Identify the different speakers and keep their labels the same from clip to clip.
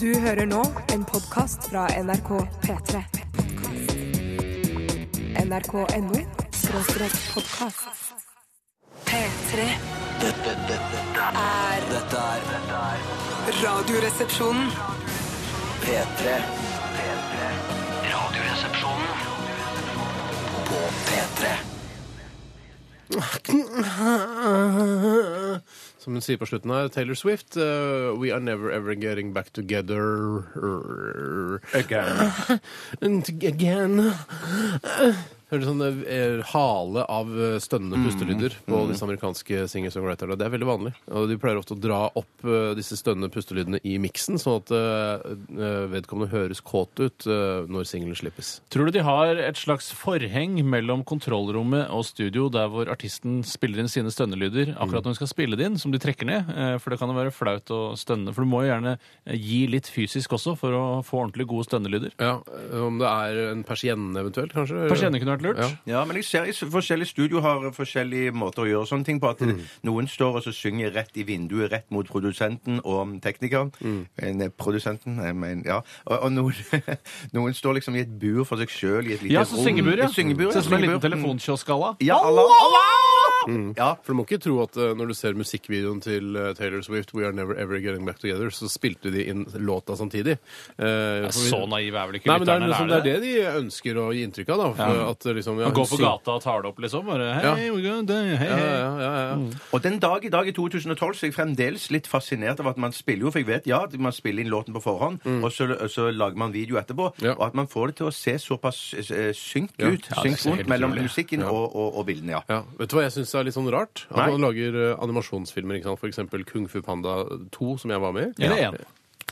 Speaker 1: Du hører nå en podkast fra NRK P3. NRK.no skråstrek podkast. P3
Speaker 2: Dette, dette, dette,
Speaker 1: er
Speaker 2: dette er dette er
Speaker 1: Radioresepsjonen.
Speaker 2: P3. P3. Radioresepsjonen på P3.
Speaker 3: Som hun sier på slutten her, Taylor Swift, eh, We are never ever getting back together
Speaker 4: Again.
Speaker 3: And again. Hører sånn eh, hale av eh, stønnende pustelyder på disse amerikanske singer-songwriterne. Det er veldig vanlig. Og de pleier ofte å dra opp eh, disse stønnende pustelydene i miksen, sånn at eh, vedkommende høres kåt ut eh, når singelen slippes.
Speaker 4: Tror du de har et slags forheng mellom kontrollrommet og studio, der hvor artisten spiller inn sine stønnelyder akkurat når hun skal spille det inn, som de trekker ned? Eh, For det kan jo være flaut å stønne. For du må jo gjerne eh, gi litt fysisk også for å få ordentlig gode stønnelyder.
Speaker 3: Ja, Om det er en persienne eventuelt, kanskje?
Speaker 4: Persienne kunne vært lurt.
Speaker 3: Ja.
Speaker 5: Ja, men jeg ser i s- forskjellige studio har forskjellige måter å gjøre sånne ting på. At
Speaker 4: Mm.
Speaker 5: noen står og så synger rett i vinduet, rett mot produsenten og teknikeren.
Speaker 4: Mm.
Speaker 5: Men, eh, produsenten, jeg mener, ja. Og, og noen, noen står liksom i et bur for seg sjøl, i et lite
Speaker 4: Ja, så
Speaker 5: rom.
Speaker 4: syngebur, ja.
Speaker 5: Et Syngebur,
Speaker 4: Ser ut som en liten
Speaker 5: syngebur. Mm.
Speaker 4: telefonkioskgalla.
Speaker 5: Ja, Allah, Ja,
Speaker 3: For du må ikke tro at eh, når du ser musikkvideoen til eh, Taylor Swift, We Are Never Ever Getting Back Together, så spilte de inn låta samtidig. Eh, for vi-
Speaker 4: Så naiv sånn er vel ikke
Speaker 3: Nei, men det er,
Speaker 4: lytterne?
Speaker 3: liksom, det
Speaker 4: eller
Speaker 3: er det de ønsker å gi inntrykk av. da. For At, eh, liksom, ja,
Speaker 4: Gå
Speaker 3: hun
Speaker 4: på
Speaker 3: syng-
Speaker 4: gata og tar det opp, liksom? Bare,
Speaker 3: Ja.
Speaker 4: hei, we're gonna die, hei,
Speaker 3: Ja,
Speaker 4: hei.
Speaker 3: ja, ja, ja.
Speaker 4: Mm.
Speaker 5: Og den dag i dag, i 2012, så er jeg fremdeles litt fascinert av at man spiller jo, for jeg vet, ja, at man spiller inn låten på forhånd, og så, så lager man video etterpå,
Speaker 3: Ja.
Speaker 5: og at man får det til å se såpass eh, synkt
Speaker 3: Ja.
Speaker 5: ut,
Speaker 4: Ja, det
Speaker 5: synkt
Speaker 4: ser helt
Speaker 5: vondt mellom
Speaker 4: utrolig.
Speaker 5: musikken og, og, og bildene, ja.
Speaker 3: Ja. Vet du hva jeg syns er litt sånn rart? At
Speaker 5: Nei.
Speaker 3: man lager eh, animasjonsfilmer, ikke sant? for eksempel Kung Fu Panda 2, som jeg var med i.
Speaker 4: Eller én.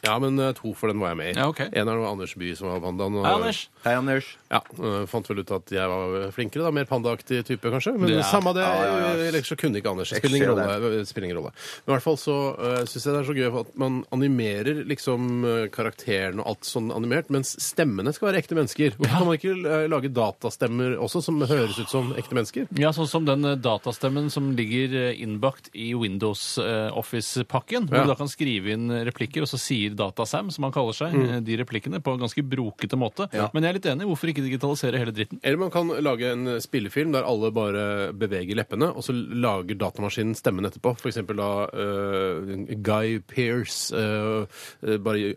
Speaker 3: Ja, men eh, to, for den var jeg med i.
Speaker 4: Ja, ok.
Speaker 3: En av Anders Bye som var pandaen. og-
Speaker 4: Hei, Anders.
Speaker 5: Hei, Anders.
Speaker 3: Ja, øh, Fant vel ut at jeg var flinkere, da. Mer pandaaktig type, kanskje. Men
Speaker 4: Ja.
Speaker 3: samme det,
Speaker 5: Ja, ja, ja.
Speaker 3: ellers så kunne ikke Anders. Det
Speaker 5: Jeg
Speaker 3: Spiller ingen
Speaker 5: ser
Speaker 3: rolle. det Spiller ingen rolle. Men i hvert fall så øh, syns jeg det er så gøy at man animerer liksom øh, karakteren og alt sånn animert, mens stemmene skal være ekte mennesker. Hvorfor kan man ikke øh, lage datastemmer også, som høres ut som ekte mennesker?
Speaker 4: Ja, sånn som den eh, datastemmen som ligger eh, innbakt i Windows eh, Office-pakken. Hvor
Speaker 3: Ja.
Speaker 4: du da kan skrive inn eh, replikker, og så sier DataSam, som han kaller seg, eh, de replikkene på en ganske brokete måte. Men jeg er litt enig. Hvorfor ikke digitalisere hele dritten?
Speaker 3: Eller man kan lage en spillefilm der alle bare beveger leppene, og så lager datamaskinen stemmen etterpå. For eksempel da øh, Guy Pearce eh, bare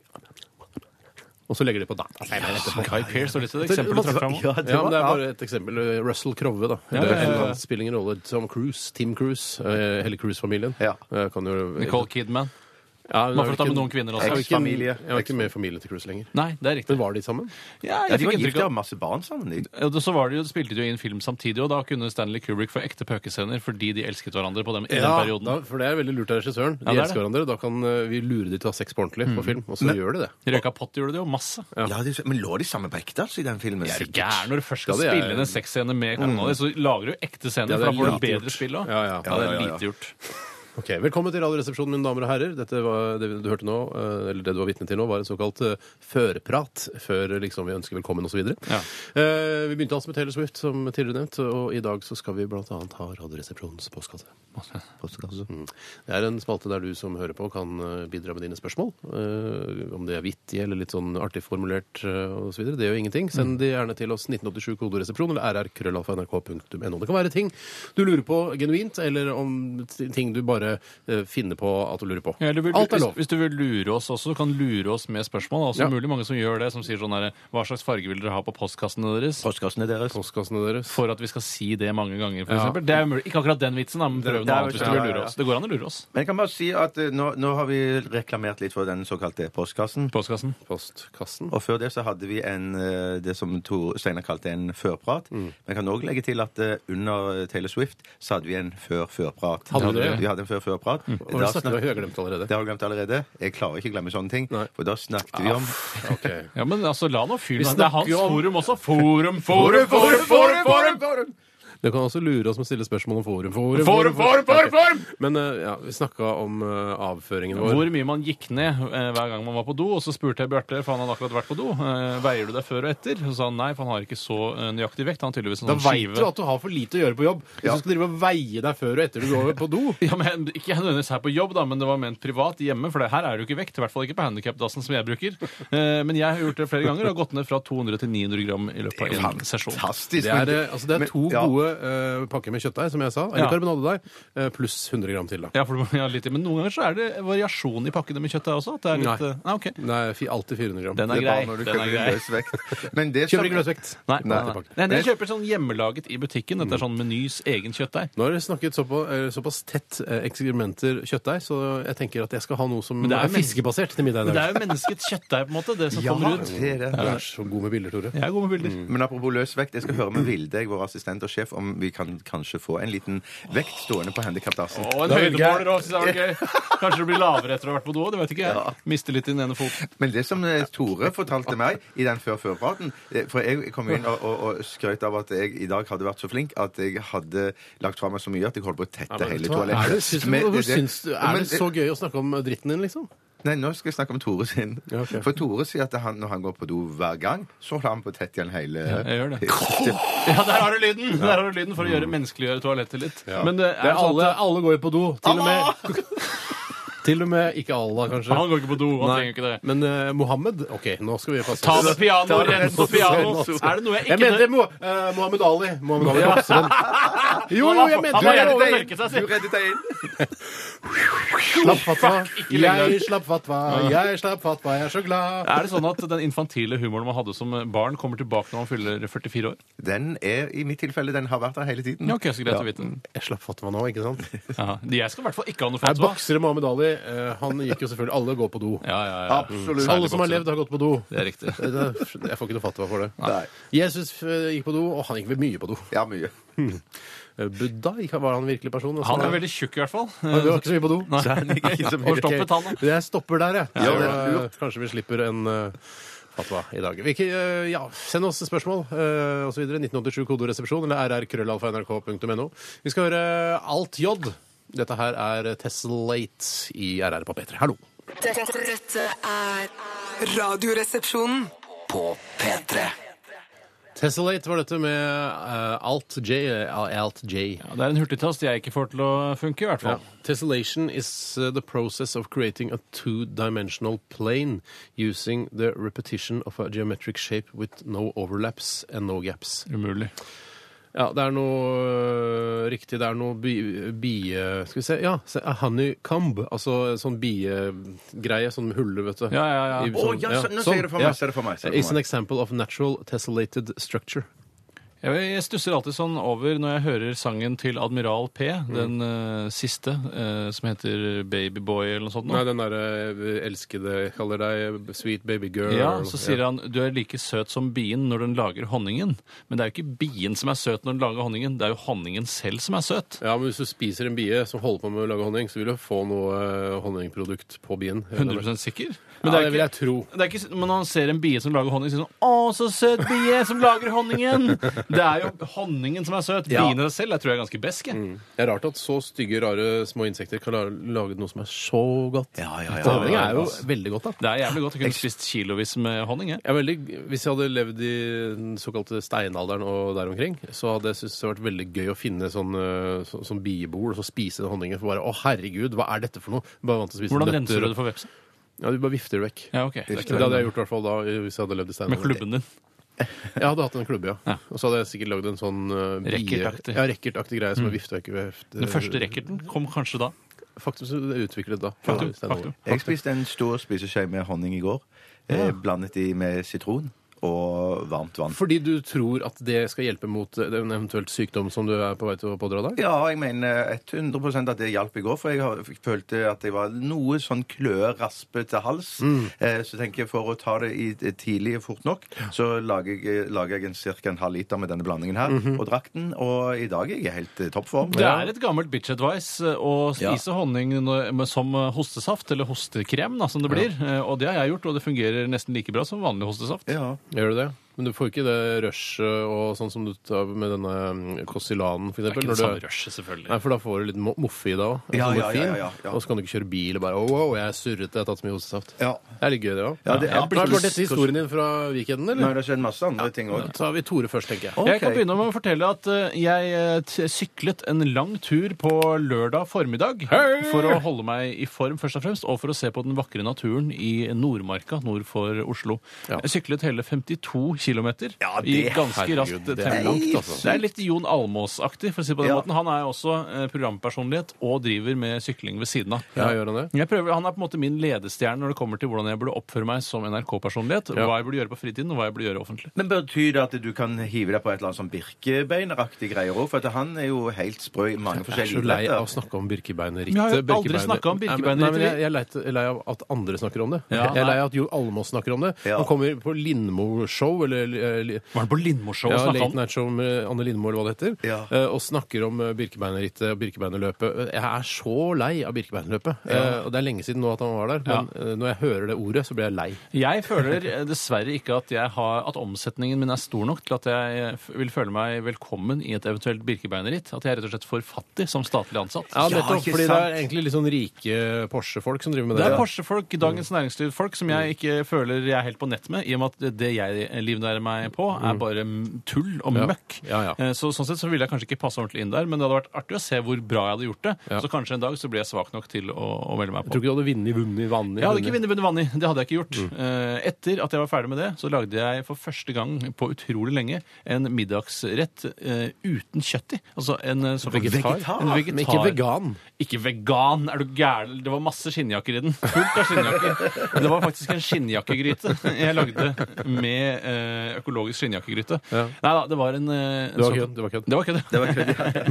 Speaker 3: Og så legger de på datastemmen etterpå.
Speaker 4: Guy Pearce var litt et eksempel du trakk fram. også.
Speaker 5: Ja, det
Speaker 3: Ja, men
Speaker 5: var,
Speaker 3: Det er
Speaker 5: ja.
Speaker 3: bare et eksempel. Russell Krove, da.
Speaker 4: Ja,
Speaker 3: Eller
Speaker 4: ja, ja, ja.
Speaker 3: en annen spiller ingen rolle. Tom Cruise. Tim Cruise. eh, Hele Cruise-familien.
Speaker 5: Ja.
Speaker 3: Eh, Kan jo
Speaker 4: Nicole Kidman.
Speaker 3: Ja, hun
Speaker 4: Man
Speaker 3: er
Speaker 4: får
Speaker 3: jo
Speaker 4: ta med
Speaker 3: ikke-
Speaker 4: noen kvinner
Speaker 3: er jo
Speaker 4: også.
Speaker 3: ikke-
Speaker 5: Eksfamilie.
Speaker 3: Jeg er ikke med i familien til Cruise lenger.
Speaker 4: Nei, det er
Speaker 3: Men
Speaker 4: riktig.
Speaker 3: var de sammen?
Speaker 4: Ja,
Speaker 5: Ja,
Speaker 4: jeg
Speaker 5: de
Speaker 4: fikk
Speaker 5: var
Speaker 4: inntrykk
Speaker 5: gifte og
Speaker 4: av
Speaker 5: hadde masse barn sammen. de.
Speaker 4: Ja, Så var det jo, spilte de jo inn film samtidig, og da kunne Stanley Kubrick få ekte pøkescener fordi de elsket hverandre på dem, i den perioden.
Speaker 3: da, for det er veldig lurt av regissøren. De
Speaker 4: Ja, det Mm. er
Speaker 3: elsker hverandre. Da kan eh, vi lure de til å ha sex på ordentlig på film, og så gjør de det.
Speaker 4: De Røyka pott gjorde det jo masse.
Speaker 5: Ja, de, men lå de samme på ekte, altså, i den filmen?
Speaker 4: Er du gæren når du først skal
Speaker 3: Ja, det er-
Speaker 4: spille inn en sexscene med kona di, så lager du ekte scener,
Speaker 3: Ja, det
Speaker 4: for
Speaker 3: er
Speaker 4: da får du
Speaker 3: lite gjort.
Speaker 4: bedre spill òg.
Speaker 3: Ja, ja.
Speaker 4: det er
Speaker 5: Ja, ja, ja.
Speaker 4: lite gjort.
Speaker 3: Ok, Velkommen til Radioresepsjonen, mine damer og herrer. Dette var, det du hørte nå, eh, eller det du var vitne til nå, var en såkalt eh, førprat før eh, liksom, vi ønsker velkommen osv.
Speaker 4: Ja.
Speaker 3: Eh, vi begynte altså med Taylor Swift, som tidligere nevnt, og i dag så skal vi bl.a. ha Radioresepsjonens postkasse. Mm. Det er en spalte der du som hører på, kan eh, bidra med dine spørsmål. eh, om det er vittige eller litt sånn artig formulert eh, og så videre. Det gjør ingenting. Send de gjerne til oss 1987 koderesepsjon eller rrkrøllalfa.nrk.no. Det kan være ting du lurer på genuint, eller om t- ting du bare eh, finner på at du lurer på.
Speaker 4: Ja, eller vil,
Speaker 3: Alt er
Speaker 4: hvis,
Speaker 3: lov.
Speaker 4: hvis du vil lure oss også, kan lure oss med spørsmål. Det er også
Speaker 3: Ja.
Speaker 4: mulig mange som gjør det, som sier sånn her Hva slags farge vil dere ha på postkassene deres?
Speaker 5: Postkassene deres.
Speaker 3: Postkassene deres.
Speaker 4: For at vi skal si det mange ganger, for
Speaker 3: Ja.
Speaker 4: eksempel. Det er jo mulig. Ikke akkurat den vitsen, da, men prøv
Speaker 5: Det-
Speaker 4: noe
Speaker 5: det er
Speaker 4: annet
Speaker 5: jo
Speaker 4: hvis du
Speaker 5: ikke-
Speaker 4: vil
Speaker 5: ja, ja,
Speaker 4: lure
Speaker 5: ja.
Speaker 4: oss. Det går an å lure oss.
Speaker 5: Men jeg kan bare si at eh, nå, nå har vi reklamert litt for den såkalte postkassen.
Speaker 4: Postkassen.
Speaker 3: Postkassen.
Speaker 5: Og før det så hadde vi en, eh, det som Tor Steinar kalte en førprat.
Speaker 3: Mm.
Speaker 5: Men jeg kan òg legge til at eh, under Taylor Swift så hadde vi en før-førprat.
Speaker 3: Hadde dere det?
Speaker 5: Vi hadde en før-førprat.
Speaker 3: Og vi snakker, jeg har glemt allerede.
Speaker 5: Det har du glemt allerede. Jeg klarer ikke å glemme sånne ting.
Speaker 3: Nei. Ah.
Speaker 5: For da snakket vi om
Speaker 3: Ok.
Speaker 4: Ja, men altså, la nå
Speaker 3: Vi
Speaker 4: fyren Det er
Speaker 3: snakker
Speaker 4: hans
Speaker 3: jo om-
Speaker 4: forum også. Forum, forum, forum, forum! forum,
Speaker 3: Du kan også lure oss med å stille spørsmål om forum. Forum,
Speaker 4: Forum, forum, forum, forum!
Speaker 3: Men eh, ja, vi snakka om eh, avføringen vår.
Speaker 4: Hvor mye man gikk ned eh, hver gang man var på do. Og så spurte jeg Bjarte, for han hadde akkurat vært på do, eh, veier du deg før og etter? Så sa han nei, for han har ikke så eh, nøyaktig vekt. Han har tydeligvis en
Speaker 3: Da
Speaker 4: sånn
Speaker 3: veit du
Speaker 4: skive.
Speaker 3: at du har for lite å gjøre på jobb. Hvis du skal drive og veie deg før og etter du går på do.
Speaker 4: Ja, men Ikke nødvendigvis her på jobb, da, men det var ment privat hjemme. For det her er det jo ikke vekt. I hvert fall ikke på handikapdassen som jeg bruker. Eh, Men jeg har gjort det flere ganger og har gått ned fra 200 til 900 gram i løpet av en sesjon.
Speaker 3: Det
Speaker 5: Fantastisk. men-
Speaker 3: er, eh, altså det er
Speaker 5: men-
Speaker 3: to
Speaker 5: ja.
Speaker 3: gode eh, pakker med kjøttdeig, som jeg sa, eller
Speaker 4: Ja.
Speaker 3: karbonadedeig, eh, pluss 100 gram til. da.
Speaker 4: Ja, for du må ja, litt, i, Men noen ganger så er det variasjon i pakkene med kjøtt der også. At det er litt,
Speaker 3: Nei.
Speaker 4: eh, nei, ok.
Speaker 3: Det er fi- alltid 400 gram.
Speaker 4: Den
Speaker 5: Det
Speaker 4: er
Speaker 5: er
Speaker 4: grei.
Speaker 5: bare når du
Speaker 4: Den er
Speaker 5: kjøper
Speaker 4: grei.
Speaker 5: en løsvekt. Men det
Speaker 3: Kjøper ikke
Speaker 5: som-
Speaker 3: løsvekt.
Speaker 4: Nei, nei,
Speaker 3: Alltid
Speaker 4: nei.
Speaker 3: pakke.
Speaker 4: nei, dere kjøper sånn hjemmelaget i butikken. Dette er sånn Menys egen kjøttdeig.
Speaker 3: Nå har dere snakket såpass, såpass tett eh, ekskrementer kjøttdeig, så jeg tenker at jeg skal ha noe som
Speaker 4: det er
Speaker 3: er,
Speaker 4: men-
Speaker 3: fiskebasert til middag i
Speaker 4: Men det
Speaker 3: dag.
Speaker 4: er jo menneskets kjøttdeig, på en måte, det som
Speaker 5: Ja,
Speaker 4: kommer ut.
Speaker 5: det er det.
Speaker 3: Du er så god med bilder, Tore.
Speaker 4: Jeg er god med bilder.
Speaker 5: Men apropos løsvekt, jeg skal høre med Vilde, vår assistent og sjef, om vi kan kanskje få en liten vekt stående på handikapdassen.
Speaker 4: Og en
Speaker 3: Da velger jeg-
Speaker 4: høydemåler òg, syns jeg var gøy. Kanskje du blir lavere etter å ha vært på do, det vet ikke jeg. Mister litt i den ene foten.
Speaker 5: Men det som eh, Tore fortalte meg i den før-før-praten eh, For jeg kom inn og, og, og skrøt av at jeg i dag hadde vært så flink at jeg hadde lagt fra meg så mye at jeg holdt på å tette
Speaker 3: Vet
Speaker 5: hele
Speaker 3: du hva? Er det,
Speaker 5: toalettet.
Speaker 3: syns,
Speaker 5: Men-
Speaker 3: hvorfor syns du, er
Speaker 5: Men-
Speaker 3: det så gøy å snakke om dritten din, liksom?
Speaker 5: Nei, nå skal jeg snakke om Tore sin.
Speaker 3: Ja, ok.
Speaker 5: For Tore sier at han, når han går på do hver gang, så holder han på å tette igjen hele
Speaker 4: jeg gjør Ja, der har du lyden! Der har du lyden For å gjøre menneskeliggjøre toalettet litt. Men det er,
Speaker 3: Det er
Speaker 4: sånn
Speaker 3: alle,
Speaker 4: at-
Speaker 3: alle går jo på do. Til og med Til og med ikke Allah, kanskje.
Speaker 4: Han går ikke på do, han
Speaker 3: Nei.
Speaker 4: trenger ikke det.
Speaker 3: Men eh, Mohammed OK, nå skal vi passe
Speaker 4: Ta
Speaker 3: oss.
Speaker 4: det piano,
Speaker 3: Ta det
Speaker 4: rens
Speaker 3: piano.
Speaker 4: opp piano. Er det noe jeg
Speaker 3: Jeg
Speaker 4: ikke
Speaker 3: mente Mo eh, Mohammed Ali. Mohammed Ali bokseren. Jo, jo, jeg
Speaker 4: Han
Speaker 3: mente
Speaker 4: var
Speaker 3: det.
Speaker 4: redd for å
Speaker 5: inn.
Speaker 4: melke seg,
Speaker 5: Du
Speaker 4: si.
Speaker 5: reddet deg inn.
Speaker 3: Slapp fatwa.
Speaker 4: ikke lenger.
Speaker 3: Jeg slapp fatwa. Jeg slapp fatwa. Jeg er så glad.
Speaker 4: Er det sånn at den infantile humoren man hadde som barn, kommer tilbake når man fyller 44 år?
Speaker 5: Den er i mitt tilfelle Den har vært der hele tiden.
Speaker 4: Ja, ok, så greit å vite.
Speaker 3: Jeg slapp fatwa nå, ikke sant?
Speaker 4: Ja. Jeg skal i hvert fall ikke ha noe
Speaker 3: Nei,
Speaker 4: fatwa.
Speaker 3: boksere Mohammed Ali, eh, han gikk jo selvfølgelig Alle går på do.
Speaker 4: Ja, ja, ja.
Speaker 5: Absolutt.
Speaker 3: Alle som har levd, har gått på do.
Speaker 4: Det er riktig.
Speaker 3: Det- det- Jeg får ikke noe fatwa for det.
Speaker 5: Nei.
Speaker 3: Jesus eh, gikk på do, og han gikk vel mye på do.
Speaker 5: Ja, mye.
Speaker 3: Eh, Buddha gikk- var han virkelig person. altså.
Speaker 4: Han er veldig tjukk, i hvert fall.
Speaker 3: Han var ikke så mye på do.
Speaker 4: Nei.
Speaker 3: Ok,
Speaker 4: Forstoppet han, da.
Speaker 3: Jeg stopper der, jeg.
Speaker 5: Ja, det
Speaker 3: Så,
Speaker 5: er lurt.
Speaker 3: eh, kanskje vi slipper en eh, fatwa i dag. Vi, ikke, eh, ja, send oss spørsmål uh, osv. 1987-kodoresepsjon eller rrkrøllalfa.nrk.no. Vi skal høre Alt J. Dette her er Tesselate i RR på P3. Hallo.
Speaker 1: Dette, dette er Radioresepsjonen.
Speaker 2: På P3.
Speaker 3: Tesselate var dette med eh, Alt J. eh, Alt J.
Speaker 4: Ja, det er en hurtigtast jeg ikke får til å funke, i hvert fall.
Speaker 3: Tessellation is uh, the process of creating a two-dimensional plane using the repetition of a geometric shape with no overlaps and no gaps.
Speaker 4: Umulig.
Speaker 3: Ja, det er noe øh, riktig. Det er noe bi- bie... Skal vi se. Ja, se, a honeycomb. Altså sånn biegreie. Sånn hulle, vet du.
Speaker 4: Ja, ja, ja.
Speaker 3: I- sånn,
Speaker 5: Å, ja, så- nå ser jeg det for meg, ser det for meg, ser det for
Speaker 3: Is an
Speaker 5: meg.
Speaker 3: example of natural tessellated structure.
Speaker 4: Jeg, jeg stusser alltid sånn over når jeg hører sangen til Admiral P, den eh, siste, eh, som heter Babyboy eller noe sånt. nå.
Speaker 3: Nei, den derre elskede kaller deg sweet baby girl.
Speaker 4: Ja, så sier han du er like søt som bien når den lager honningen. Men det er jo ikke bien som er søt når den lager honningen, det er jo honningen selv som er søt.
Speaker 3: Ja, men hvis du spiser en bie som holder på med å lage honning, så vil du få noe eh, honningprodukt på bien.
Speaker 4: 100 sikker?
Speaker 3: Men
Speaker 4: Men det
Speaker 3: ja, det
Speaker 4: er
Speaker 3: vil
Speaker 4: ikke,
Speaker 3: jeg tro.
Speaker 4: det er ikke, men når man ser en bie som lager honning, sier sånn 'Å, så søt bie som lager honningen!' Det er jo honningen som er søt.
Speaker 3: Ja.
Speaker 4: Biene selv jeg tror jeg er ganske beske.
Speaker 3: Det er rart at så stygge, rare små insekter kan la- lage noe som er så godt.
Speaker 5: Ja, ja, ja.
Speaker 3: Honning er jo veldig godt, da.
Speaker 4: Det er jævlig godt. Jeg kunne spist kilovis med honning. Jeg.
Speaker 3: Jeg er veldig, hvis jeg hadde levd i den såkalte steinalderen og der omkring, så hadde jeg syntes det vært veldig gøy å finne sånn, eh, så, sånn biebol og så spise den honningen. For bare 'Å, herregud, hva er dette for noe?' Bare vant til å spise
Speaker 4: Hvordan
Speaker 3: nøtter
Speaker 4: renser du
Speaker 3: og-
Speaker 4: det for vepse?
Speaker 3: Ja, Du bare vifter det vekk.
Speaker 4: Ja, ok. Det er
Speaker 3: Det
Speaker 4: ikke
Speaker 3: hadde jeg gjort i hvert fall da, hvis jeg hadde levd i
Speaker 4: Med
Speaker 3: steinalderen.
Speaker 4: klubben din.
Speaker 3: Jeg hadde hatt en klubbe, ja.
Speaker 4: Ja.
Speaker 3: Og så hadde jeg sikkert lagd en sånn eh, bie-
Speaker 4: Rackert-aktig.
Speaker 3: Ja, rackert-aktig greie som er vifta ikke ved
Speaker 4: Mm. Den første racketen kom kanskje da.
Speaker 3: Faktum som det er utviklet da.
Speaker 4: Faktum,
Speaker 3: Stein Ove.
Speaker 4: faktum.
Speaker 5: Jeg spiste en stor spiseskje med honning i går. Eh, Blandet i med sitron og varmt vann.
Speaker 3: Fordi du tror at det skal hjelpe mot eh, en eventuelt sykdom som du er på vei til å pådra deg?
Speaker 5: Ja, jeg mener 100 at det hjalp i går, for jeg har- følte at jeg var noe sånn kløe, raspete hals.
Speaker 4: Mm.
Speaker 5: Eh, Så tenker jeg for å ta det i eh, tidlig og fort nok, så lager jeg, eh, lager jeg en, cirka en halv liter med denne blandingen her, og drakk den. Og i dag er jeg i helt eh, toppform.
Speaker 4: Mhm. Det er et gammelt bitch advice eh, å spise honning når- med- som eh, hostesaft, eller hostekrem, da, som det blir. Eh, Og det har jeg gjort, og det fungerer nesten like bra som vanlig hostesaft.
Speaker 5: Ja.
Speaker 3: Gjør du det? Men du får ikke det rushet og sånn som du tar med denne mm, Kåssilanen, for
Speaker 4: Det er ikke
Speaker 3: eksempel.
Speaker 4: det
Speaker 3: når
Speaker 4: samme
Speaker 3: du-
Speaker 4: rushet, selvfølgelig.
Speaker 3: Nei, for da får du litt mo- moffe i deg òg.
Speaker 5: Ja, ja, ja, ja, ja.
Speaker 3: Og så kan du ikke kjøre bil og bare Wow, jeg er surrete, jeg har tatt så mye hostesaft.
Speaker 5: Ja.
Speaker 3: Det er litt gøy, det òg.
Speaker 5: Ja, det er-
Speaker 3: Var dette historien din fra weekenden,
Speaker 5: Nei,
Speaker 3: eller?
Speaker 5: det har skjedd masse andre ting òg.
Speaker 3: Da tar vi Tore først, tenker jeg.
Speaker 4: Jeg kan begynne med å fortelle at eh, jeg eh, t- syklet en lang tur på lørdag formiddag for å holde meg i form først og fremst, og for å se på den vakre naturen i Nordmarka nord for Oslo.
Speaker 3: Ja.
Speaker 4: Jeg syklet hele 52 km
Speaker 5: Ja, det-
Speaker 4: i ganske raskt
Speaker 3: Herregud, det er
Speaker 4: tempo.
Speaker 3: langt, altså.
Speaker 4: Det er litt Jon Almås-aktig, for å si det på den
Speaker 5: Ja.
Speaker 4: måten. Han er jo også eh, programpersonlighet og driver med sykling ved siden av.
Speaker 3: Ja, gjør han det?
Speaker 4: Jeg prøver, Han er på en måte min ledestjerne når det kommer til hvordan jeg burde oppføre meg som NRK-personlighet.
Speaker 3: Ja.
Speaker 4: Hva jeg burde gjøre på fritiden, og hva jeg burde gjøre offentlig.
Speaker 5: Men betyr det at du kan hive deg på et eller annet sånn birkebeineraktig greier òg? For at han er jo helt sprø i mange
Speaker 3: Jeg er
Speaker 5: forskjellige
Speaker 3: så lei av å
Speaker 5: idretter.
Speaker 3: snakke om birkebeinerrittet.
Speaker 4: Men jeg har jo aldri
Speaker 3: Birkebeiner-
Speaker 4: snakket om
Speaker 3: Nei, men-
Speaker 4: birkebeinerrittet.
Speaker 3: Nei, men jeg, jeg er lei- er lei av at andre snakker om det.
Speaker 4: Ja,
Speaker 3: jeg er
Speaker 4: nei.
Speaker 3: lei av at Jo Almås snakker om det.
Speaker 5: Ja.
Speaker 3: Han kommer på Lindmo-show, eller eh, li-
Speaker 4: Var han på Lindmo-show og
Speaker 3: ja,
Speaker 4: snakket
Speaker 3: Late
Speaker 4: om
Speaker 3: Night Show med Anne Lindmo, eller hva det heter,
Speaker 5: Ja.
Speaker 3: eh, og snakker om eh, birkebeinerrittet og birkebeinerløpet. Jeg er så lei av birkebeinerløpet. Eh, Og det er lenge siden nå at han var der, men eh, når jeg hører det ordet, så blir jeg lei.
Speaker 4: Jeg føler eh, dessverre ikke at, jeg har, at omsetningen min er stor nok til at jeg eh, f- vil føle meg velkommen i et eventuelt birkebeinerritt. At jeg er rett og slett for fattig som statlig ansatt.
Speaker 3: Ja,
Speaker 5: Ja,
Speaker 3: nettopp,
Speaker 5: ikke
Speaker 3: fordi det
Speaker 5: sant?
Speaker 3: er egentlig litt sånn rike Porsche-folk som driver med
Speaker 4: Det
Speaker 3: det.
Speaker 4: er Porsche-folk, Dagens Næringsliv-folk, som jeg ikke føler jeg er helt på nett med, i og med at det jeg livnærer meg på, er bare m- tull og
Speaker 3: Mm. Ja.
Speaker 4: møkk.
Speaker 3: Ja, ja.
Speaker 4: Eh, Så, sånn sett så ville jeg kanskje ikke passe ordentlig inn der, men det hadde vært artig å se hvor bra jeg hadde gjort det.
Speaker 3: Ja.
Speaker 4: Så kanskje en dag så blir jeg svak nok til å, å melde meg
Speaker 3: Jeg
Speaker 4: på.
Speaker 3: tror ikke du hadde vunnet, vunnet, vunnet.
Speaker 4: Jeg hadde ikke vunnet Bunny Vanni. Det hadde jeg ikke gjort.
Speaker 3: Mm.
Speaker 4: Eh, Etter at jeg var ferdig med det, så lagde jeg for første gang på utrolig lenge en middagsrett eh, uten kjøtt i. Altså en eh, sånn
Speaker 3: Vegetar?
Speaker 4: En
Speaker 3: Men ikke
Speaker 4: vegetar.
Speaker 3: vegan.
Speaker 4: Ikke vegan, er du gæren? Det var masse skinnjakker i den. Fullt av skinnjakker. Det var faktisk en skinnjakkegryte jeg lagde med eh, økologisk skinnjakkegryte.
Speaker 3: Ja.
Speaker 4: Nei da, det var en, eh, en
Speaker 3: Det var
Speaker 4: sånn-
Speaker 3: kødd, det var kødd.
Speaker 4: Det var kødd, ja.
Speaker 5: Det var kødd, ja.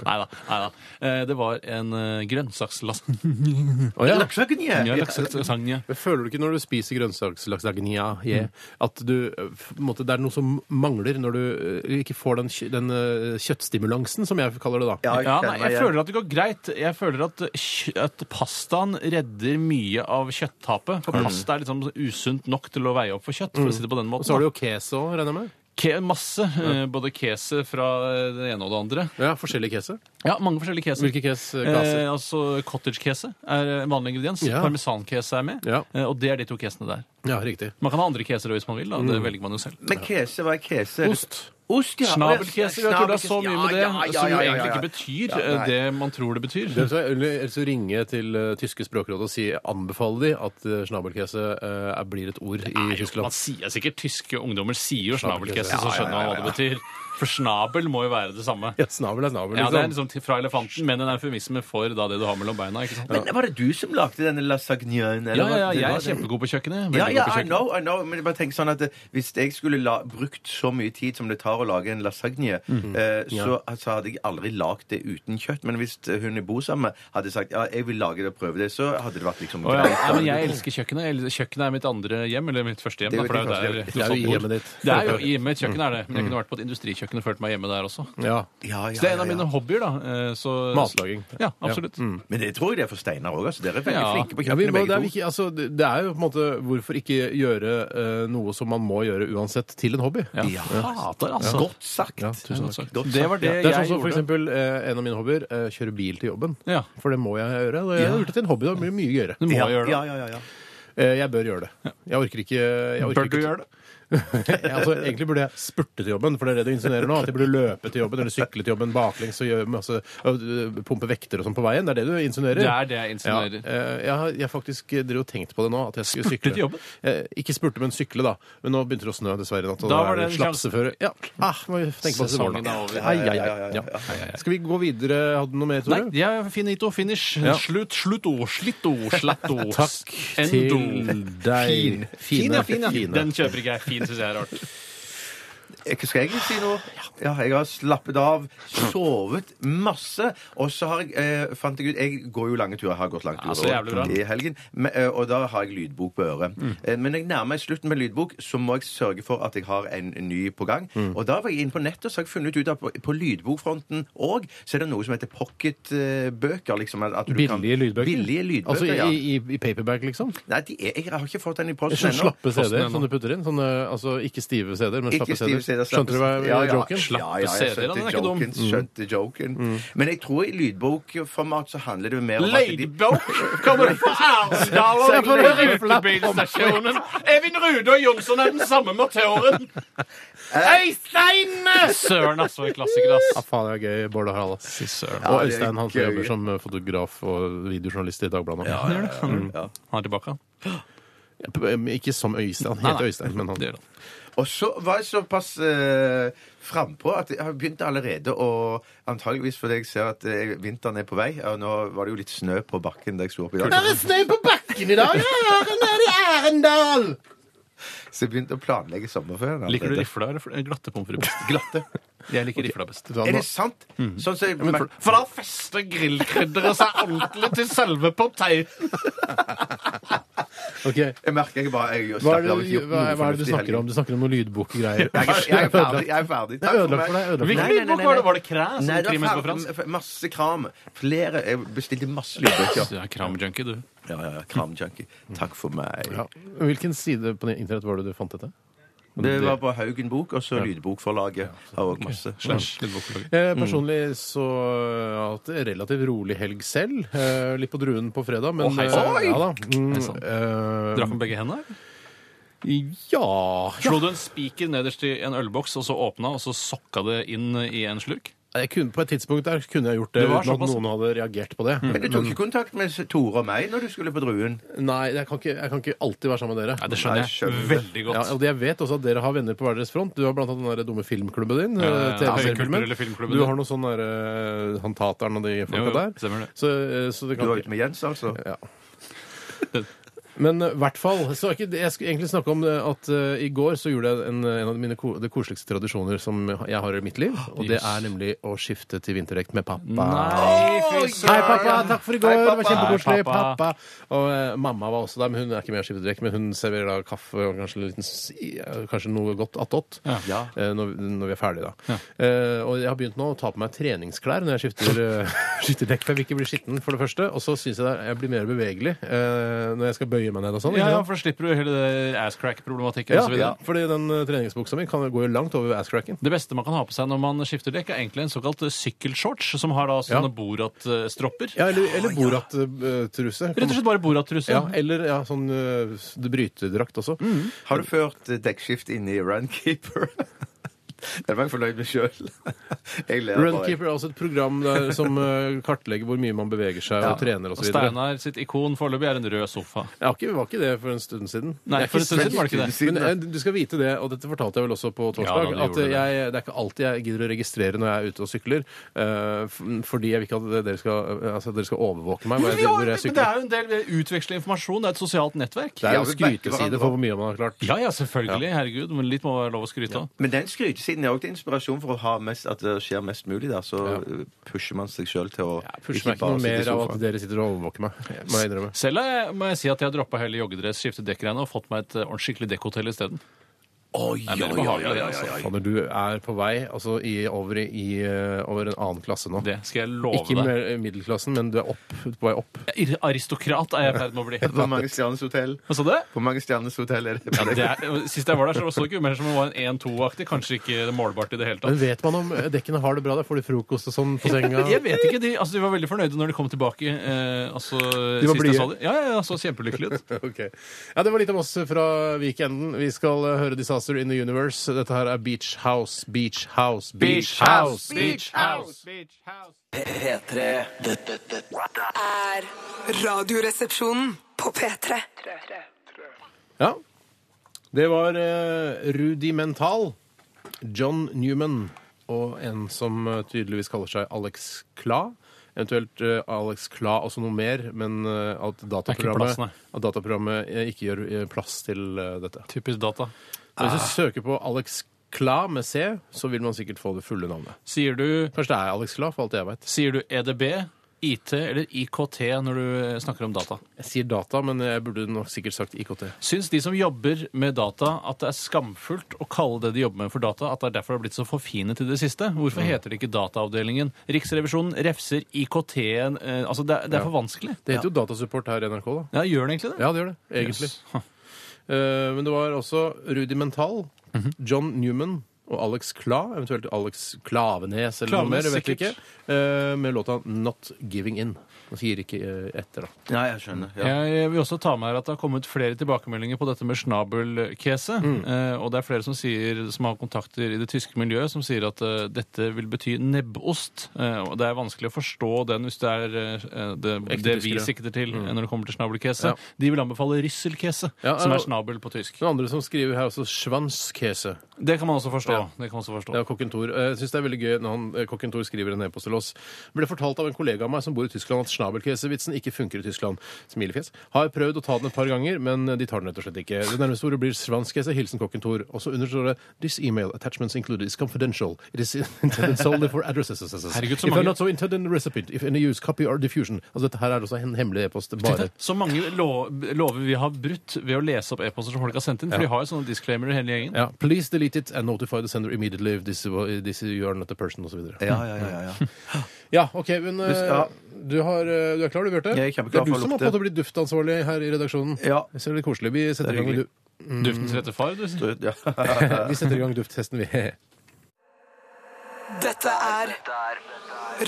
Speaker 4: Neida, neida. Eh, Det var en eh, grønnsakslasagne.
Speaker 3: Å, ja.
Speaker 5: Laksegnje!
Speaker 4: Ja, lakselasagne.
Speaker 3: Men Føler du ikke når du spiser grønnsakslaksagne at du, ø, f- på en måte, det er noe som mangler når du ø, ikke får den, kjø- den ø, kjøttstimulansen, som jeg kaller det da?
Speaker 5: Ja, jeg
Speaker 4: Ja,
Speaker 5: kjenner
Speaker 4: nei,
Speaker 5: meg
Speaker 4: jeg
Speaker 5: igjen.
Speaker 4: føler at det går greit. Jeg føler at, kj- at pastaen redder mye av kjøtttapet.
Speaker 5: Mm.
Speaker 4: For pasta er liksom usunt nok til å veie opp for kjøtt. for å si det på den
Speaker 3: Og
Speaker 4: måten.
Speaker 3: så har du
Speaker 4: da.
Speaker 3: jo queso, regner jeg med?
Speaker 4: Ke masse. eh, Både kese fra eh, det ene og det andre.
Speaker 3: Ja, forskjellige queso.
Speaker 4: Ja, mange forskjellige keser.
Speaker 3: Hvilke kes-
Speaker 4: Eh,
Speaker 3: klaser?
Speaker 4: altså Cottage-kese er en vanlig ingrediens.
Speaker 3: Ja.
Speaker 4: Parmesan-kese er med.
Speaker 3: Ja.
Speaker 4: Eh, og det er de to kesene der.
Speaker 3: Ja, riktig.
Speaker 4: Man kan ha andre keser også hvis man vil. Da. Det velger man jo selv.
Speaker 5: Mm. Men kese, hva er kese?
Speaker 3: Ost.
Speaker 5: Ost, ja.
Speaker 4: Snabelkeser. Vi har tulla så mye med det
Speaker 5: Ja, ja, ja,
Speaker 4: som
Speaker 5: ja,
Speaker 4: egentlig
Speaker 5: ja.
Speaker 4: ikke betyr
Speaker 5: Ja,
Speaker 4: eh,
Speaker 5: nei.
Speaker 4: det man tror det betyr.
Speaker 3: Det er så- Eller eller så ringe jeg til ø, tyske språkrådet og si, anbefale de at ø, snabelkese ø, er- blir et ord i
Speaker 4: Man
Speaker 3: Tyskland.
Speaker 4: sier sikkert Tyske ungdommer sier jo snabelkesse,
Speaker 3: Snabelkesse.
Speaker 4: så skjønner man hva det betyr. For snabel må jo være det samme.
Speaker 3: Ja, snabel er snabel,
Speaker 4: Ja, det er
Speaker 3: liksom.
Speaker 4: liksom til- fra elefanten, men en eufemisme for da det du har mellom beina. ikke sant?
Speaker 5: Men var det du som lagde denne lasagnen? eller
Speaker 4: Ja,
Speaker 5: var
Speaker 4: ja, ja,
Speaker 5: det-
Speaker 4: jeg
Speaker 5: var
Speaker 4: er
Speaker 5: det-
Speaker 4: kjempegod på kjøkkenet.
Speaker 5: Ja,
Speaker 4: Veldig
Speaker 5: ja,
Speaker 4: god på
Speaker 5: I
Speaker 4: kjøkkenet.
Speaker 5: know, I know, men jeg bare tenker sånn at eh, hvis jeg skulle la, brukt så mye tid som det tar å lage en lasagne,
Speaker 4: Mm.
Speaker 5: eh, så altså, hadde jeg aldri lagd det uten kjøtt. Men hvis eh, hun jeg bor sammen med, hadde sagt ja, jeg vil lage det og prøve det, så hadde det vært liksom
Speaker 4: Å, ja.
Speaker 5: greit.
Speaker 4: Nei, men jeg elsker kjøkkenet. Jeg elsker- Kjøkkenet er mitt andre hjem, eller mitt første hjem.
Speaker 5: Det
Speaker 4: Da,
Speaker 5: er
Speaker 4: for
Speaker 5: jo
Speaker 4: det er jo
Speaker 5: ditt første
Speaker 4: der
Speaker 3: Det er jo i
Speaker 4: Lofoten bor.
Speaker 3: hjemmet ditt.
Speaker 4: Det er jo i hjemmet. Kjøkken er det. Men jeg kunne vært på et industrikjøkken og følt meg hjemme der også.
Speaker 3: Ja.
Speaker 5: Ja, ja,
Speaker 4: Så det er en
Speaker 5: ja,
Speaker 4: av
Speaker 5: ja.
Speaker 4: mine hobbyer, da. eh, Så,
Speaker 3: Matlaging.
Speaker 4: Ja, absolutt.
Speaker 5: Men det tror jeg det er for Steinar òg. Altså. Dere er veldig
Speaker 4: Ja.
Speaker 5: flinke på
Speaker 3: Ja, vi
Speaker 5: kjøkkenet,
Speaker 3: må, det, er
Speaker 5: begge to.
Speaker 3: ikke, altså, det det er jo på en måte Hvorfor ikke gjøre eh, noe som man må gjøre uansett, til en hobby?
Speaker 4: Ja,
Speaker 5: Ja.
Speaker 4: Fader, altså.
Speaker 5: Godt sagt.
Speaker 3: Ja, tusen takk.
Speaker 4: sagt.
Speaker 5: Godt
Speaker 4: Det var
Speaker 5: sagt,
Speaker 4: det
Speaker 3: Det er sånn
Speaker 4: jeg
Speaker 3: som for
Speaker 4: gjorde.
Speaker 3: eksempel eh, en av mine hobbyer, eh, kjøre bil til jobben.
Speaker 4: Ja.
Speaker 3: For det må jeg gjøre. Og jeg har gjort det til en hobby, da blir det mye gøyere.
Speaker 4: Du må
Speaker 5: Ja,
Speaker 4: gjøre det.
Speaker 5: ja, ja, ja, ja.
Speaker 3: Eh, jeg bør gjøre det. Jeg orker ikke jeg orker
Speaker 4: Bør du
Speaker 3: ikke-
Speaker 4: gjøre det?
Speaker 3: altså, egentlig burde jeg spurte til jobben, for det er det du insinuerer nå. At jeg burde løpe til jobben eller sykle til jobben baklengs og gjøre masse, og, pumpe vekter og sånn på veien. Det er det du insinuerer.
Speaker 4: Det er det jeg
Speaker 3: Ja,
Speaker 4: insinuerer.
Speaker 3: eh, jeg har jeg har faktisk eh, drev og tenkt på det nå. At jeg skulle
Speaker 4: Spurte
Speaker 3: sykle.
Speaker 4: til jobben?
Speaker 3: Eh, ikke spurte, men sykle, da. Men nå begynte det å snø, dessverre. i Natt, og
Speaker 4: Da
Speaker 3: da
Speaker 4: var
Speaker 3: er det
Speaker 4: det en
Speaker 3: slapp
Speaker 4: sjanse.
Speaker 3: sjåfører. Ja. Ah, må vi tenke på det til morgen,
Speaker 4: Sesongen
Speaker 3: da.
Speaker 4: er over.
Speaker 3: Ai, ai, ai. Ja. Skal vi gå videre? Hadde du noe mer, Tore?
Speaker 4: Nei, ja, finito, finish,
Speaker 3: Ja.
Speaker 4: slutt, slutto, slitto, slatto,
Speaker 3: Takk
Speaker 4: endo.
Speaker 3: til deg.
Speaker 4: Fin. Fin, ja, fin, ja. Den kjøper ikke jeg. Fin syns jeg er rart.
Speaker 5: Jeg- Eh, Skal jeg si noe? Ja, jeg har slappet av, sovet masse. Og så har jeg, eh, fant jeg ut Jeg går jo lange turer. Har gått lange
Speaker 4: Ja, så
Speaker 5: turer
Speaker 4: jævlig bra. Mm.
Speaker 5: i helgen. Men, eh, og da har jeg lydbok på øret. Eh, men når jeg nærmer meg slutten med lydbok, så må jeg sørge for at jeg har en ny på gang.
Speaker 3: Mm.
Speaker 5: Og da var jeg inne på nettet og så har jeg funnet ut at på, på lydbokfronten òg så er det noe som heter pocketbøker. Liksom, at- at du kan-
Speaker 4: Billige lydbøker?
Speaker 5: Billige lydbøker,
Speaker 3: Altså i,
Speaker 5: ja.
Speaker 3: i, i paperback, liksom?
Speaker 5: Nei, de er, jeg har ikke fått den i posten
Speaker 3: Sånn
Speaker 5: ennå.
Speaker 3: slappe
Speaker 4: Posten
Speaker 3: CD-er
Speaker 4: ennå.
Speaker 3: som du putter inn? Sånne, altså ikke stive CD-er, men slappe
Speaker 5: Ikke Steve
Speaker 3: CD-er.
Speaker 5: Seda.
Speaker 3: Skjønte du hva joken?
Speaker 5: Ja, ja,
Speaker 4: Slappe
Speaker 5: jeg
Speaker 4: CD-er, den
Speaker 5: skjønte
Speaker 4: er ikke dum. Mm.
Speaker 5: joken. Skjønte joken.
Speaker 3: Mm.
Speaker 5: Men jeg tror i lydbokformat så handler det jo mer om at de-
Speaker 4: Leidbok kommer fra Arendal
Speaker 5: Se
Speaker 4: og
Speaker 5: på det
Speaker 4: leiebilstasjonen. Evin Rude og Jonsson er den samme matøren. Øystein! Søren, altså. En klassiker,
Speaker 3: Ja,
Speaker 4: ass.
Speaker 3: faen, det er gøy, Bård og Harald. ass.
Speaker 4: Fy
Speaker 3: Og
Speaker 4: søren.
Speaker 5: Ja, det er
Speaker 3: Øystein, han som
Speaker 5: gøy.
Speaker 3: jobber som fotograf og videojournalist i Dagbladet. nå.
Speaker 4: Han gjør det. Han gjør det. Han er tilbake, han.
Speaker 3: Ja, Ikke som Øystein. Han
Speaker 4: Nei,
Speaker 3: heter
Speaker 4: nei.
Speaker 3: Øystein, men
Speaker 4: Det
Speaker 3: han
Speaker 4: gjør han.
Speaker 5: Og så var jeg såpass eh, frampå at jeg har begynt allerede å Antageligvis fordi jeg ser at eh, vinteren er på vei. Og nå var det jo litt snø på bakken da jeg sto opp i dag.
Speaker 3: er snø på bakken i dag! er i Arendal!
Speaker 5: Så jeg begynte å planlegge sommerferien.
Speaker 4: Liker du
Speaker 5: allerede.
Speaker 4: rifla eller glatte pommes frites? Glatte. Jeg liker rifla best.
Speaker 5: Er det sant?
Speaker 3: Mm.
Speaker 5: Sånn som jeg,
Speaker 4: For da fester grillkrydderet seg ordentlig til selve poteiten.
Speaker 3: Ok,
Speaker 5: jeg merker jeg bare jeg
Speaker 3: Hva er,
Speaker 5: slappet
Speaker 3: det,
Speaker 5: av og ikke gjort
Speaker 3: hva, hva er
Speaker 5: noe
Speaker 3: det du
Speaker 5: fornuftig i
Speaker 3: snakker om?
Speaker 5: helgen.
Speaker 3: Du snakker om noen lydbokgreier.
Speaker 5: Jeg er, jeg er ferdig. Jeg er ferdig.
Speaker 3: Jeg er ødelagt for deg. jeg er ødelagt for deg.
Speaker 4: Hvilken lydbok var det? Var det Kræ som krimmet på fransk?
Speaker 5: Masse kram. Flere. Jeg bestilte masse lydbøker.
Speaker 4: Du er kramjunkie, du.
Speaker 5: Ja, ja, ja. Kramjunkie. Takk for meg.
Speaker 3: Ja. Hvilken side på internett var det du fant dette?
Speaker 5: Det var på Haugen Bok, og så Lydbokforlaget. Har også masse.
Speaker 4: Slash lydbokforlag.
Speaker 3: Eh, personlig så har jeg hatt en relativt rolig helg selv. Eh, litt på druen på fredag, men
Speaker 4: Å, hei sann.
Speaker 3: eh, ja, da.
Speaker 4: Hei
Speaker 3: Mm,
Speaker 4: sann.
Speaker 3: eh,
Speaker 4: Drakk med begge hendene? eller?
Speaker 3: ja.
Speaker 4: Slo du en spiker nederst i en ølboks, og så åpna, og så sokka det inn i en slurk?
Speaker 3: Jeg kunne, på et tidspunkt der kunne jeg gjort det
Speaker 4: Det var
Speaker 3: uten at
Speaker 4: såpass. Mm.
Speaker 3: noen hadde reagert på det.
Speaker 5: Men du tok ikke kontakt med Tore og meg når du skulle på Druen?
Speaker 3: Nei, jeg kan, ikke, jeg kan ikke alltid være sammen med dere.
Speaker 4: Nei, det
Speaker 5: Nei,
Speaker 4: skjønner
Speaker 5: jeg skjønner
Speaker 4: jeg
Speaker 5: det.
Speaker 4: veldig
Speaker 3: Ja,
Speaker 4: godt.
Speaker 3: og jeg vet også at dere har venner på hver deres front. Du har blant annet den der dumme filmklubben din.
Speaker 4: Ja, ja,
Speaker 3: eh,
Speaker 4: ja.
Speaker 3: TV-serieklubben.
Speaker 4: Kulturelle filmklubben,
Speaker 3: Du
Speaker 4: ja.
Speaker 3: har noe sånn der eh, Han Tateren og de folka
Speaker 4: Jo, jo,
Speaker 3: der.
Speaker 4: stemmer det.
Speaker 3: Så, eh, så det
Speaker 5: Du
Speaker 3: kan
Speaker 5: var
Speaker 3: ikke
Speaker 5: ute med Jens, altså?
Speaker 3: ja. Men i hvert fall så er ikke, det- Jeg skulle egentlig snakke om eh, at eh, i går så gjorde jeg en, en av mine ko, de koseligste tradisjoner som jeg har i mitt liv, og det er nemlig å skifte til vinterdekt med pappa.
Speaker 4: Nei, fy
Speaker 3: Hei,
Speaker 4: søren!
Speaker 3: pappa! Takk for i går!
Speaker 5: Hei,
Speaker 3: det
Speaker 5: pappa.
Speaker 3: var kjempekoselig.
Speaker 4: Hei, pappa.
Speaker 3: Pappa. Og eh, mamma var også der, men hun er ikke med og skifter direkte. Men hun serverer da kaffe og kanskje, en liten, s- ja, kanskje noe godt attåt
Speaker 5: Ja.
Speaker 3: eh, når, når vi er ferdige, da. Eh, og jeg har begynt nå å ta på meg treningsklær når jeg skifter, eh, skifter dekk. For jeg vil ikke bli skitten, for det første. Og så syns jeg det er, jeg blir mer bevegelig eh, når jeg skal bøye meg ned og sånn.
Speaker 4: Ja,
Speaker 3: ikke
Speaker 4: ja,
Speaker 3: sant?
Speaker 4: for da slipper du hele det asscrack-problematikken
Speaker 3: Ja,
Speaker 4: og så videre.
Speaker 3: ja, fordi den eh, treningsbuksa mi kan gå jo langt over asscracken.
Speaker 4: Det beste man kan ha på seg når man skifter dekk, er egentlig en såkalt eh, sykkelshorts, som har da
Speaker 3: Ja.
Speaker 4: sånne Borat-stropper.
Speaker 3: Ja, eller, eller Borat-truse.
Speaker 4: Rett og slett bare Borat-truse.
Speaker 3: Ja, eller ja, sånn eh, brytedrakt også.
Speaker 4: Mm.
Speaker 5: Har du ført eh, dekkskift inn i Runkeeper? Den var jeg fornøyd med sjøl. Jeg ler bare.
Speaker 3: Runkeeper er også et program der som eh, kartlegger hvor mye man beveger seg og trener
Speaker 4: Og
Speaker 3: osv.
Speaker 4: Steinar sitt ikon foreløpig er en rød sofa.
Speaker 3: Jeg har ikke, var ikke det for en stund siden.
Speaker 4: Nei,
Speaker 3: Jeg er
Speaker 4: for
Speaker 3: ikke
Speaker 4: en stund siden var det ikke det.
Speaker 5: svensk
Speaker 3: Men eh, du skal vite det, og dette fortalte jeg vel også på
Speaker 4: Ja,
Speaker 3: torsdag,
Speaker 4: da, du
Speaker 3: at
Speaker 4: gjorde det.
Speaker 3: jeg, det er ikke alltid jeg gidder å registrere når jeg er ute og sykler, eh, f- fordi jeg vil ikke at dere skal, eh, altså, at dere skal overvåke meg hva jeg, hvor jeg
Speaker 4: men det
Speaker 3: sykler.
Speaker 4: er jo en del utveksling av informasjon. Det er et sosialt nettverk.
Speaker 3: Det er jo
Speaker 5: Ja, vi backer
Speaker 3: skryteside
Speaker 5: hverandre
Speaker 3: for hvor mye man har klart.
Speaker 4: Ja, ja, selvfølgelig. Herregud. Men litt må være lov å skryte av.
Speaker 5: Men den skrytesiden er òg til inspirasjon for å ha mest, at det skjer mest mulig. Da. Så eh, pusher man seg sjøl til å
Speaker 3: Jeg pusher meg ikke noe
Speaker 5: sitte i
Speaker 3: mer av
Speaker 5: sofaen.
Speaker 3: at dere sitter og overvåker meg. må jeg innrømme.
Speaker 4: Selv har jeg- må jeg si at jeg har droppa hele joggedress, skiftet dekkgreiene og fått meg et eh, ordentlig skikkelig dekkhotell isteden.
Speaker 5: Oi,
Speaker 4: er
Speaker 5: oi,
Speaker 4: veldig
Speaker 5: oi,
Speaker 4: behagelig,
Speaker 5: oi,
Speaker 4: altså.
Speaker 5: oi, oi.
Speaker 3: Fader, du er på vei altså, i, over, i, eh, over en annen klasse nå.
Speaker 4: Det skal jeg love
Speaker 3: Ikke
Speaker 4: deg.
Speaker 3: med middelklassen, men du er opp, på vei opp.
Speaker 4: Ir- Aristokrat er jeg i ferd med å bli.
Speaker 5: Hvor mange stjerners hotell?
Speaker 4: Hva sa du?
Speaker 5: Hvor mange stjerners hotell er det?
Speaker 4: Ja, det er, sist jeg var der, så så det ikke ut mer som om det var en 1-2-aktig. Kanskje ikke målbart i det hele
Speaker 3: Men
Speaker 4: tatt.
Speaker 3: vet man om eh, dekkene har det bra der? Får de frokost og sånn på senga?
Speaker 4: Jeg vet ikke, De, altså, de var veldig fornøyde når de kom tilbake. Eh, altså,
Speaker 3: De var
Speaker 4: sist jeg
Speaker 3: blide.
Speaker 4: så dem. Ja, ja, ja, så kjempelykkelig ut.
Speaker 3: Ok. Ja, det var litt om oss fra weekenden. Vi skal eh, høre 'Disaster in the Universe'. Dette her er Beach House, Beach House, Beach House.
Speaker 4: Beach House!
Speaker 2: P3. Dette, dette, dette
Speaker 1: Er radioresepsjonen på P3.
Speaker 3: Ja. Det var eh, rudimental. John Newman og en som eh, tydeligvis kaller seg Alex Kla. Eventuelt eh, Alex Kla også noe mer, men eh, at
Speaker 4: plass,
Speaker 3: dataprogrammet,
Speaker 4: nei.
Speaker 3: at dataprogrammet eh, ikke gjør eh, plass til eh, dette.
Speaker 4: Typisk data.
Speaker 3: Men Hvis du søker på Alex Kla med C, så vil man sikkert få det fulle navnet.
Speaker 4: Sier du,
Speaker 3: Kanskje det er Alex Kla, for alt jeg veit.
Speaker 4: sier du E EDB, IT eller IKT når du eh, snakker om data?
Speaker 3: Jeg sier data, men jeg burde nok sikkert sagt IKT.
Speaker 4: Syns de som jobber med data at det er skamfullt å kalle det de jobber med for data, at det er derfor det har blitt så forfinet i det siste? Hvorfor
Speaker 3: Mm.
Speaker 4: heter det ikke Dataavdelingen? Riksrevisjonen refser IKT-en eh, Altså, det er, det er for vanskelig.
Speaker 3: Det heter jo Datasupport her i NRK, da.
Speaker 4: Ja, gjør den egentlig det?
Speaker 3: Ja, det gjør det. Egentlig. Eh, men det var også Rudimental, John Newman og Alex Kla, eventuelt Alex Klavenes eller noe
Speaker 4: Klavenes,
Speaker 3: mer, jeg vet vi ikke,
Speaker 4: sikkert.
Speaker 3: eh, med låta Not Giving In. Man sier ikke eh, etter, da.
Speaker 5: Nei, jeg skjønner. Ja.
Speaker 4: Jeg vil også ta med her at det har kommet flere tilbakemeldinger på dette med snabelkese.
Speaker 3: Mm.
Speaker 4: Eh, og det er flere som, sier, som har kontakter i det tyske miljøet, som sier at eh, dette vil bety nebbost. Eh, og det er vanskelig å forstå den hvis det er eh, det,
Speaker 3: Ekte
Speaker 4: det vi
Speaker 3: tyskere. Mm.
Speaker 4: sikter til eh, når det kommer til snabelkese.
Speaker 3: Ja.
Speaker 4: De vil anbefale rysselkese,
Speaker 3: Ja,
Speaker 4: som
Speaker 3: og-
Speaker 4: er snabel på tysk.
Speaker 3: Noen andre som skriver her også Schwanzkäse.
Speaker 4: Det kan man også forstå. Det kan man også forstå.
Speaker 3: Ja, Kokken Thor. Eh, Jeg synes det er veldig gøy når han, eh, Kokken Thor skriver en e-post til oss. Ble fortalt av en kollega av meg som bor i Tyskland at snabelkesevitsen ikke funker i Tyskland. Smilefjes. Har prøvd å ta den et par ganger, men eh, de tar den rett og slett ikke. Det nærmeste ordet blir svanskese. Hilsen Kokken Thor. Og så understår det This email attachments included is confidential. It is intended solely for addresses.
Speaker 4: Herregud, så
Speaker 3: If
Speaker 4: mange-
Speaker 3: I'm not so intended in the recipient, if any use, copy or diffusion. Altså, dette her er også en hemmelig e-post. Bare.
Speaker 4: Så mange lo lover vi har brutt ved å lese opp e-poster som folk har sendt inn. For de har jo sånne disclaimer i hele gjengen.
Speaker 3: Ja, please delete it and notify the sender immediately if this, this you are not a person, osv.
Speaker 5: Ja, ja, ja, ja, ja.
Speaker 3: Ja, OK. Men eh,
Speaker 5: Hvis- ja.
Speaker 3: du, har, eh, du er klar, du, Bjarte?
Speaker 5: Jeg er kjempeklar
Speaker 3: det er
Speaker 5: for å
Speaker 3: du som har på en
Speaker 5: lukte.
Speaker 3: måte blitt duftansvarlig her i redaksjonen.
Speaker 5: Ja.
Speaker 3: Det er litt koselig. Vi setter, i
Speaker 5: Det er
Speaker 3: gang, med
Speaker 5: hyggelig.
Speaker 3: du,
Speaker 4: Duftens rette far, du sier.
Speaker 5: ja.
Speaker 3: vi setter i gang dufttesten, vi.
Speaker 6: Dette er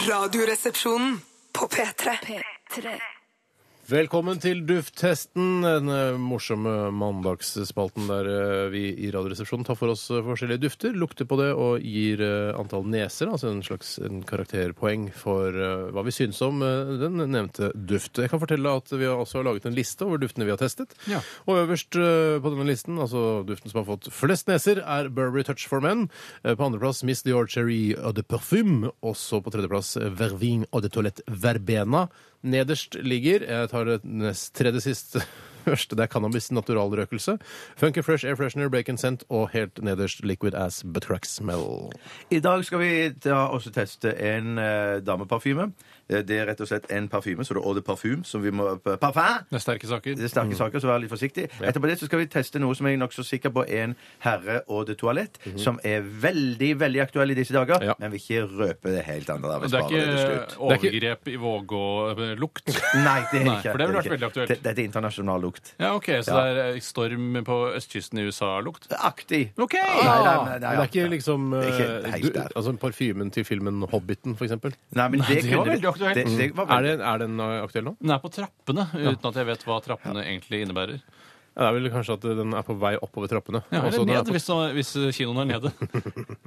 Speaker 6: Radioresepsjonen på P3.
Speaker 3: Velkommen til Dufttesten, den eh, morsomme mandagsspalten der eh, vi i Radioresepsjonen tar for oss eh, forskjellige dufter, lukter på det og gir eh, antall neser, altså en slags en karakterpoeng for eh, hva vi syns om eh, den nevnte duft. Jeg kan fortelle at vi har også laget en liste over duftene vi har testet.
Speaker 4: Ja.
Speaker 3: Og øverst eh, på denne listen, altså duften som har fått flest neser, er Burberry Touch for Men. Eh, På andreplass Miss Dior Cherry Eau de Parfum. Også på tredjeplass eh, Vervin Eau de Toilette Verbena. Nederst ligger Jeg tar det nest, tredje sist første. Det er cannabis naturalrøkelse. Funky Fresh Air Freshener Bacon Scent. Og helt nederst Liquid Ass Buttrack Smell.
Speaker 5: I dag skal vi ta, også teste en eh, dameparfyme. Eh, Det er rett og slett en parfyme, så det er eau de parfum, som vi må Parfum!
Speaker 4: Det er sterke saker.
Speaker 5: Det er sterke
Speaker 3: Mm.
Speaker 5: saker, så vær litt forsiktig. Etterpå det så skal vi teste noe som jeg er nokså sikker på er en herre og det toalett, som er veldig veldig aktuell i disse dager,
Speaker 3: Mhm. Ja.
Speaker 5: men vil ikke røpe det helt annet. Da, vi
Speaker 4: Det
Speaker 5: sparer det til
Speaker 4: er
Speaker 5: slutt.
Speaker 4: ikke overgrep i eh, Vågå-lukt.
Speaker 5: Nei, det er
Speaker 4: Nei,
Speaker 5: ikke.
Speaker 4: for det ville
Speaker 5: er
Speaker 4: vært veldig
Speaker 5: ikke.
Speaker 4: aktuelt.
Speaker 5: Det, dette er internasjonal lukt.
Speaker 4: Ja, ok, Så
Speaker 5: Ja.
Speaker 4: det er storm på østkysten i USA-lukt?
Speaker 5: Aktig.
Speaker 4: OK!
Speaker 5: Nei, nei, nei,
Speaker 3: Men
Speaker 5: nei,
Speaker 3: det er ikke liksom
Speaker 5: Det er ikke
Speaker 3: eh,
Speaker 5: helt
Speaker 3: du,
Speaker 5: der.
Speaker 3: altså parfymen til filmen Hobbiten, for eksempel.
Speaker 5: Nei, men det,
Speaker 4: det var
Speaker 5: kunne vi-
Speaker 4: veldig aktuelt.
Speaker 5: Det, det var
Speaker 3: Mm. Er,
Speaker 5: veldig.
Speaker 3: det, er den eh, aktuell nå?
Speaker 4: Den er på trappene, uten at jeg vet hva trappene egentlig innebærer.
Speaker 3: Ja, det er vel kanskje at den er på vei oppover trappene.
Speaker 4: Ja,
Speaker 3: Altså,
Speaker 4: eller
Speaker 3: den er
Speaker 4: ned,
Speaker 3: på
Speaker 4: hvis, hvis kinoen er nede.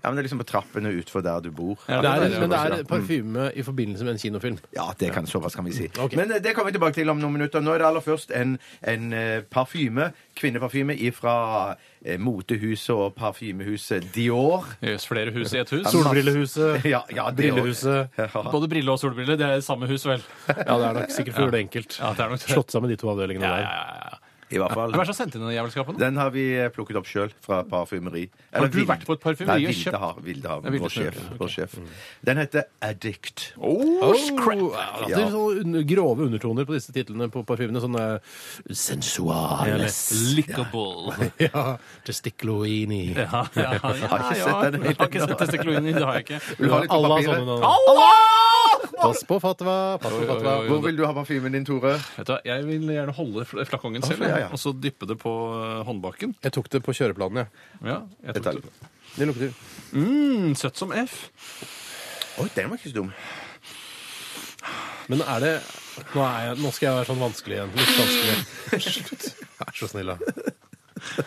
Speaker 5: Ja, men det er liksom på trappene utfor der du bor.
Speaker 4: Ja,
Speaker 3: Det er,
Speaker 4: det er-
Speaker 3: men det er parfyme i forbindelse med en kinofilm.
Speaker 5: Ja, det kan såpass kan vi si.
Speaker 3: Mm, Ok.
Speaker 5: Men eh, det kommer vi tilbake til om noen minutter. Nå er det aller først en, en eh, parfyme, kvinneparfyme fra eh, motehuset og parfymehuset Dior.
Speaker 4: Yes, flere hus i ett hus.
Speaker 3: Solbrillehuset,
Speaker 5: Ja, ja, det
Speaker 3: Brillehuset.
Speaker 5: også. Ja.
Speaker 4: Både brille og solbrille, det er samme hus, vel?
Speaker 3: Ja, det er nok sikkert for å gjøre det enkelt.
Speaker 4: Ja, det er nok det.
Speaker 3: Slått sammen de to avdelingene
Speaker 4: Ja,
Speaker 3: der.
Speaker 4: ja, ja, ja.
Speaker 5: I hvert fall.
Speaker 4: Hvem er det sånn- som har sendt inn den jævelskapen?
Speaker 5: Den har vi eh, plukket opp sjøl fra parfymeri.
Speaker 4: Har du vært på et parfymeri
Speaker 5: Nei,
Speaker 4: og
Speaker 5: Vilde
Speaker 4: kjøpt-
Speaker 5: har, Vilde har
Speaker 4: Ja, Vilde
Speaker 5: vår
Speaker 4: kjøper,
Speaker 5: sjef.
Speaker 4: ok.
Speaker 5: Vår sjef. Den heter Addict.
Speaker 3: Oh, crap! Ja, det
Speaker 5: Ja.
Speaker 3: er sånne un- grove undertoner på disse titlene på parfymene. Sånne eh, sensuales
Speaker 4: Lickable.
Speaker 3: Ja, Gesticloini.
Speaker 4: Ja, ja, ja,
Speaker 5: har ikke sett den
Speaker 4: Jeg har ikke sett dette kloinen din, det har jeg ikke.
Speaker 5: Vil du ha litt på
Speaker 3: Alle har
Speaker 5: papiret?
Speaker 3: sånne nå.
Speaker 4: Allah!
Speaker 3: Pass på fatwa! Pass på fatwa.
Speaker 5: Hvor vil du ha parfymen din, Tore?
Speaker 4: Vet du, hva, jeg vil gjerne holde fl- flakongen selv,
Speaker 5: ja, ja.
Speaker 4: jeg, og så dyppe det på eh, håndbaken.
Speaker 3: Jeg tok det på kjøreplanen, jeg.
Speaker 4: Ja, jeg tok det.
Speaker 3: Det lukter
Speaker 4: Mm, søtt som F.
Speaker 5: Oi, den var ikke så dum.
Speaker 3: Men er det Nå, er jeg, nå skal jeg være sånn vanskelig igjen. Litt vanskelig. Slutt. Vær så snill, da.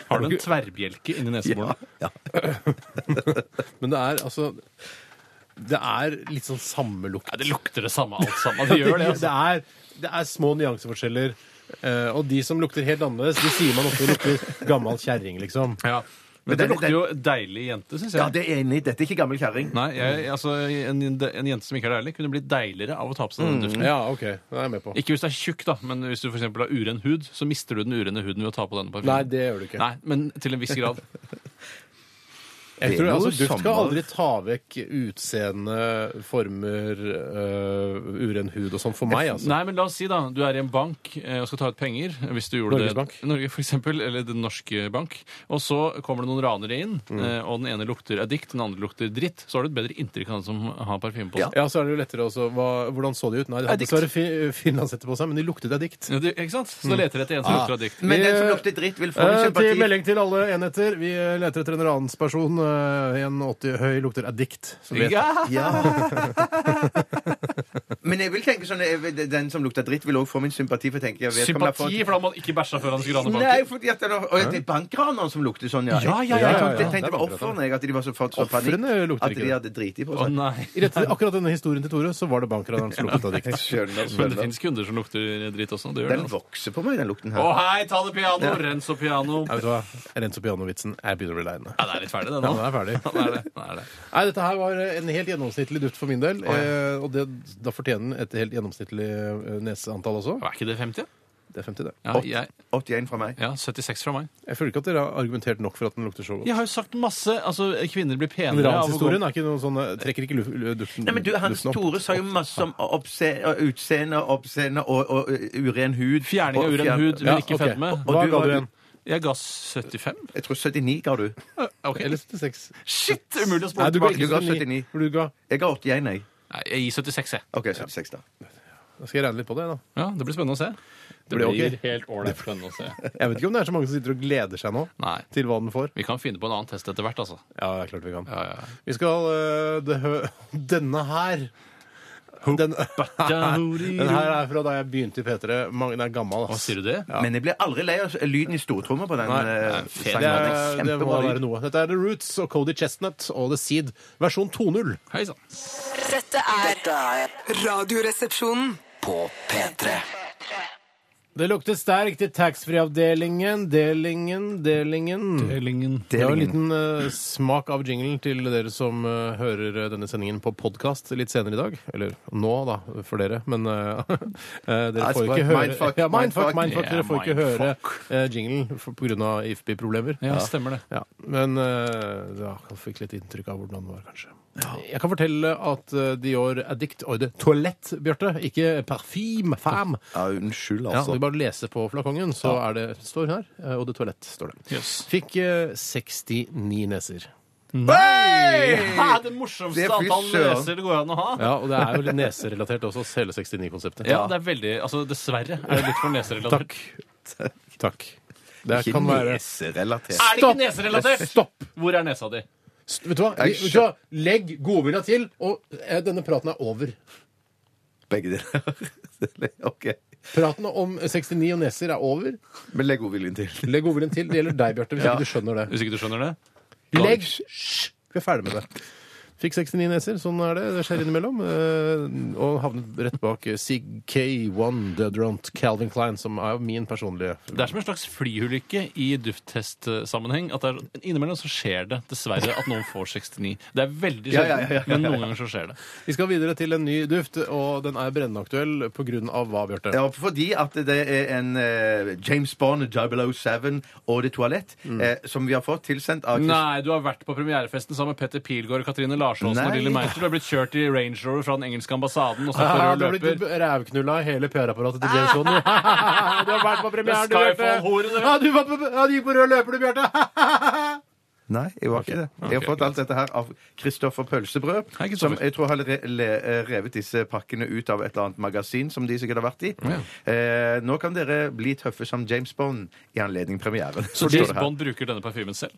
Speaker 4: Har du en tverrbjelke inni neseborene?
Speaker 3: Men det er altså Det er litt sånn samme lukt.
Speaker 4: Ja, det lukter det samme alt sammen. Det gjør det, altså.
Speaker 3: er, det er små nyanseforskjeller. eh, og de som lukter helt annerledes, de sier man ofte lukter gammel kjerring, liksom.
Speaker 4: Ja. Men
Speaker 5: det-
Speaker 4: det lukter jo deilig jente, syns jeg.
Speaker 5: Ja, det er jeg enig. i. Dette er ikke gammel kjerring.
Speaker 4: Nei, jeg, altså, en, en jente som ikke er deilig, kunne blitt deiligere av å ta på seg den duften.
Speaker 3: Ja, OK. Det er jeg med på.
Speaker 4: Ikke hvis du er tjukk, da, men hvis du for eksempel har uren hud, så mister du den urene huden ved å ta på denne
Speaker 3: Nei,
Speaker 4: parfymen.
Speaker 3: det gjør du ikke.
Speaker 4: Nei, men til en viss grad.
Speaker 3: Jeg
Speaker 5: Det er
Speaker 3: tror
Speaker 5: jo
Speaker 3: altså, Duft skal
Speaker 5: sommer.
Speaker 3: aldri ta vekk utseende, former, øh, uren hud og sånn for meg. altså.
Speaker 4: Nei, men la oss si da, du er i en bank eh, og skal ta ut penger. hvis du gjorde
Speaker 3: Norges
Speaker 4: det.
Speaker 3: Bank.
Speaker 4: Norge, for eksempel, eller Den norske bank. Og så kommer det noen ranere inn,
Speaker 3: Mm.
Speaker 4: eh, og den ene lukter addikt, den andre lukter dritt. Så har du et bedre inntrykk av han som har parfyme på
Speaker 5: Ja.
Speaker 4: seg.
Speaker 3: Ja, så er det jo lettere også. Hva, hvordan så de ut? Nei, de hadde
Speaker 4: Addict.
Speaker 3: dessverre fi, finlandshette på seg, men de luktet av dikt.
Speaker 4: Ja, det- Ikke sant? Så da leter du etter en som
Speaker 3: Ah.
Speaker 4: lukter addikt.
Speaker 5: Men den som
Speaker 3: Vi-
Speaker 5: lukter dritt, vil få
Speaker 3: Eh,
Speaker 5: sympati.
Speaker 3: til melding til alle enheter. Vi eh, leter etter en ransperson. Eh, en 80 høy lukter addict. som vet-
Speaker 4: Ja.
Speaker 5: Men jeg vil tenke sånn jeg vil- Den som lukter dritt, vil òg få min sympati. For jeg tenker, jeg vet om jeg har fått-
Speaker 4: Sympati for da man ikke bæsja før han skulle rane
Speaker 5: Nei,
Speaker 4: banken.
Speaker 5: fordi at det, og det er bankraneren som lukter sånn, ja.
Speaker 4: Ja, ja, ja,
Speaker 5: Jeg
Speaker 3: ja,
Speaker 5: tenkte-
Speaker 3: ja.
Speaker 5: tenkte på ofrene, jeg, at de var så fått så panikk
Speaker 3: Ofrene lukter
Speaker 5: at
Speaker 3: ikke
Speaker 5: de
Speaker 3: det.
Speaker 5: hadde driti på
Speaker 4: Å
Speaker 5: seg.
Speaker 4: nei.
Speaker 3: I rett, akkurat denne historien til Tore så var det bankraneren som luktet av dikt.
Speaker 5: Skjønner,
Speaker 4: Men det
Speaker 5: skjønner.
Speaker 4: fins kunder som lukter dritt også. Det gjør det.
Speaker 5: Den
Speaker 4: altså.
Speaker 5: vokser på meg, den lukten
Speaker 4: Å
Speaker 5: her.
Speaker 4: hei, ta det piano! Rens og piano.
Speaker 3: Nei, vet du hva? Renso pianovitsen. Jeg begynner å bli lei nå.
Speaker 4: Ja, det er litt ferdig,
Speaker 3: Ja,
Speaker 4: det nå.
Speaker 3: den er ferdig.
Speaker 4: Ja, det er det. Det er det.
Speaker 3: Nei, dette her var eh, en helt gjennomsnittlig duft for min del. eh, og det, da fortjener den et helt gjennomsnittlig eh, neseantall også.
Speaker 4: Er ikke det 50?
Speaker 3: Det er 50, det.
Speaker 4: Ja, jeg,
Speaker 5: 81 fra meg.
Speaker 4: ja 76 fra meg.
Speaker 3: Jeg føler ikke at dere har argumentert nok for at den lukter så godt.
Speaker 4: Jeg har jo sagt masse. Altså, kvinner blir
Speaker 3: Men
Speaker 4: penere av å gå
Speaker 3: Ranshistorien er ikke noe sånn eh, trekker ikke lu- lu- duften
Speaker 5: Nei, men du, Hans
Speaker 3: duften opp.
Speaker 5: Tore sa jo masse om oppse, og utseende, oppseende og, og ø, uren hud.
Speaker 4: Fjerning av
Speaker 5: Og
Speaker 4: uren
Speaker 5: fjern-
Speaker 4: hud, men
Speaker 3: Ja,
Speaker 4: ikke
Speaker 3: ok.
Speaker 4: fedme.
Speaker 5: Og
Speaker 3: Hva
Speaker 5: du
Speaker 3: ga
Speaker 5: var-
Speaker 3: du igjen?
Speaker 4: Jeg ga 75.
Speaker 5: Jeg tror 79 ga du.
Speaker 3: Eller 76?
Speaker 4: Shit! Umulig å
Speaker 3: Nei,
Speaker 4: spole
Speaker 3: du ga
Speaker 5: ikke-
Speaker 4: tilbake.
Speaker 3: ikke
Speaker 5: du ga
Speaker 3: 79.
Speaker 5: 79.
Speaker 3: For Du ga.
Speaker 5: Jeg ga 81, jeg.
Speaker 4: Nei, jeg gir 76, jeg.
Speaker 5: OK, 76, da.
Speaker 3: Da skal jeg regne litt på det, da.
Speaker 4: Ja, Det blir spennende å se. Det
Speaker 3: blir ok.
Speaker 4: helt ålreit spennende å se.
Speaker 3: Jeg vet ikke om det er så mange som sitter og gleder seg nå
Speaker 4: Nei.
Speaker 3: til hva den får.
Speaker 4: Vi kan finne på en annen test etter hvert, altså.
Speaker 3: Ja, det er klart vi kan.
Speaker 4: Ja, ja.
Speaker 3: Vi skal øh, det, hø- Denne her den, den her er fra da jeg begynte i P3. Mange- Den er gammel,
Speaker 4: Hva
Speaker 3: ass.
Speaker 4: sier du det?
Speaker 5: Men jeg ble aldri lei av lyden i stortromma på den.
Speaker 3: Nei,
Speaker 5: eh,
Speaker 4: fet.
Speaker 5: sangen.
Speaker 3: Det, er, det må
Speaker 5: Kjempebra
Speaker 3: være
Speaker 5: lyd.
Speaker 3: noe. Dette er The Roots og Cody Chestnut og The Seed, versjon 2.0.
Speaker 4: Hei sånn. sann.
Speaker 6: Dette er
Speaker 2: Dette er
Speaker 1: Radioresepsjonen.
Speaker 2: på P3.
Speaker 3: Det lukter sterkt i taxfree-avdelingen, delingen, delingen.
Speaker 4: Delingen.
Speaker 3: Det var en
Speaker 5: Delingen.
Speaker 3: liten eh, smak av jinglen til dere som eh, hører eh, denne sendingen på podkast litt senere i dag. Eller nå, da, for dere. Men eh, eh, dere får jo ikke
Speaker 5: Mindfuck,
Speaker 3: høre
Speaker 5: mindfuck,
Speaker 3: ja, mindfuck,
Speaker 5: mindfuck.
Speaker 3: mindfuck. Dere får ikke
Speaker 4: Ja,
Speaker 3: høre eh, jinglen for- på grunn av IFBI-problemer.
Speaker 4: Ja, stemmer det.
Speaker 3: Ja, men eh, ja, jeg fikk litt inntrykk av hvordan det var, kanskje. Jeg kan fortelle at eh, Dior Addict Oi, det er toalett, Bjarte. Ikke parfyme, fam.
Speaker 5: Ja, unnskyld,
Speaker 3: Ja,
Speaker 5: altså.
Speaker 3: du bare leser på flakongen, så er det står her. eh, Og det toalett står det.
Speaker 4: Jøss.
Speaker 3: Fikk eh, 69 neser.
Speaker 4: Ja, det morsomste
Speaker 5: Det er fy
Speaker 4: antallet
Speaker 5: søren.
Speaker 4: leser det går an å ha.
Speaker 3: Ja, og det er jo litt neserelatert også, hele 69-konseptet.
Speaker 4: Ja, det er veldig Altså, dessverre er det litt for neserelatert.
Speaker 3: Takk. Takk. Det
Speaker 5: Ikke
Speaker 3: kan være
Speaker 5: neserelatert.
Speaker 4: Er det
Speaker 3: Stopp!
Speaker 4: ikke neserelatert?
Speaker 3: Stopp!
Speaker 4: Hvor er nesa di?
Speaker 3: St- Vet du hva? Vi,
Speaker 5: Jeg
Speaker 3: vet du hva? Legg godvilja til, og eh, denne praten er over.
Speaker 5: Begge deler. OK.
Speaker 3: Praten om 69 og neser er over.
Speaker 5: Men legg godviljen til.
Speaker 3: Legg godviljen til. Det gjelder deg, Bjarte, hvis
Speaker 5: Ja.
Speaker 3: ikke du skjønner det.
Speaker 4: Hvis ikke du skjønner det?
Speaker 3: Legg Hysj! Vi er ferdig med det. Fikk 69 neser. Sånn er det. Det skjer innimellom. eh, Og havnet rett bak eh, CK1 Deodorant Calvin Klein, som er jo min personlige
Speaker 4: Det er som en slags flyulykke i dufttestsammenheng. at det er- sånn, Innimellom så skjer det dessverre at noen får 69. Det er veldig
Speaker 5: Ja,
Speaker 4: sjelden,
Speaker 5: ja, ja, ja, ja, ja.
Speaker 4: men noen ganger så skjer det.
Speaker 3: Vi skal videre til en ny duft, og den er brennende aktuell pga. hva, Bjarte?
Speaker 5: Ja, fordi at det er en eh, James Bond 007 og det toalett eh, som vi har fått tilsendt av
Speaker 4: Mm. Nei, du har vært på premierefesten sammen med Petter Pilgaard, Katrine Larsåsen og
Speaker 5: Nei.
Speaker 4: Lille Meister. Du har blitt kørt i Range Rover fra den engelske ambassaden og står på
Speaker 3: Ah,
Speaker 4: rød
Speaker 3: du har blitt
Speaker 4: løper.
Speaker 3: rævknulla i hele PR-apparatet til James Bond. Du har vært på premieren, du,
Speaker 4: Skyfall-hore,
Speaker 3: Bjarte.
Speaker 4: dere.
Speaker 3: Ja, du, var på- ja, du gikk på rød løper, du, Bjarte.
Speaker 5: Nei, jeg var ikke det. Jeg har fått alt dette her av Kristoffer Pølsebrød,
Speaker 4: Hei,
Speaker 5: som
Speaker 4: Kristoffer.
Speaker 5: jeg tror har re le eh, revet disse pakkene ut av et eller annet magasin som de sikkert har vært i. Eh, nå kan dere bli tøffe som James Bond i anledning premieren.
Speaker 4: Så
Speaker 5: står det
Speaker 4: James
Speaker 5: her.
Speaker 4: Bond bruker denne parfymen selv?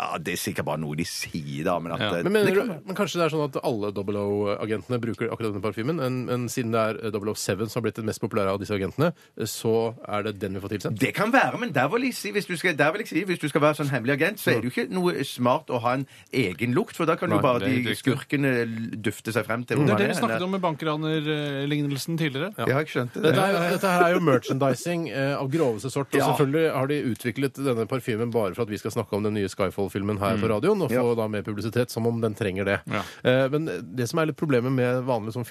Speaker 5: Ja, det er sikkert bare noe de sier, da. Men at
Speaker 4: Ja.
Speaker 5: eh,
Speaker 3: Men, mener
Speaker 5: det kan
Speaker 3: du, men kanskje det er sånn at alle Double O-agentene bruker akkurat denne parfymen? Men, men siden det er Double O7 som har blitt den mest populære av disse agentene, så er det den vi får tilsendt?
Speaker 5: Det kan være, men der vil jeg si, hvis du skal, der vil jeg si, hvis du skal være sånn hemmelig agent, så er det jo ikke noe smart å ha en egen lukt, for da kan
Speaker 4: Mm. Nei,
Speaker 5: jo bare
Speaker 4: det er helt
Speaker 5: de
Speaker 4: riktig. Mm.
Speaker 5: skurkene dufte seg frem til
Speaker 4: Det
Speaker 5: hvor
Speaker 4: er
Speaker 5: man
Speaker 4: det vi
Speaker 5: er.
Speaker 4: snakket om med bankranerlignelsen tidligere.
Speaker 5: Ja, jeg skjønte
Speaker 3: Dette,
Speaker 5: det.
Speaker 3: er, dette her er jo merchandising eh, av groveste sort. Og
Speaker 5: Ja.
Speaker 3: selvfølgelig har de utviklet denne parfymen bare for at vi skal snakke om den nye Skyfall Troll-filmen her
Speaker 5: Mm.
Speaker 3: på radioen, og få da mer publisitet, som om den trenger det.
Speaker 4: Ja.
Speaker 3: Eh, Men det som er litt problemet med vanlige sånn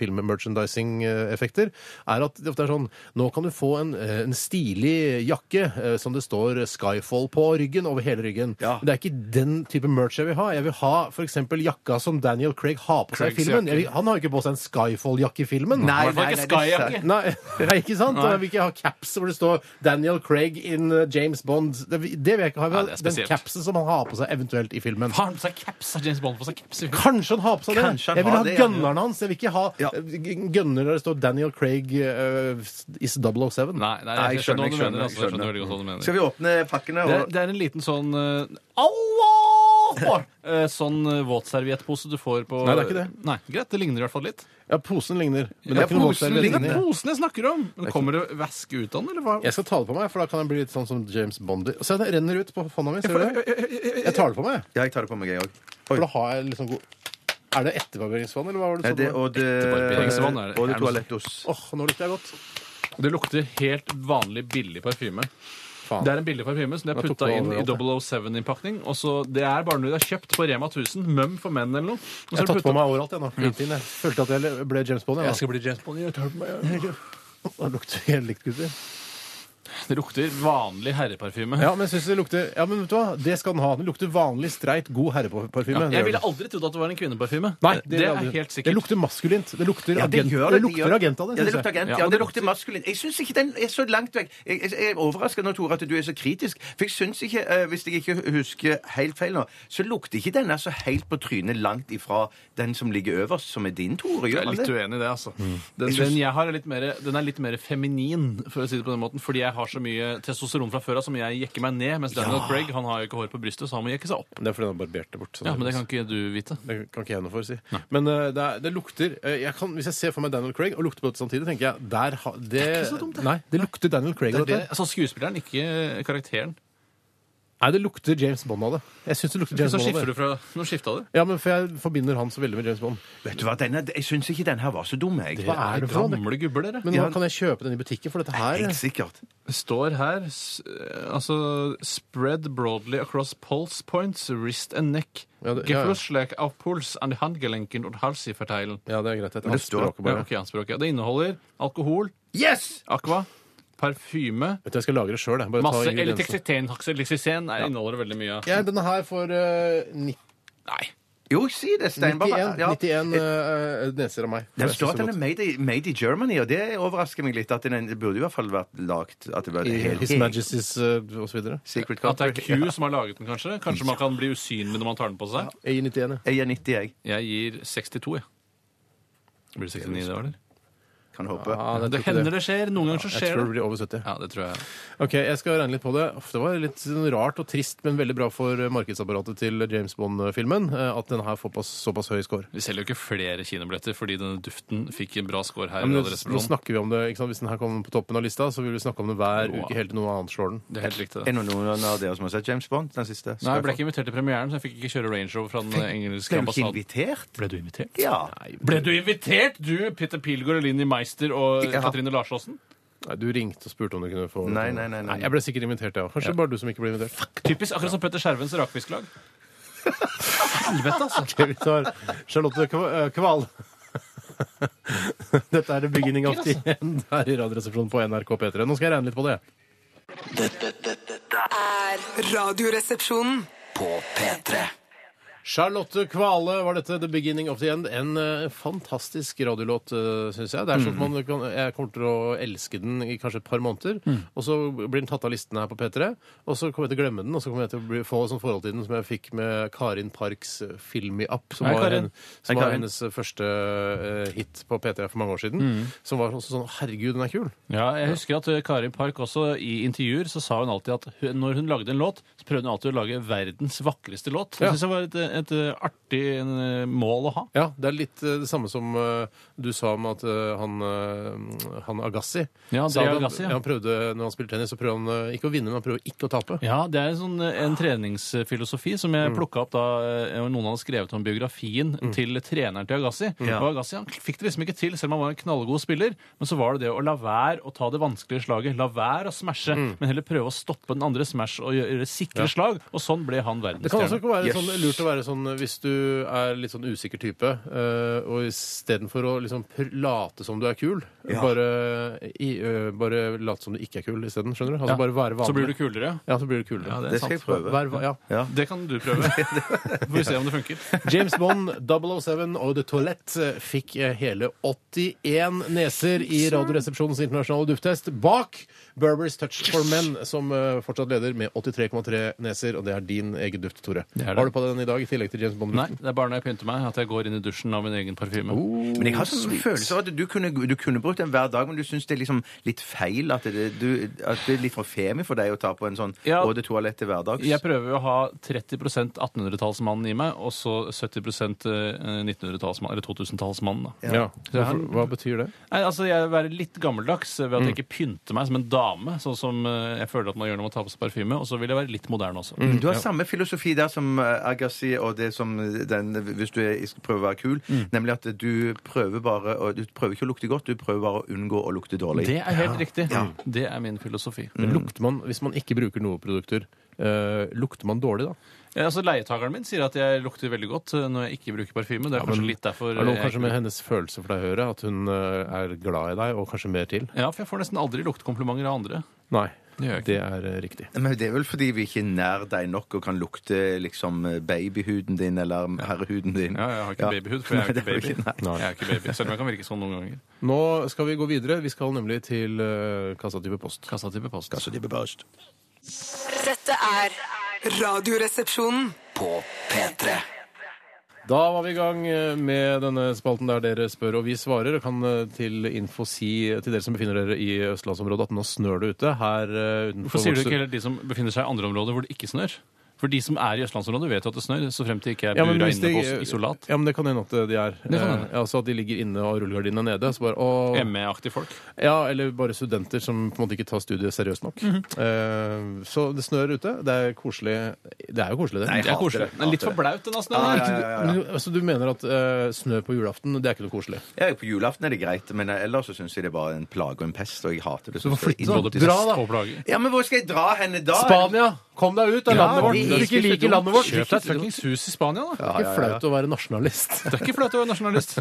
Speaker 3: film-merchandising-effekter, er at det ofte er sånn Nå kan du få en, eh, en stilig jakke eh, som det står Skyfall på ryggen, over hele ryggen.
Speaker 5: Ja.
Speaker 3: Men det er ikke den type merch jeg vil ha. Jeg vil ha f.eks. jakka som Daniel Craig har på seg i
Speaker 4: Craigs
Speaker 3: filmen.
Speaker 4: jakke.
Speaker 3: Jeg vil, han har jo ikke på seg en Skyfall-jakke i filmen.
Speaker 5: Nei,
Speaker 4: I hvert fall ikke
Speaker 5: nei, det er sant.
Speaker 4: Skyjakke.
Speaker 3: Nei, nei, ikke sant? Jeg vil ikke ha caps hvor det står 'Daniel Craig in uh, James Bond'. Det, vil- det vil jeg ikke ha. Jeg vil
Speaker 4: Nei,
Speaker 3: ha
Speaker 4: det er
Speaker 3: den
Speaker 4: spesielt.
Speaker 3: capsen som han har på seg eventuelt i filmen.
Speaker 4: Har han på seg caps? Har James Bond på seg caps? i filmen?
Speaker 3: Kanskje han har på seg det!
Speaker 5: Kanskje han
Speaker 3: Jeg vil
Speaker 5: har
Speaker 3: ha
Speaker 5: det, ja.
Speaker 3: gunneren hans. Jeg vil ikke ha
Speaker 5: Ja.
Speaker 3: eh, gunner der det står 'Daniel Craig uh, is 007'.
Speaker 4: Nei, nei,
Speaker 5: Nei,
Speaker 4: jeg skjønner hva du mener. Altså, jeg skjønner veldig godt hva du
Speaker 5: skjønner.
Speaker 4: mener.
Speaker 5: Skal vi åpne pakkene?
Speaker 4: Det er,
Speaker 5: Og...
Speaker 4: det er en liten sånn eh, Allah! Eh, sånn eh, våtserviettpose du får på
Speaker 3: Nei, det er ikke det.
Speaker 4: Nei, Greit, det ligner i hvert fall litt.
Speaker 3: Ja, posen ligner. Men det
Speaker 4: Ja,
Speaker 3: er ikke noe
Speaker 4: posen
Speaker 3: vokser-
Speaker 4: ligner. Det er posen jeg snakker om! Men kommer det væske ut av den, eller hva?
Speaker 3: Jeg skal ta det på meg, for da kan jeg bli litt sånn som James Bond. Se, det renner ut på hånda mi. Ser du det? Jeg tar det på meg,
Speaker 5: Ja, jeg tar det på meg, jeg òg.
Speaker 3: for da har jeg liksom god Er det etterparberingsvann, eller hva var det
Speaker 5: Det,
Speaker 3: du sa?
Speaker 5: og det,
Speaker 4: Etterbarberingsvann er det.
Speaker 5: og det
Speaker 4: Er det noe-
Speaker 5: toalettdos.
Speaker 3: Åh, nå lukter jeg godt.
Speaker 4: Det lukter helt vanlig billig parfyme.
Speaker 3: Faen.
Speaker 4: Det er en billig parfyme som de har
Speaker 3: Jeg tok
Speaker 4: putta
Speaker 3: på
Speaker 4: inn i
Speaker 3: overalt,
Speaker 4: 007-innpakning. Og så Det er bare noe de har kjøpt på Rema 1000. Mum for menn eller noe. Og
Speaker 3: Jeg
Speaker 4: så har
Speaker 3: har
Speaker 4: de
Speaker 3: tatt på
Speaker 4: puttet-
Speaker 3: meg overalt, jeg nå. Litt inn, Jeg følte at jeg ble James Bond. Jeg,
Speaker 4: Jeg skal bli James Bond. Jeg tar på meg.
Speaker 3: nå. Det lukter helt likt, gutter.
Speaker 4: Det lukter vanlig herreparfyme.
Speaker 3: Ja, men jeg synes det lukter Ja, men vet du hva? Det skal den ha. Den lukter vanlig, streit, god herreparfyme.
Speaker 4: Jeg ville aldri trodd at det var en kvinneparfyme.
Speaker 3: Nei,
Speaker 4: det,
Speaker 3: ville
Speaker 4: er
Speaker 3: jeg aldri.
Speaker 4: helt
Speaker 3: Det
Speaker 4: sikkert.
Speaker 3: lukter maskulint. Det lukter, agent, det, lukter
Speaker 5: gjør-
Speaker 3: agent av det.
Speaker 5: Ja,
Speaker 3: synes
Speaker 5: det
Speaker 3: jeg.
Speaker 5: lukter agent,
Speaker 4: Ja,
Speaker 5: ja,
Speaker 4: og
Speaker 5: det
Speaker 4: det
Speaker 5: lukter maskulin. Jeg syns ikke den er så langt vekk. Jeg, jeg, jeg er overraska nå, Tore, at du er så kritisk. For jeg syns ikke, eh, hvis jeg ikke husker helt feil nå, så lukter ikke den altså helt på trynet langt ifra den som ligger øverst, som er din, Tore.
Speaker 4: Jeg
Speaker 5: Gjør
Speaker 4: er
Speaker 5: man
Speaker 4: litt
Speaker 5: det?
Speaker 4: uenig i
Speaker 3: Mm.
Speaker 4: det, altså. Den, den jeg har er litt mer, den er litt mer feminin, for å si det på den måten, fordi jeg har så mye testosteron fra før av som jeg jekker meg ned, mens Daniel Craig han har jo ikke hår på brystet, så han må jekke seg opp.
Speaker 3: Det er fordi han har barbert det bort. så
Speaker 4: Ja, Men det liksom- kan ikke du vite.
Speaker 3: Det kan ikke jeg noe for å si. Men eh, det, er, det lukter eh, jeg kan, Hvis jeg ser for meg Daniel Craig og lukter på dette samtidig, tenker jeg der ha, det, det er
Speaker 4: ikke så dumt, det.
Speaker 3: Nei, det lukter Daniel Craig av
Speaker 4: Det er det,
Speaker 3: dette.
Speaker 4: altså skuespilleren, ikke karakteren.
Speaker 3: Nei, det lukter James Bond av det. Jeg syns det lukter James
Speaker 4: Så
Speaker 3: Bond
Speaker 4: skifter
Speaker 3: av
Speaker 4: du
Speaker 3: det.
Speaker 4: fra Nå skifta du.
Speaker 3: Ja, men for Jeg forbinder han så veldig med James Bond.
Speaker 5: Vet du hva, denne, jeg syns ikke den her var så dum, jeg.
Speaker 3: Hva er eh, det for noe?
Speaker 4: Gamle gubber, dere.
Speaker 3: Men nå kan jeg kjøpe den i butikken for dette her?
Speaker 5: Helt sikkert.
Speaker 4: Det står her s- eh, altså Spread broadly across pulse points, wrist and neck.
Speaker 3: Ja, det- ja, ja.
Speaker 4: Geflussleg av puls and handgelenken og halsiferteilen.
Speaker 3: Ja, det er greit. Jeg tar
Speaker 5: det står-
Speaker 3: språket
Speaker 4: Ja,
Speaker 3: bare.
Speaker 4: ok, hans språk, ja. Det inneholder alkohol,
Speaker 5: Yes!
Speaker 4: aqua, parfyme
Speaker 3: Vet du, jeg skal lagre sjøl.
Speaker 4: Masse elektrisitet. Elektrisitet inneholder veldig mye.
Speaker 3: Ja, denne her for eh, nitt-
Speaker 4: Nei.
Speaker 5: Jo, si det, Steinberg.
Speaker 3: 91,
Speaker 5: Ja.
Speaker 3: 91 eh, neser av meg.
Speaker 5: Den
Speaker 3: Jeg synes
Speaker 5: står at den
Speaker 3: det godt.
Speaker 5: er made, i- made in Germany, og det overrasker meg litt. At den det burde i hvert fall vært lagt at det var
Speaker 3: I
Speaker 5: helt,
Speaker 3: His
Speaker 5: helt
Speaker 3: Majesty's uh, osv.
Speaker 5: Secret
Speaker 4: At det er
Speaker 5: Country.
Speaker 4: Q som har laget den, kanskje? Kanskje man kan bli usynlig når man tar den på seg?
Speaker 3: Jeg gir 91, jeg.
Speaker 5: Jeg gir 90, jeg.
Speaker 4: Jeg gir 62, jeg. Blir det 69 det var, eller?
Speaker 5: Kan håpe.
Speaker 3: Ja, jeg
Speaker 4: Det
Speaker 3: tror ikke
Speaker 4: hender det skjer. Noen ganger så
Speaker 3: Jeg
Speaker 4: skjer
Speaker 3: tror det
Speaker 4: det.
Speaker 3: blir over 70.
Speaker 4: Ja, det tror jeg.
Speaker 3: Ok, Jeg skal regne litt på det. Uff, Det var litt sånn rart og trist, men veldig bra for eh, markedsapparatet til James Bond-filmen eh, at den her får pass, såpass høy score.
Speaker 4: Vi selger jo ikke flere kinobilletter fordi denne duften fikk en bra score her.
Speaker 3: Ja, men
Speaker 4: i
Speaker 3: nå, nå
Speaker 4: Adressebyråen.
Speaker 3: snakker vi om det, ikke sant? Hvis den her kommer på toppen av lista, så vil vi snakke om det hver
Speaker 4: Wow.
Speaker 3: uke helt til noe annet slår den.
Speaker 4: det er helt riktig.
Speaker 5: Er
Speaker 4: det.
Speaker 5: det noen av dere som har sett James Bond? den siste?
Speaker 4: Nei, Jeg ble ikke invitert til premieren, så jeg fikk ikke kjøre Range Rover fra den engelske
Speaker 5: Ble du ikke
Speaker 4: ambassaden.
Speaker 5: invitert?
Speaker 4: Ble du invitert?
Speaker 5: Ja.
Speaker 4: Ble du invitert, du, Petter Pilgaard, Linni Meister og
Speaker 5: Ikke- ja.
Speaker 4: Katrine Larsåsen?
Speaker 3: Nei, Du ringte og spurte om du kunne få
Speaker 5: Nei, nei, nei, nei.
Speaker 3: Jeg ble sikkert invitert, jeg ja. òg. Kanskje bare du som ikke ble invitert.
Speaker 4: Typisk, akkurat som Petter Skjervens rakfisklag. Helvete, altså.
Speaker 3: Ok, vi tar Charlotte Kva- eh, Kval. Dette er the beginning of the
Speaker 5: altså.
Speaker 3: end her i Radioresepsjonen på NRK P3. Nå skal jeg regne litt på det.
Speaker 2: Dette, dette, dette
Speaker 1: Er Radioresepsjonen.
Speaker 2: på P3.
Speaker 3: Charlotte Kvale var dette The Beginning of the End. En eh, fantastisk radiolåt, uh, syns jeg. Det er sånn
Speaker 4: Mm.
Speaker 3: at man kan, Jeg kommer til å elske den i kanskje et par måneder,
Speaker 4: Mm.
Speaker 3: og så blir den tatt av listene her på P3. Og så kommer jeg til å glemme den, og så kommer jeg til å bli, få sånn forhold til den som jeg fikk med Karin Parks eh, Film Me Up, som
Speaker 4: Hei,
Speaker 3: var,
Speaker 4: Karin.
Speaker 3: en, som
Speaker 5: Hei,
Speaker 3: var
Speaker 5: Karin.
Speaker 3: hennes første eh, hit på P3 for mange år siden.
Speaker 4: Mm.
Speaker 3: Som var også sånn Herregud, den er kul!
Speaker 4: Ja, jeg husker at eh, Kari Park også i intervjuer så sa hun alltid at hun, når hun lagde en låt, så prøvde hun alltid å lage verdens vakreste låt. Det
Speaker 3: Ja.
Speaker 4: synes jeg var et, eh, et eh, artig eh, mål å ha.
Speaker 3: Ja, det er litt eh, det samme som eh, du sa om at eh, han, eh, han Agassi
Speaker 4: Ja,
Speaker 3: sa
Speaker 4: Andrea
Speaker 3: at han-
Speaker 4: Agassi, ja.
Speaker 3: han prøvde, Når han spilte tennis, så prøver han eh, ikke å vinne, men han prøver ikke å tape.
Speaker 4: Ja, det er sånn, eh, en treningsfilosofi som jeg plukka opp da eh, noen hadde skrevet om biografien til treneren til Agassi. Og Agassi han fikk det liksom ikke til, selv om han var en knallgod spiller. Men så var det det å la være å ta det vanskelige slaget. La være å smashe, men heller prøve å stoppe den andre smash og gjøre sikre slag. Og sånn ble han
Speaker 3: Det kan også
Speaker 4: verdensstjerne.
Speaker 3: ikke være
Speaker 5: Yes.
Speaker 3: sånn, lurt å være sånn eh, hvis du er litt sånn usikker type, eh, og istedenfor å liksom pr- late som du er kul,
Speaker 5: Ja.
Speaker 3: bare, i, eh, bare late som du ikke er kul isteden. Skjønner du? Altså
Speaker 4: Ja.
Speaker 3: bare være vanlig.
Speaker 4: Så blir du kulere.
Speaker 3: Ja, så blir du kulere.
Speaker 4: Ja, det
Speaker 5: Det
Speaker 4: er
Speaker 5: skal
Speaker 4: sant.
Speaker 5: jeg prøve.
Speaker 3: Vær, va- ja.
Speaker 5: Ja.
Speaker 4: Det kan du prøve. Får vi se om det funker.
Speaker 3: James Bond 007 og The Toilette fikk eh, hele 81 neser i Radioresepsjonens internasjonale dufttest bak Burberry's Touch for Men, som eh, fortsatt leder med 83,3 neser. Og det er din egen duft, Tore.
Speaker 4: Det er det.
Speaker 3: Har du på den i dag i tillegg til James Bond?
Speaker 4: Nei, det er bare når jeg pynter meg at jeg går inn i dusjen av min egen parfyme.
Speaker 3: Oh,
Speaker 5: Men jeg har sånn følelse av at du kunne, du kunne brukt den hver dag, men du syns det er liksom litt feil at det, du, at det er litt for femi for deg å ta på en sånn
Speaker 4: Ja.
Speaker 5: Eau de toalette til hverdags.
Speaker 4: Jeg prøver jo å ha 30 1800-tallsmannen i meg, og så 70 eh, 1900-tallsmann, eller 2000-tallsmannen. da.
Speaker 3: Ja.
Speaker 4: Så jeg har-
Speaker 3: Hvorfor- Hva betyr det?
Speaker 4: Nei, altså, jeg vil være litt gammeldags ved at jeg
Speaker 3: Mm.
Speaker 4: ikke pynter meg som en dame, sånn som eh, jeg føler at man gjør når man tar på seg parfyme, og så vil jeg være litt moderne også.
Speaker 3: Mm.
Speaker 5: Du har samme filosofi der som eh, Agassi og det som den Hvis du er, prøver å være kul,
Speaker 4: Mm.
Speaker 5: nemlig at du prøver bare å- Du prøver ikke å lukte godt, du prøver bare å unngå å lukte dårlig.
Speaker 4: Det er helt riktig. Det er min filosofi.
Speaker 3: Lukter man, hvis man ikke bruker noen produkter, eh, lukter man dårlig da?
Speaker 4: Eh, Altså, Leietakeren min sier at jeg lukter veldig godt eh, når jeg ikke bruker parfyme. Det er kanskje litt derfor eh,
Speaker 3: Er det noe
Speaker 4: jeg
Speaker 3: kanskje
Speaker 4: ikke
Speaker 3: med hennes følelse for deg å gjøre? At hun eh, er glad i deg, og kanskje mer til?
Speaker 4: Ja, for jeg får nesten aldri luktekomplimenter av andre.
Speaker 3: Nei.
Speaker 4: Det gjør jeg ikke.
Speaker 3: Det er eh, riktig.
Speaker 5: Men det er vel fordi vi ikke er nær deg nok og kan lukte liksom babyhuden din eller herrehuden din.
Speaker 4: Ja, jeg har ikke babyhud, for jeg er jo
Speaker 5: Nei,
Speaker 4: ikke
Speaker 5: det
Speaker 4: baby.
Speaker 5: nei.
Speaker 4: Jeg er ikke baby, Selv om jeg kan virke sånn noen ganger.
Speaker 3: Nå skal vi gå videre. Vi skal nemlig til eh, kassatype post. Kassatype post.
Speaker 5: Altså,
Speaker 6: Dette er Radioresepsjonen.
Speaker 2: På P3
Speaker 3: Da var vi i gang eh, med denne spalten der dere spør og vi svarer. Og kan eh, til info si til dere som befinner dere i østlandsområdet at nå snør det ute. Her eh, utenfor
Speaker 4: Hvorfor sier du
Speaker 3: vårt-
Speaker 4: ikke heller de som befinner seg i andre områder hvor det ikke snør? For de som er i østlandsområdet, vet jo at det snør, så frem til ikke er
Speaker 3: ja, men
Speaker 4: bura
Speaker 3: hvis
Speaker 4: inne
Speaker 3: de,
Speaker 4: på oss isolat.
Speaker 3: ja, men det kan hende at de er.
Speaker 4: Det kan hende.
Speaker 3: Eh, altså at de ligger inne og rullegardinene er nede. Så bare, å,
Speaker 4: ME-aktige folk.
Speaker 3: ja, eller bare studenter som på en måte ikke tar studiet seriøst nok.
Speaker 4: Mhm.
Speaker 3: Eh, så det snør ute. Det er koselig. Det er jo koselig, det.
Speaker 5: Nei,
Speaker 4: Det er koselig.
Speaker 5: hater det,
Speaker 4: Men litt
Speaker 5: hater
Speaker 4: for blaut, den snøen.
Speaker 5: Ja, ja, ja, ja.
Speaker 3: Men du- Altså, du mener at eh, snø på julaften, det er ikke noe koselig?
Speaker 5: Ja, på julaften er det greit, men ellers så syns jeg det er bare en plage og en pest, og jeg hater det.
Speaker 3: Du må
Speaker 5: synes
Speaker 3: flytte
Speaker 5: jeg er
Speaker 3: deg.
Speaker 5: idiotisk.
Speaker 3: Dra, da.
Speaker 4: Og plager.
Speaker 5: Ja, men hvor skal jeg dra henne
Speaker 3: Ah,
Speaker 5: da?
Speaker 3: Spania! Kom deg ut av
Speaker 5: Ja,
Speaker 3: landet vårt!
Speaker 5: vi
Speaker 3: Hvis du ikke
Speaker 5: elsker
Speaker 3: liker landet vårt,
Speaker 4: Kjøp deg et fuckings hus i Spania, da.
Speaker 3: Det er ikke flaut å være nasjonalist.
Speaker 4: Det er ikke flaut å være nasjonalist.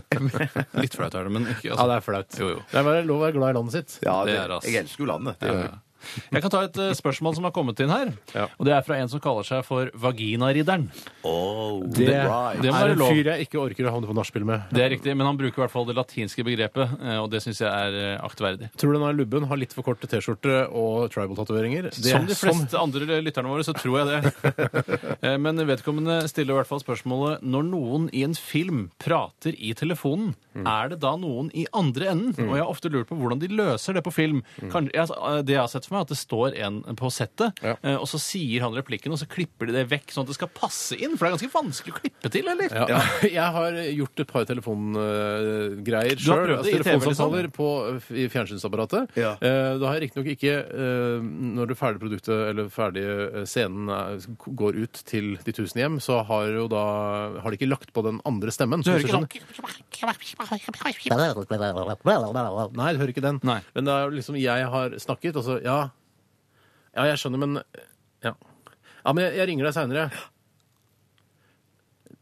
Speaker 4: Litt flaut er det, men ikke altså.
Speaker 3: er flaut.
Speaker 4: Jo, jo.
Speaker 3: Det er bare lov å være glad i landet sitt.
Speaker 5: Ja, det,
Speaker 4: Det er ass.
Speaker 5: jeg elsker jo landet. Det, gjør jeg.
Speaker 4: Jeg kan ta et eh, spørsmål som har kommet inn her.
Speaker 3: Ja.
Speaker 4: Og det er fra en som kaller seg for Vaginaridderen.
Speaker 5: Oh,
Speaker 3: Det,
Speaker 5: right.
Speaker 4: det må
Speaker 3: er
Speaker 4: være
Speaker 3: en
Speaker 4: lov.
Speaker 3: fyr jeg ikke orker å havne på nachspiel med.
Speaker 4: Det er riktig, men han bruker i hvert fall det latinske begrepet, eh, og det syns jeg er eh, aktverdig.
Speaker 3: Tror du den her lubben har litt for korte T-skjorte og tribal-tatoveringer? Det
Speaker 4: Som
Speaker 3: er
Speaker 4: de
Speaker 3: sånn-
Speaker 4: fleste andre eh, lytterne våre, så tror jeg det. Eh, Men vedkommende stiller i hvert fall spørsmålet når noen i en film prater i telefonen,
Speaker 3: Mm.
Speaker 4: er det da noen i andre enden? Og jeg har ofte lurt på hvordan de løser det på film.
Speaker 3: Mm.
Speaker 4: Kan, jeg, det jeg har sett for meg, er at det står en på settet,
Speaker 3: Ja.
Speaker 4: eh, og så sier han replikken, og så klipper de det vekk sånn at det skal passe inn, for det er ganske vanskelig å klippe til, eller?
Speaker 3: Ja. Jeg har gjort et par telefongreier
Speaker 4: Du har
Speaker 3: sjøl.
Speaker 4: prøvd det i liksom?
Speaker 3: telefonsamtaler på, i fjernsynsapparatet.
Speaker 5: Ja.
Speaker 3: Eh, da har jeg riktignok ikke, eh, når det ferdige produktet eller ferdige eh, scenen er, går ut til de tusen hjem, så har, jo da, har de ikke lagt på den andre stemmen.
Speaker 4: Du hører
Speaker 3: Hvis
Speaker 4: ikke sånn
Speaker 3: skjønner. Nei, du hører ikke den.
Speaker 4: Nei.
Speaker 3: Men det er jo liksom jeg har snakket, og så Ja, ja jeg skjønner, men Ja, ja men jeg, jeg ringer deg seinere.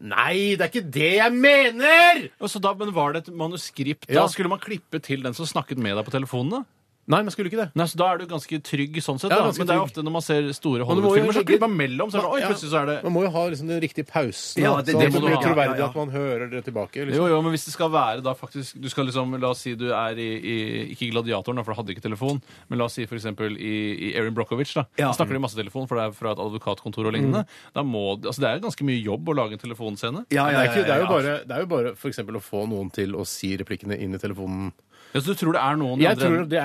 Speaker 3: Nei, det er ikke det jeg mener!
Speaker 4: Og så da, men var det et manuskript?
Speaker 3: Ja.
Speaker 4: Da skulle man klippe til den som snakket med deg på telefonen? da?
Speaker 3: Nei, man skulle ikke det.
Speaker 4: Nei, så Da er du ganske trygg sånn sett.
Speaker 3: Ja,
Speaker 4: da.
Speaker 3: ganske
Speaker 4: Men det er jo
Speaker 3: trygg.
Speaker 4: ofte når man ser
Speaker 3: du må
Speaker 4: store
Speaker 3: jo
Speaker 4: Hollywood-filmer, så
Speaker 3: legge-
Speaker 4: klipper man mellom. Så er det, oi,
Speaker 3: Ja.
Speaker 4: plutselig så er det
Speaker 3: Man må jo ha liksom den riktige pausen.
Speaker 5: Ja,
Speaker 3: da,
Speaker 5: det-
Speaker 3: så
Speaker 5: det
Speaker 3: det
Speaker 4: må du
Speaker 3: blir
Speaker 4: ha.
Speaker 3: troverdig
Speaker 5: Ja, ja.
Speaker 3: at man hører det tilbake. Liksom.
Speaker 4: Jo, jo, men hvis det skal være da faktisk Du skal liksom, La oss si du er i, i ikke i Gladiatoren, da, for da hadde du ikke telefon, men la oss si f.eks. i, i Erin Brockovich. da
Speaker 5: Ja.
Speaker 4: Snakker de masse telefon, for det er fra et advokatkontor og
Speaker 3: Mm.
Speaker 4: lignende. Da må, altså, det er jo ganske mye jobb å lage en telefonscene.
Speaker 5: Ja,
Speaker 3: Det
Speaker 5: ja,
Speaker 3: er,
Speaker 5: ja,
Speaker 3: ikke, det er jo
Speaker 5: ja, ja.
Speaker 3: bare, det er jo bare for eksempel å få noen til å si replikkene inn i telefonen.
Speaker 4: Ja, så du tror det er noen i
Speaker 3: Jeg
Speaker 4: andre
Speaker 3: tror
Speaker 4: enden?
Speaker 3: det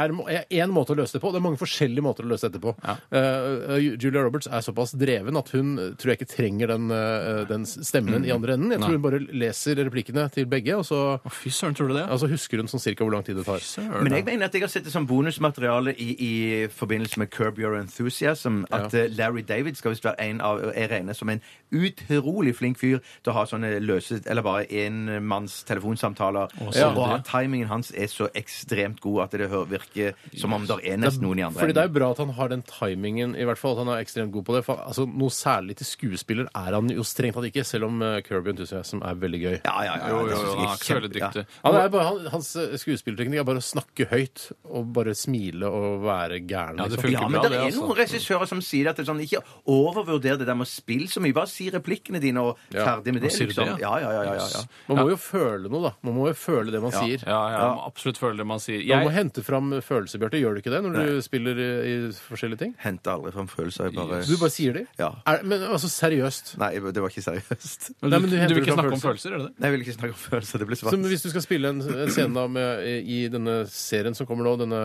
Speaker 3: er én måte å løse det på. Det er mange forskjellige måter å løse dette på.
Speaker 4: Ja.
Speaker 3: Eh, Julia Roberts er såpass dreven at hun eh, tror jeg ikke trenger den, eh, den stemmen i andre enden. Jeg tror hun bare leser replikkene til begge, og så
Speaker 4: Å, Fy søren, tror du det?
Speaker 3: altså, husker hun sånn cirka hvor lang tid det tar.
Speaker 4: Søren.
Speaker 5: Men jeg mener at jeg har sett det som bonusmateriale i, i forbindelse med Curb Your Enthusiasm, at eh, Larry David skal visst være en av Jeg regner som en utrolig flink fyr til å ha sånne løse Eller bare enmanns telefonsamtaler.
Speaker 4: så
Speaker 5: og
Speaker 4: det.
Speaker 5: at timingen hans er så ekstremt god at det hø- virker som om det er nesten noen i andre
Speaker 3: Fordi Det er jo bra at han har den timingen, i hvert fall. At han er ekstremt god på det. For, altså, noe særlig til skuespiller er han jo strengt tatt ikke, selv om eh, Kirby Enthusiasm er veldig gøy.
Speaker 5: Ja, ja, ja.
Speaker 4: Jo, jo,
Speaker 5: det
Speaker 4: jo,
Speaker 5: synes jeg
Speaker 4: han er ikke så veldig
Speaker 5: kjempe-
Speaker 4: dyktig.
Speaker 3: Han er bare, han, hans eh, skuesspillerteknikk er bare å snakke høyt og bare smile og være gæren.
Speaker 4: Ja, det
Speaker 3: liksom.
Speaker 4: funker
Speaker 5: Ja, men
Speaker 4: bra,
Speaker 5: det
Speaker 4: det,
Speaker 5: er
Speaker 4: altså.
Speaker 5: noen regissører som sier at det er sånn, ikke overvurder det der med å spille så mye. Bare si replikkene dine, og
Speaker 3: Ja,
Speaker 5: ferdig med
Speaker 4: nå
Speaker 5: det.
Speaker 4: sier du
Speaker 5: Liksom.
Speaker 4: det,
Speaker 5: Ja, ja,
Speaker 4: ja.
Speaker 5: ja, ja, ja, ja.
Speaker 3: Man må jo føle noe, da. Man må jo føle det man sier.
Speaker 4: Ja, ja, jeg må absolutt føle det man sier.
Speaker 3: Man må
Speaker 4: Jeg,
Speaker 3: hente fram følelser, Bjarte. Gjør du ikke det når du spiller i, i forskjellige ting?
Speaker 5: Henter aldri fram følelser. Jeg bare
Speaker 3: Du bare sier de.
Speaker 5: Ja.
Speaker 3: Er, men altså, seriøst.
Speaker 5: Nei, det var ikke seriøst.
Speaker 4: men du,
Speaker 3: Nei, men du
Speaker 4: du,
Speaker 3: henter
Speaker 4: vil ikke
Speaker 3: fram
Speaker 4: snakke om følelser, er det det?
Speaker 5: Nei, jeg vil ikke snakke om følelser. Det ble svart.
Speaker 3: Som hvis du skal spille en, en scene da med, i denne serien som kommer nå, denne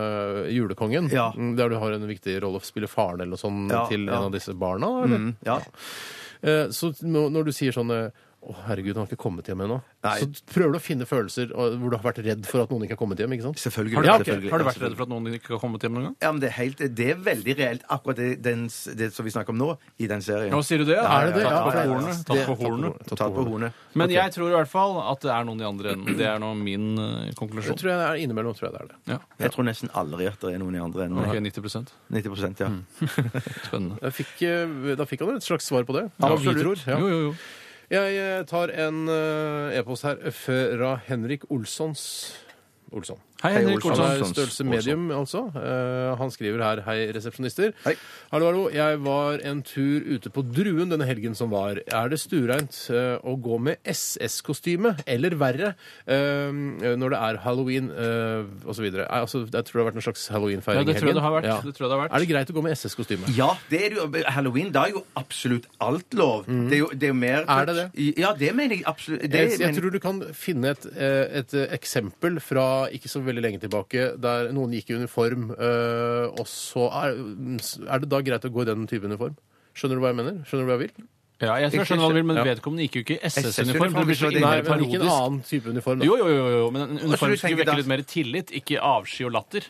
Speaker 3: Julekongen,
Speaker 5: Ja.
Speaker 3: mm, der du har en viktig rolle å spille faren eller noe sånt
Speaker 5: Ja,
Speaker 3: til
Speaker 5: ja. Mm.
Speaker 3: en av disse barna, eller?
Speaker 5: Ja.
Speaker 3: Eh, Så nå- når du sier sånn eh, å, herregud, han har ikke kommet hjem ennå.
Speaker 5: Nei.
Speaker 3: Så prøver du å finne følelser og- hvor du har vært redd for at noen ikke har kommet hjem. ikke sant?
Speaker 5: Selvfølgelig.
Speaker 4: Har du,
Speaker 3: Ja,
Speaker 4: vært-
Speaker 3: ok.
Speaker 5: selvfølgelig.
Speaker 4: har du vært redd for at noen ikke har kommet hjem noen gang?
Speaker 5: Ja, men det er, helt, det er veldig reelt, akkurat det, den, s- det som vi snakker om nå, i den serien.
Speaker 4: Nå sier du det?
Speaker 3: Er det det?
Speaker 4: Tatt
Speaker 3: Ja,
Speaker 4: på
Speaker 3: det-
Speaker 4: hornet.
Speaker 3: det-
Speaker 4: Tatt på hornet.
Speaker 3: Tatt
Speaker 5: Tatt på
Speaker 3: hornet.
Speaker 5: hornet.
Speaker 4: Men jeg tror i hvert fall at det er noen i andre enden. Det er nå min eh,
Speaker 3: Det
Speaker 4: konklusjon.
Speaker 3: tror jeg det er innimellom. tror jeg det er det.
Speaker 4: Ja,
Speaker 5: Jeg tror nesten aldri at det er noen i andre enden.
Speaker 4: ok, Mm. 90
Speaker 5: 90 ja.
Speaker 4: Spennende.
Speaker 3: Jeg fikk, eh, da fikk han et slags svar på det.
Speaker 4: Ja,
Speaker 3: Hva vi tror,
Speaker 4: absolutt.
Speaker 3: ja.
Speaker 4: Jo, jo, jo.
Speaker 3: Jeg eh, tar en eh, e-post her fra Henrik Olssons Olsson.
Speaker 4: Hei,
Speaker 5: Hei,
Speaker 4: Henrik
Speaker 5: Olsen.
Speaker 4: Olsson.
Speaker 3: Han er størrelse medium, altså. Eh, han skriver her Hei, resepsjonister.
Speaker 5: Hei.
Speaker 3: Hallo, hallo. Jeg var en tur ute på Druen denne helgen som var. Er det stuereint eh, å gå med SS-kostyme, eller verre, eh, når det er halloween uh, osv.? Altså, jeg tror det har vært en slags
Speaker 4: Ja,
Speaker 3: halloweenfeiring
Speaker 4: det tror jeg det har vært.
Speaker 3: Ja.
Speaker 4: Det tror jeg det har vært.
Speaker 3: Er det greit å gå med SS-kostyme?
Speaker 5: Ja, det er det jo. Halloween, da er jo absolutt alt lov.
Speaker 3: Mm.
Speaker 5: Det er jo, det er jo mer
Speaker 3: Er det
Speaker 5: Ja, det mener jeg absolutt. Det,
Speaker 3: Jeg, jeg
Speaker 5: men-
Speaker 3: tror du kan finne et, eh, et eh, eksempel fra ikke så veldig lenge tilbake, der noen gikk i uniform, eh, og så er, er det da greit å gå i den type uniform? Skjønner du hva jeg mener? Skjønner du hva jeg vil?
Speaker 4: Ja, jeg tror jeg skjønner hva du vil, men
Speaker 3: Ja.
Speaker 4: vedkommende gikk jo ikke i
Speaker 5: SS-uniform,
Speaker 4: SS-uniform. Det blir så
Speaker 5: det er
Speaker 3: Nei,
Speaker 4: innmari
Speaker 3: men ikke en
Speaker 4: parodisk.
Speaker 3: annen type uniform. Da.
Speaker 4: Jo, jo, jo, jo, jo, men en uniform
Speaker 5: du
Speaker 4: skulle
Speaker 5: tenker
Speaker 4: vekke
Speaker 5: da-
Speaker 4: litt mer tillit, ikke avsky og latter.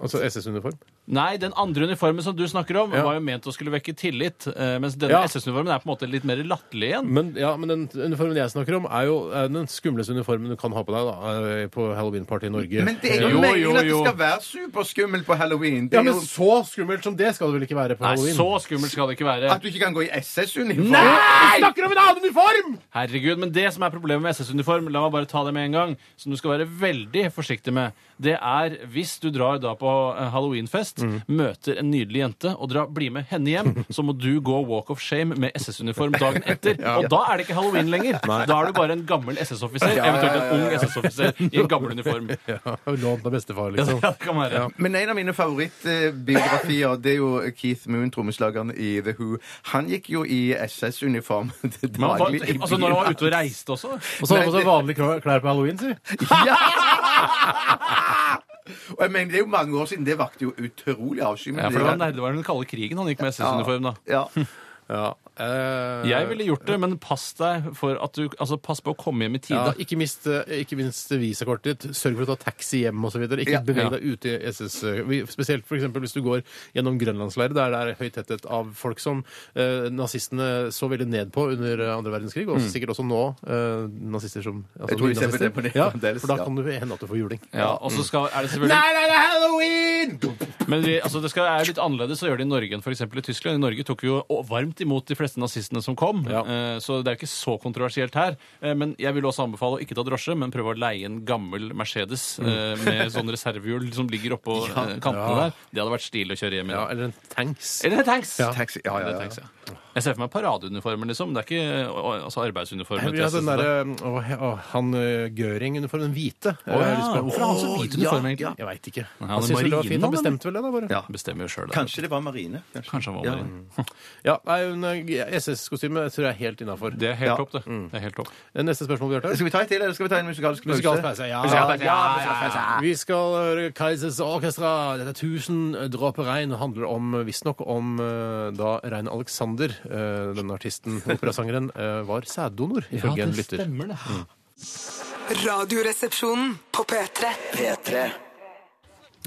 Speaker 3: Altså SS-uniform.
Speaker 4: Nei, den andre uniformen som du snakker om,
Speaker 3: Ja.
Speaker 4: var jo ment å skulle vekke tillit, eh, mens denne
Speaker 3: Ja. Mm.
Speaker 4: SS-uniformen er på en måte litt mer latterlig igjen.
Speaker 3: Men, ja, men den uniformen jeg snakker om, er jo er den skumleste uniformen du kan ha på deg da, eh, på halloween-party i Norge.
Speaker 5: Men det er
Speaker 4: Jo,
Speaker 5: jo, meningen
Speaker 4: jo,
Speaker 5: at
Speaker 4: jo.
Speaker 5: det skal være superskummelt på halloween. Det
Speaker 3: Ja,
Speaker 5: er jo
Speaker 3: men så skummelt som det skal det vel ikke være på
Speaker 4: Nei,
Speaker 3: halloween?
Speaker 4: så skummelt skal det ikke være.
Speaker 5: at du ikke kan gå i SS-uniform.
Speaker 3: Jeg snakker om en annen uniform!
Speaker 4: Herregud, men det som er problemet med SS-uniform, la meg bare ta det med en gang, som du skal være veldig forsiktig med, det er hvis du drar da på eh, halloweenfest,
Speaker 3: Mm.
Speaker 4: møter en nydelig jente og drar, blir med henne hjem, så må du gå walk of shame med SS-uniform dagen etter. Og da er det ikke halloween lenger. Da er du bare en gammel SS-offiser, eventuelt en ung SS-offiser i en gammel uniform. Ja,
Speaker 3: Ja, Lånt av bestefar, liksom.
Speaker 4: det kan være.
Speaker 5: Men en av mine favorittbiografier det er jo Keith Moon, trommeslageren i The Who. Han gikk jo i SS-uniform til
Speaker 4: Men han var,
Speaker 5: daglig. i
Speaker 4: altså når han var ute og reiste også?
Speaker 3: Og så har han på
Speaker 5: Nei, det-
Speaker 3: seg vanlige klær- klær på halloween, si.
Speaker 5: bilen. Ja! Og jeg mener, Det er jo mange år siden. Det vakte jo utrolig avsky. men
Speaker 4: Ja, for det
Speaker 5: det-
Speaker 4: var nerdevaren den kalde krigen han gikk med SS-uniform da.
Speaker 5: ja.
Speaker 3: Ja. eh,
Speaker 4: Jeg ville gjort det, men pass deg for at du, altså pass på å komme hjem i tide.
Speaker 3: ja, ikke, mist, eh, ikke minst visakortet ditt. Sørg for å ta taxi hjem osv. Ikke
Speaker 5: Ja.
Speaker 3: beveg
Speaker 4: Ja.
Speaker 3: deg ute i SS. eh, vi- Spesielt for eksempel hvis du går gjennom grønlandsleirer, der det er høy tetthet av folk som eh, nazistene så veldig ned på under eh, andre verdenskrig, og sikkert også nå eh, nazister som altså,
Speaker 5: Mm. Jeg tror vi ser på
Speaker 3: nynazister.
Speaker 5: det på det
Speaker 3: ja,
Speaker 5: fremdeles,
Speaker 3: For da
Speaker 5: ja.
Speaker 3: kan det hende at du får juling.
Speaker 4: Ja, og så skal, er det selvfølgelig
Speaker 5: Nei, det er halloween!
Speaker 4: Men vi, altså det skal, er litt annerledes å gjøre det i Norge enn for eksempel i Tyskland. I Norge tok vi jo varmt imot de fleste nazistene som kom,
Speaker 3: Ja.
Speaker 4: eh, så det er ikke så kontroversielt her. Eh, men jeg vil også anbefale å ikke ta drosje, men prøve å leie en gammel Mercedes eh, med sånn reservehjul som ligger oppå eh, kantene der. Det hadde vært stilig å kjøre hjem i.
Speaker 3: Ja, eller en tanks.
Speaker 4: Eller en tanks!
Speaker 5: Taxi, ja, ja, ja.
Speaker 4: Eller tanks, ja. Jeg ser for meg paradeuniformen, liksom. Det er ikke ø, altså,
Speaker 3: Jeg
Speaker 4: arbeidsuniformen.
Speaker 3: vil ha den sånn
Speaker 5: sånn
Speaker 3: derre mm, å, he- å, Han ø, Göring-uniformen, den hvite. Jeg har
Speaker 4: ja.
Speaker 3: lyst på-
Speaker 4: Hvorfor har han så hvit uniform, egentlig?
Speaker 3: Jeg veit ikke.
Speaker 4: han
Speaker 3: Han
Speaker 4: er
Speaker 3: syntes vel det var fint. Han
Speaker 4: marinen,
Speaker 3: bestemte vel det, da, bare.
Speaker 4: ja. Bestemmer jo sjøl.
Speaker 5: Kanskje det var Marine. Kanskje,
Speaker 4: Kanskje han var
Speaker 5: Ja.
Speaker 4: marin.
Speaker 3: Ja, nei, hun, ø, SS-kostyme tror jeg er helt innafor.
Speaker 4: Det er helt
Speaker 5: Ja. Mm.
Speaker 4: topp, det. det er helt topp.
Speaker 3: Neste spørsmål, Bjarte.
Speaker 5: Skal vi ta et til, eller skal vi ta en musikalsk pause?
Speaker 3: Musikalsk pause. Ja,
Speaker 4: Musikalsk pause, ja,
Speaker 3: Vi skal høre Kaizers Orkestra. Dette er 1000 dråper regn. Det handler om visstnok om eh, da Rein Alexander, eh, denne artisten, operasangeren, eh, var sæddonor, ifølge en lytter.
Speaker 4: stemmer, det.
Speaker 5: Mm.
Speaker 6: Radioresepsjonen på P3.
Speaker 2: P3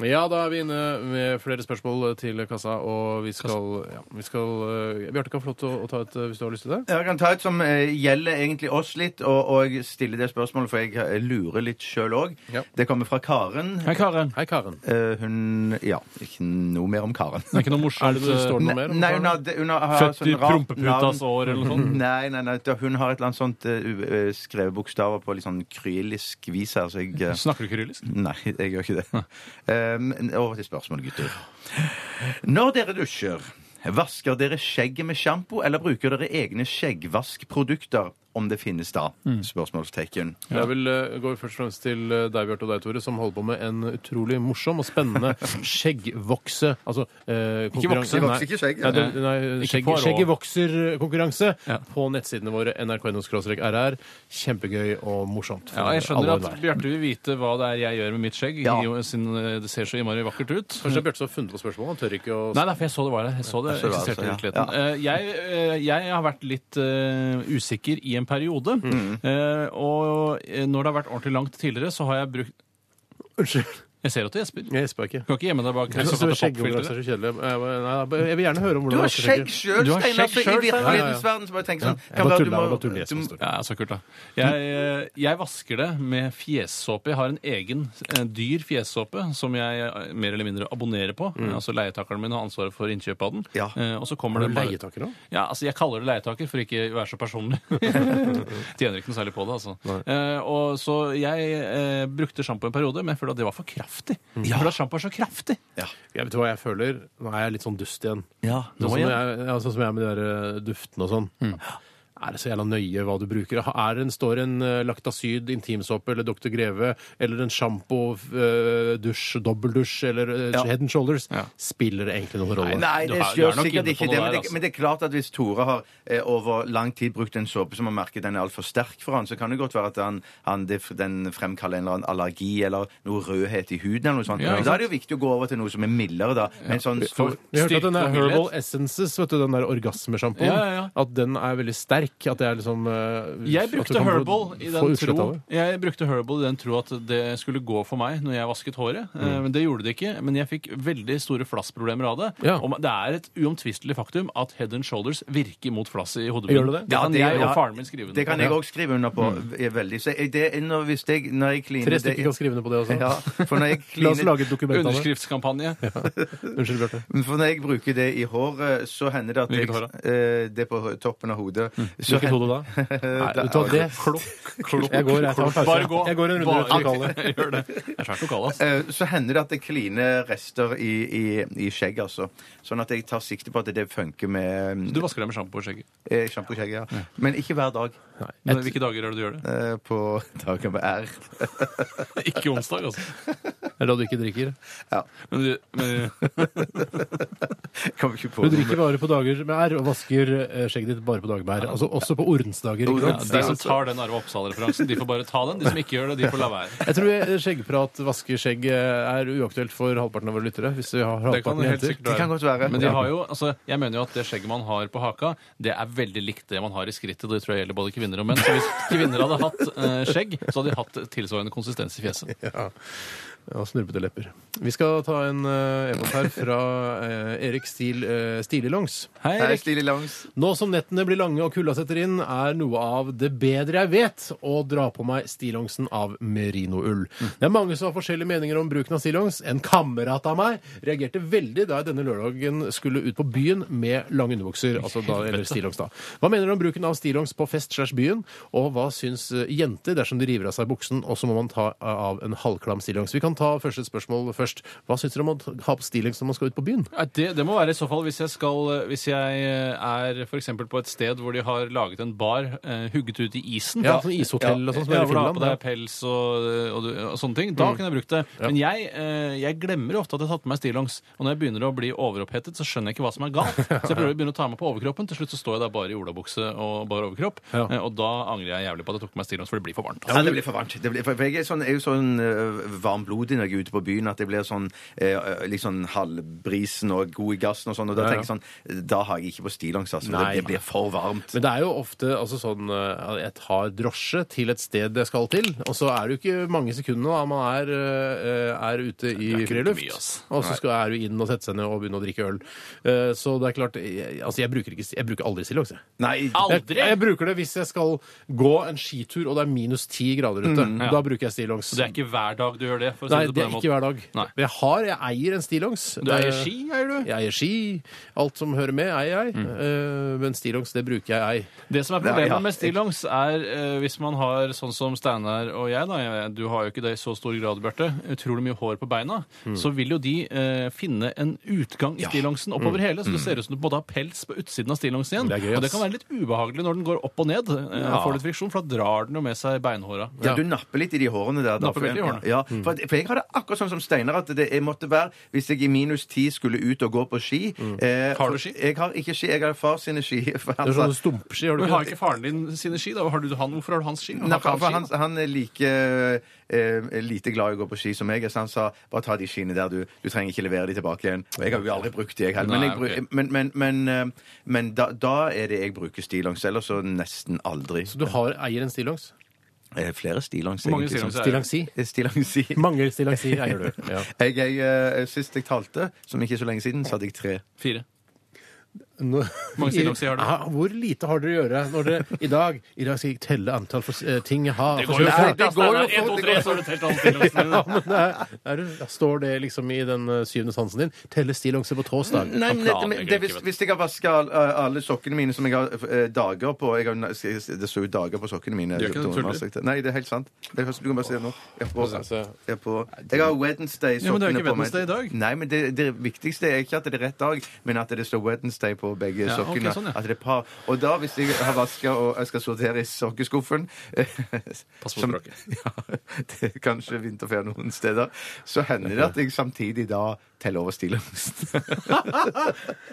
Speaker 3: Ja, da er vi inne med flere spørsmål til kassa, og vi skal, ja, vi skal eh, Bjarte kan få lov til å, å ta et eh, hvis du har lyst til det.
Speaker 5: Jeg kan ta et som eh, gjelder egentlig oss litt, og, og stille det spørsmålet, for jeg eh, lurer litt sjøl òg.
Speaker 3: Ja.
Speaker 5: Det kommer fra Karen.
Speaker 4: Hei, Karen.
Speaker 3: Hei, Karen.
Speaker 5: Eh, hun Ja, ikke noe mer om Karen.
Speaker 4: Det er ikke noe morsomt.
Speaker 3: det det står
Speaker 4: ø,
Speaker 3: noe mer om
Speaker 5: Nei,
Speaker 3: Karen?
Speaker 5: hun har, hun har, har
Speaker 4: Født i
Speaker 5: sånn rart
Speaker 4: prompeputas
Speaker 5: navn.
Speaker 4: år, eller noe sånt.
Speaker 5: Nei, nei, nei, da- hun har et eller annet sånt eh, u- eh, skrevet bokstaver på litt sånn krylisk vis her, så jeg eh,
Speaker 4: Snakker du kyrillisk?
Speaker 5: Nei, jeg gjør ikke det. Um, over til spørsmålet, gutter. Når dere dusjer, vasker dere skjegget med sjampo, eller bruker dere egne skjeggvaskprodukter, om det finnes da?
Speaker 3: Mm.
Speaker 5: Spørsmålstegn.
Speaker 3: Jeg vil eh, gå først og fremst til eh, deg, Bjarte, og deg, Tore, som holder på med en utrolig morsom og spennende skjeggvokse... Altså eh, konkurranse...
Speaker 4: vokse,
Speaker 3: nei.
Speaker 5: vokse ikke skjegg.
Speaker 3: Nei, det- nei, skjegg,
Speaker 4: Poirot.
Speaker 3: skjegget vokser-konkurranse
Speaker 4: Ja.
Speaker 3: på nettsidene våre nrk.no-rr. Kjempegøy og morsomt. for
Speaker 4: Ja, jeg skjønner
Speaker 3: alle
Speaker 4: at
Speaker 3: og enhver.
Speaker 4: Bjarte vil vite hva det er jeg gjør med mitt skjegg,
Speaker 5: Ja.
Speaker 4: i- siden ø, det ser så innmari vakkert ut.
Speaker 3: Kanskje det er Bjarte som har funnet på spørsmålet? Han tør ikke å
Speaker 4: Nei, nei, for jeg så det var der. Jeg så det
Speaker 5: Jeg så det var
Speaker 4: eksisterte i
Speaker 5: der, så ja.
Speaker 4: virkeligheten. Eh, Jeg, eh, jeg har vært litt eh, usikker i en periode.
Speaker 5: Mm.
Speaker 4: Eh, og eh, når det har vært ordentlig langt tidligere, så har jeg brukt
Speaker 3: Unnskyld.
Speaker 4: Jeg ser at du gjesper. Du
Speaker 3: Jeg gjesper ikke.
Speaker 4: kan ikke gjemme deg bak
Speaker 3: Jeg synes det var skjeggkonkurranse
Speaker 4: popfilteret.
Speaker 3: er så kjedelig. Jeg bare- nei, nei, Jeg vil gjerne høre om
Speaker 5: Du
Speaker 3: hvordan
Speaker 5: har
Speaker 3: vasker
Speaker 5: skjegg
Speaker 3: skjegget.
Speaker 5: sjøl,
Speaker 4: Du har
Speaker 5: Steinar,
Speaker 4: skjegg
Speaker 5: så i
Speaker 4: selv, Steinar.
Speaker 5: virkelighetens verden. Så bare tenk sånn
Speaker 3: Jeg
Speaker 5: kan
Speaker 3: bare
Speaker 5: være du
Speaker 3: tuller, jeg
Speaker 5: må-
Speaker 3: bare tuller. Jeg
Speaker 5: du må-
Speaker 3: synes det er
Speaker 4: Ja, så kult, da. Jeg, eh, jeg vasker det med fjessåpe. Jeg har en egen eh, dyr fjessåpe som jeg eh, mer eller mindre abonnerer på. Altså Leietakeren min har ansvaret for innkjøp av den.
Speaker 5: Mm. Ja.
Speaker 4: Eh, Og så kommer
Speaker 3: Er
Speaker 4: det
Speaker 3: du
Speaker 4: bare-
Speaker 3: leietaker òg?
Speaker 4: Ja, altså Jeg kaller det leietaker for ikke å være så personlig. Tjener ikke noe særlig på det, altså. Eh, og Så jeg eh, brukte sjampo en periode, men jeg følte at det var for kraftig.
Speaker 5: Mm.
Speaker 4: Jeg følte at sjampo er så kraftig.
Speaker 3: Jeg vet hva jeg føler. Nå er jeg litt sånn dust igjen.
Speaker 4: Ja,
Speaker 3: Sånn som,
Speaker 4: igjen.
Speaker 3: jeg, ja, sånn som jeg er med de der eh, duftene og sånn.
Speaker 5: Mm.
Speaker 3: Er det så jævla nøye hva du bruker? Er det en, står en eh, Lactacyd intimsåpe eller Dr. Greve eller en sjampo, eh, dusj, dobbeldusj eller eh,
Speaker 5: Ja.
Speaker 3: Head and Shoulders?
Speaker 4: Ja.
Speaker 3: Spiller det egentlig noen rolle?
Speaker 5: Nei,
Speaker 4: Du
Speaker 5: det
Speaker 4: har- du er
Speaker 5: gjør
Speaker 4: nok
Speaker 5: sikkert
Speaker 4: inne på
Speaker 5: ikke det,
Speaker 4: noe
Speaker 5: men
Speaker 4: der,
Speaker 5: det,
Speaker 4: altså.
Speaker 5: men det er klart at hvis Tore har eh, over lang tid brukt en såpe som han merker den er altfor sterk for han, så kan det godt være at han, han, det, den fremkaller en eller annen allergi eller noe rødhet i huden eller noe sånt.
Speaker 4: Ja, ikke
Speaker 5: da er det jo viktig å gå over til noe som er mildere, da. Men sånn stor
Speaker 3: Vi hørte at den
Speaker 4: Styrke
Speaker 3: der
Speaker 4: og
Speaker 3: Herbal
Speaker 4: mildhet.
Speaker 3: Essences, vet du, den der orgasmesjampoen,
Speaker 4: Ja, ja, ja.
Speaker 3: at den er veldig sterk. At det er liksom eh,
Speaker 4: Jeg
Speaker 3: at du
Speaker 4: brukte
Speaker 3: kan få-
Speaker 4: herbal i
Speaker 3: få
Speaker 4: den
Speaker 3: utslett
Speaker 4: tro
Speaker 3: av det.
Speaker 4: Jeg brukte herbal i den tro at det skulle gå for meg når jeg vasket håret. Eh,
Speaker 3: Mm.
Speaker 4: Men det gjorde det ikke. Men jeg fikk veldig store flassproblemer av det.
Speaker 3: Ja.
Speaker 4: Og det er et uomtvistelig faktum at head and shoulders virker mot flass i hodet.
Speaker 3: Gjør det det?
Speaker 4: Det
Speaker 5: Ja,
Speaker 4: kan
Speaker 5: det-
Speaker 4: jeg og
Speaker 5: ja.
Speaker 4: faren min
Speaker 5: Det
Speaker 4: skrive under på.
Speaker 5: kan jeg òg skrive under på. er Veldig. Så jeg- det, er når, hvis jeg, når jeg kliner
Speaker 3: Tre stykker kan
Speaker 5: det,
Speaker 3: skrive ned på det også.
Speaker 5: ja, for når jeg
Speaker 3: La oss
Speaker 5: kliner
Speaker 3: lage et dokument av det.
Speaker 4: Underskriftskampanje.
Speaker 3: Unnskyld, Bjarte.
Speaker 5: For når jeg bruker det i håret, så hender det at
Speaker 4: Hvilket
Speaker 5: jeg,
Speaker 4: hår
Speaker 5: eh, det er på toppen av hodet. Så
Speaker 3: Hvilket hode da? Nei, vet du hva, det klokk, klokk, jeg går, jeg tar en pause.
Speaker 4: Bare gå.
Speaker 3: Jeg går en runde
Speaker 4: Bare-
Speaker 3: rundt lokalet.
Speaker 4: Gjør det. Det er svært lokal, altså. ass.
Speaker 5: Eh, Så hender det at det kliner rester i, i, i skjegg, altså. Sånn at jeg tar sikte på at det funker med mm,
Speaker 4: Du vasker deg med sjampo og skjegg.
Speaker 5: eh, sjampo i skjegget. Ja. Men ikke hver dag.
Speaker 4: Men Hvilke dager er det du gjør det?
Speaker 5: eh, På dagen med R.
Speaker 4: Ikke onsdag, altså.
Speaker 3: Det er da du ikke drikker.
Speaker 4: Men, du- men,
Speaker 5: Jeg Kommer ikke på
Speaker 3: Du drikker bare på dager med R, og vasker eh, skjegget ditt bare på dager med R. Altså også på ordensdager. ikke
Speaker 4: ja,
Speaker 3: sant?
Speaker 4: de som tar den Arve Oppsal-referansen, de får bare ta den. De som ikke gjør det, de får la være.
Speaker 3: Jeg tror eh, skjeggprat, vaske skjegg, eh, er uaktuelt for halvparten av våre lyttere. Hvis vi har
Speaker 4: Det kan
Speaker 3: halvparten
Speaker 4: helt
Speaker 3: jenter.
Speaker 4: sikkert
Speaker 5: Det kan
Speaker 4: være.
Speaker 5: godt være.
Speaker 4: Men de har jo, altså, jeg mener jo at det skjegget man har på haka, det er veldig likt det man har i skrittet. Det tror jeg gjelder både kvinner og menn. Så hvis kvinner hadde hatt eh, skjegg, så hadde de hatt tilsvarende konsistens i fjeset.
Speaker 3: Ja, snurpete lepper. Vi skal ta en eh, e-post her fra eh, Erik Stil, eh, Stilelongs.
Speaker 4: Hei,
Speaker 5: Hei,
Speaker 4: Erik.
Speaker 5: Stille Langs.
Speaker 3: Nå som nettene blir lange og kulda setter inn, er noe av det bedre jeg vet å dra på meg stillongsen av merinoull. Det er mange som har forskjellige meninger om bruken av stillongs. En kamerat av meg reagerte veldig da jeg denne lørdagen skulle ut på byen med lange underbukser. altså da eller stillongs da. Hva mener du om bruken av stillongs på fest slash byen, og hva syns eh, jenter dersom de river av seg buksen, og så må man ta av en halvklam stillongs? Vi kan kan ta første spørsmål først. Hva syns dere om å ha på stillongs når man skal ut på byen?
Speaker 4: Ja, Det, det må være i så fall hvis jeg, skal, eh, hvis jeg er f.eks. på et sted hvor de har laget en bar eh, hugget ut i isen.
Speaker 3: Ja, sånn ishotell og sånn som er i
Speaker 4: hvor du har
Speaker 3: Finland,
Speaker 4: på deg
Speaker 3: ja. Mm.
Speaker 4: pels og, eh, og, du- og sånne ting. Da kunne jeg brukt det. Men jeg, eh, jeg glemmer jo ofte at jeg har tatt på meg stillongs. Og når jeg begynner å bli overopphetet, så skjønner jeg ikke hva som er galt. Så jeg prøver å begynne å ta meg på overkroppen. Til slutt så står jeg der bare i olabukse og bare overkropp.
Speaker 3: Ja.
Speaker 4: Eh, Og da angrer jeg jævlig på at jeg tok på meg stillongs, for det blir for varmt. altså.
Speaker 5: Ja, det blir for varmt. Det blir, for for jeg er, sånn, jeg er jo sånn øh, varmblodig når jeg er ute på byen, at jeg blir sånn eh, øh, litt sånn halvbrisen og god i gassen og sånn. Og da
Speaker 3: Ja, ja.
Speaker 5: tenker jeg sånn Da har jeg ikke på stillongs, altså. for
Speaker 3: Nei.
Speaker 5: Det, det blir for varmt.
Speaker 3: Men det er jo ofte altså, sånn eh, jeg tar drosje til et sted jeg skal til, og så er det jo ikke mange sekundene da man er, eh, er ute i
Speaker 4: Det er ikke
Speaker 3: friluft.
Speaker 4: mye, ass.
Speaker 3: Og så skal, er du inn og sette seg ned og begynne å drikke øl. Eh, Så det er klart Jeg, altså, jeg, bruker, ikke, jeg bruker aldri stillongs, jeg.
Speaker 5: Nei,
Speaker 4: Aldri!
Speaker 3: Jeg, jeg bruker det hvis jeg skal gå en skitur og det er minus ti grader ute. Da bruker jeg stillongs.
Speaker 4: Mm, Så det er ikke hver dag du gjør det? For å si
Speaker 3: Nei,
Speaker 4: det, på
Speaker 3: det er
Speaker 4: den
Speaker 3: ikke
Speaker 4: måten.
Speaker 3: hver dag.
Speaker 4: Nei.
Speaker 3: Men Jeg har, jeg eier en stillongs.
Speaker 4: Du
Speaker 3: Det er-
Speaker 4: eier ski, eier du?
Speaker 3: Jeg eier ski. Alt som hører med, eier jeg.
Speaker 4: Mm.
Speaker 3: Eh, Men stillongs, det bruker jeg ei.
Speaker 4: Det som er problemet
Speaker 5: Ja, ja.
Speaker 4: med stillongs, er eh, hvis man har sånn som Steinar og jeg, da, jeg, du har jo ikke det i så stor grad, Bjarte, utrolig mye hår på beina, så vil jo de eh, finne en utgang i stillongsen oppover hele, så det ser ut som du på en måte har pels på utsiden av stillongsen igjen.
Speaker 3: Det er gøy,
Speaker 4: og det
Speaker 3: ass.
Speaker 4: kan være litt ubehagelig når den går opp og ned, eh,
Speaker 5: Ja.
Speaker 4: får litt friksjon, for da drar den jo med seg beinhåra.
Speaker 5: Ja, Du napper litt i de hårene der. da.
Speaker 4: Napper veldig i hårene. Mm.
Speaker 5: Ja, for, at- for jeg har det akkurat sånn som Steinar, at det jeg måtte være Hvis jeg i minus ti skulle ut og gå på ski eh,
Speaker 4: Mm. Har du ski? sånn
Speaker 5: Jeg har ikke ski. Jeg har far sine ski. For han,
Speaker 3: Det er sånne stumpski, har du
Speaker 4: Men
Speaker 3: ikke?
Speaker 4: har ikke faren din sine ski, da? Har du, han, hvorfor har du hans ski?
Speaker 5: Nei, for, for
Speaker 4: ski?
Speaker 5: han, han er like eh, lite glad i å gå på ski som jeg, så han sa bare ta de skiene der, du. Du trenger ikke levere de tilbake igjen. Og jeg har jo aldri brukt de, jeg heller. Men,
Speaker 4: Nei,
Speaker 5: jeg, bru-
Speaker 4: ok.
Speaker 5: men, men, men, eh, men da, da er det jeg bruker stillongs, ellers så nesten aldri.
Speaker 3: Så du har, eier en stillongs?
Speaker 5: Eh, Flere stillongs.
Speaker 4: Hvor mange
Speaker 5: egentlig, som-
Speaker 4: stillongs er det?
Speaker 3: Stillongsi?
Speaker 5: Eh, Stillongs i
Speaker 3: Mange stillongsi eier du. Ja.
Speaker 5: Jeg, jeg, eh, sist jeg talte, som ikke er så lenge siden, så hadde jeg tre.
Speaker 4: Fire.
Speaker 3: Nå-
Speaker 4: mange stillongsi har du?
Speaker 3: Ja, Hvor lite har dere å gjøre når dere i dag I dag skal jeg telle antall for, eh, ting jeg har.
Speaker 5: jo
Speaker 3: Nei,
Speaker 5: fort,
Speaker 3: det
Speaker 5: ass. går jo
Speaker 4: En,
Speaker 5: fort,
Speaker 4: to,
Speaker 5: det
Speaker 4: tre, så har du telt alle stillongsene.
Speaker 3: Ja, men det er, er, du- står det liksom i den eh, syvende sansen din? Telle stillongser på torsdag.
Speaker 5: Nei, men det, men det,
Speaker 4: planlegger
Speaker 5: hvis,
Speaker 4: ikke, vet du.
Speaker 5: hvis jeg har vaska alle sokkene mine som jeg har eh, dager på jeg har, Det står jo dager på sokkene mine.
Speaker 4: Gjør ikke det, tuller du?
Speaker 5: Jonas. Nei, det er helt sant. Det er, du kan bare se det nå. Jeg har på,
Speaker 3: Altså,
Speaker 5: jeg har på, jeg har Wednesday-sokkene
Speaker 4: Ja, men det er jo ikke
Speaker 5: på meg.
Speaker 4: Wednesday i dag.
Speaker 5: Nei, men det, det viktigste er ikke at det er rett dag, men at det står Wednesday på begge
Speaker 4: Ja, ok,
Speaker 5: sokkene.
Speaker 4: sånn, ja.
Speaker 5: At det er par. Og da, hvis jeg har vaska og jeg skal sortere i sokkeskuffen
Speaker 4: Pass på
Speaker 5: som-
Speaker 4: språket.
Speaker 5: Ja, det er kanskje vinterferie noen steder. Så hender det at jeg samtidig da teller over stillongsen.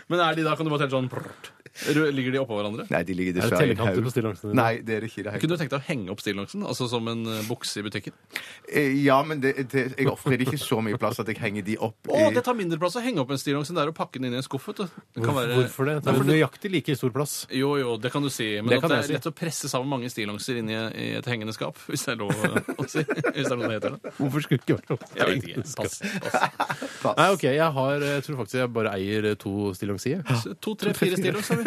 Speaker 4: Men er de da, kan du bare telle sånn prrt. Ligger de oppå hverandre?
Speaker 5: Nei, de
Speaker 3: Er
Speaker 5: ligger
Speaker 3: det
Speaker 5: dessverre i en
Speaker 3: tellekanter på
Speaker 5: haug.
Speaker 3: stillongsene? dine?
Speaker 5: Nei, det er det ikke. i Det hele
Speaker 4: Kunne du tenkt deg å henge opp stillongsen? Altså som en eh, bukse i butikken?
Speaker 5: tatt. Eh, Ja, men det, det, jeg ofrer ikke så mye plass at jeg henger de opp
Speaker 4: Å,
Speaker 5: i
Speaker 4: det tar mindre plass å henge opp en stillongs enn det er å pakke den inn i en skuff. vet du. Det kan være...
Speaker 3: Hvorfor det? Det
Speaker 4: Nei,
Speaker 3: er
Speaker 4: fordi-
Speaker 3: nøyaktig like stor plass.
Speaker 4: Jo, jo, det kan du si. Men
Speaker 3: Det
Speaker 4: det,
Speaker 3: kan
Speaker 4: at det
Speaker 3: jeg
Speaker 4: er
Speaker 3: si.
Speaker 4: lett å presse sammen mange stillongser inn i, i et hengende skap. Hvis det er lov å si. Hvis det er noe det heter. Da.
Speaker 3: Hvorfor skulle det ikke være sånn?
Speaker 4: Jeg vet ikke. Pass. pass.
Speaker 5: pass.
Speaker 3: Nei, ok, jeg, har, jeg tror faktisk jeg bare eier eh, to stillongsier.
Speaker 4: Så To, tre, fire stillongs har vi.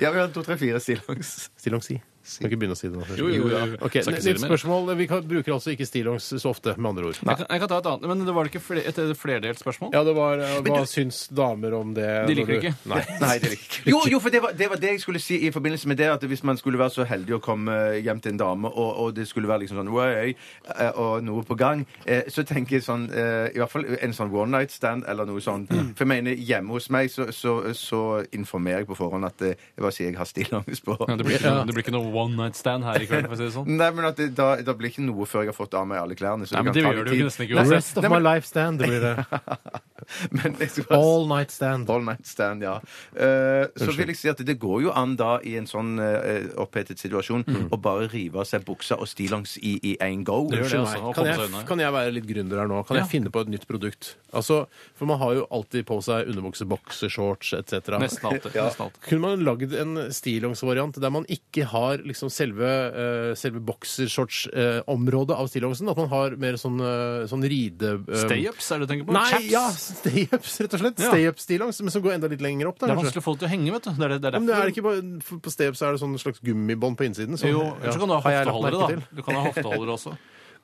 Speaker 5: Ja, vi har to-tre-fire stillongs.
Speaker 3: Stillongsi. Skal ikke begynne å si det nå. først.
Speaker 4: Jo, jo, jo.
Speaker 3: ja. Ok,
Speaker 4: Skal ikke si det
Speaker 3: Nytt
Speaker 4: mer.
Speaker 3: spørsmål. Vi kan, bruker altså ikke stillongs så ofte, med andre ord.
Speaker 4: Jeg kan, jeg kan ta et annet, men det var ikke fler, et, et flerdelt spørsmål?
Speaker 3: Ja, det var, eh, Hva syns damer om det?
Speaker 4: De
Speaker 3: når
Speaker 4: liker det
Speaker 3: du-
Speaker 4: ikke.
Speaker 3: Nei.
Speaker 5: Nei, det er ikke. Jo, jo, for det var, det var det jeg skulle si i forbindelse med det, at hvis man skulle være så heldig å komme eh, hjem til en dame, og, og det skulle være liksom sånn «Oi, eh, og noe på gang, eh, så tenker jeg sånn eh, I hvert fall en sånn one night stand eller noe sånt. Mm. For jeg mener, hjemme hos meg så, så, så informerer jeg på forhånd at eh, Hva sier jeg har stillongs på?
Speaker 4: Ja, det, blir ikke noe, det blir ikke noe one night stand her i kveld, for å si det sånn.
Speaker 5: Nei, men at det, da, da blir ikke noe før jeg har fått av meg alle klærne. Så
Speaker 4: Nei, men
Speaker 5: det
Speaker 4: det
Speaker 5: kan ta
Speaker 4: gjør
Speaker 5: litt
Speaker 4: du jo
Speaker 5: tid.
Speaker 4: nesten ikke.
Speaker 3: The
Speaker 4: uansett.
Speaker 3: rest of my life stand det blir det.
Speaker 5: Men jeg skal bare
Speaker 3: All night stand.
Speaker 5: All night stand, ja. Eh, så vil jeg si at det går jo an da, i en sånn eh, opphetet situasjon, å bare rive av seg buksa og stillongs i i en go.
Speaker 4: Mm. Det gjør det,
Speaker 3: Unnskyld
Speaker 4: altså,
Speaker 3: meg.
Speaker 4: å
Speaker 3: Kan
Speaker 4: komme seg
Speaker 3: jeg,
Speaker 4: unna.
Speaker 3: kan jeg være litt gründer her nå? Kan
Speaker 4: Ja.
Speaker 3: jeg finne på et nytt produkt? Altså, For man har jo alltid på seg underbukse, bokser, shorts etc.
Speaker 4: Nesten alltid. Nesten alltid.
Speaker 3: Kunne man lagd en stillongs-variant der man ikke har liksom selve, uh, selve boksershorts-området av stillongsen? At man har mer sånn, eh, sånn ride... eh,
Speaker 4: Stay-ups er det du tenker på?
Speaker 3: Nei,
Speaker 4: Chaps?
Speaker 3: ja! Stay-ups, rett og slett.
Speaker 4: Ja.
Speaker 3: Stay-up-stillongs, men som går enda litt lenger opp.
Speaker 4: Det
Speaker 3: Da,
Speaker 4: er
Speaker 3: kanskje.
Speaker 4: vanskelig å få det til å henge, vet du. Det er, det, det er
Speaker 3: Men det
Speaker 4: derfor-
Speaker 3: er ikke bare, for på stay-ups er det sånn slags gummibånd på innsiden. som-
Speaker 4: Jo, ellers
Speaker 3: ja,
Speaker 4: så kan du ha
Speaker 3: har jeg lagt merke
Speaker 4: hofteholdere, da. Du kan ha hofteholdere også.
Speaker 3: til.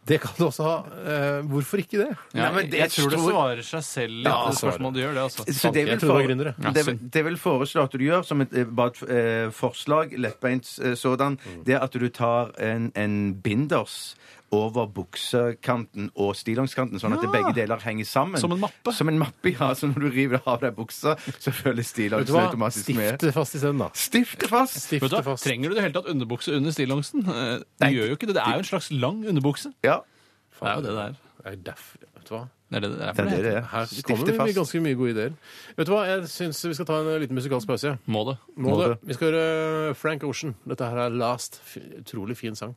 Speaker 3: Det kan du også ha. Eh, hvorfor ikke det?
Speaker 4: Ja,
Speaker 5: Nei, men det-
Speaker 4: jeg tror det
Speaker 5: jeg tror-
Speaker 4: svarer seg selv litt,
Speaker 5: Ja,
Speaker 4: det spørsmålet du gjør det, altså.
Speaker 5: Så det
Speaker 3: Sånn. Jeg
Speaker 5: vil
Speaker 3: tror det var
Speaker 5: fore-
Speaker 3: gründere.
Speaker 4: Ja,
Speaker 5: det, vil- det vil foreslå at du gjør som et, eh, bare et
Speaker 3: Mm.
Speaker 5: eh, forslag, lettbeint eh, sådan, det er at du tar en, en binders over buksekanten og stillengskanten, sånn at
Speaker 4: Ja.
Speaker 5: begge deler henger sammen.
Speaker 4: Som en mappe.
Speaker 5: Som en mappe, ja. Så når du river av deg buksa, så følger
Speaker 3: Vet du
Speaker 5: stillongsen
Speaker 3: hva?
Speaker 5: automatisk med.
Speaker 3: Stifte fast i stedet, da.
Speaker 5: Stifte fast!
Speaker 4: Vet du
Speaker 3: Stifte
Speaker 4: hva?
Speaker 3: fast.
Speaker 4: Trenger du det hele tatt underbukse under stillongsen? Eh, Du
Speaker 5: Nei.
Speaker 4: gjør jo ikke det. Det er jo en slags lang underbukse.
Speaker 5: Ja,
Speaker 4: Det er jo det det er.
Speaker 3: Det er derf- Vet du hva?
Speaker 4: Det er det det er.
Speaker 5: det er det det er.
Speaker 3: Her kommer
Speaker 5: Stifte
Speaker 3: vi med
Speaker 5: fast.
Speaker 3: ganske mye gode ideer. Vet du hva, jeg syns vi skal ta en eh, liten musikalsk pause. ja.
Speaker 4: Må det.
Speaker 3: Må
Speaker 5: Må
Speaker 3: det.
Speaker 5: det.
Speaker 3: Vi skal høre Frank Ocean. Dette her er Last. F utrolig fin sang.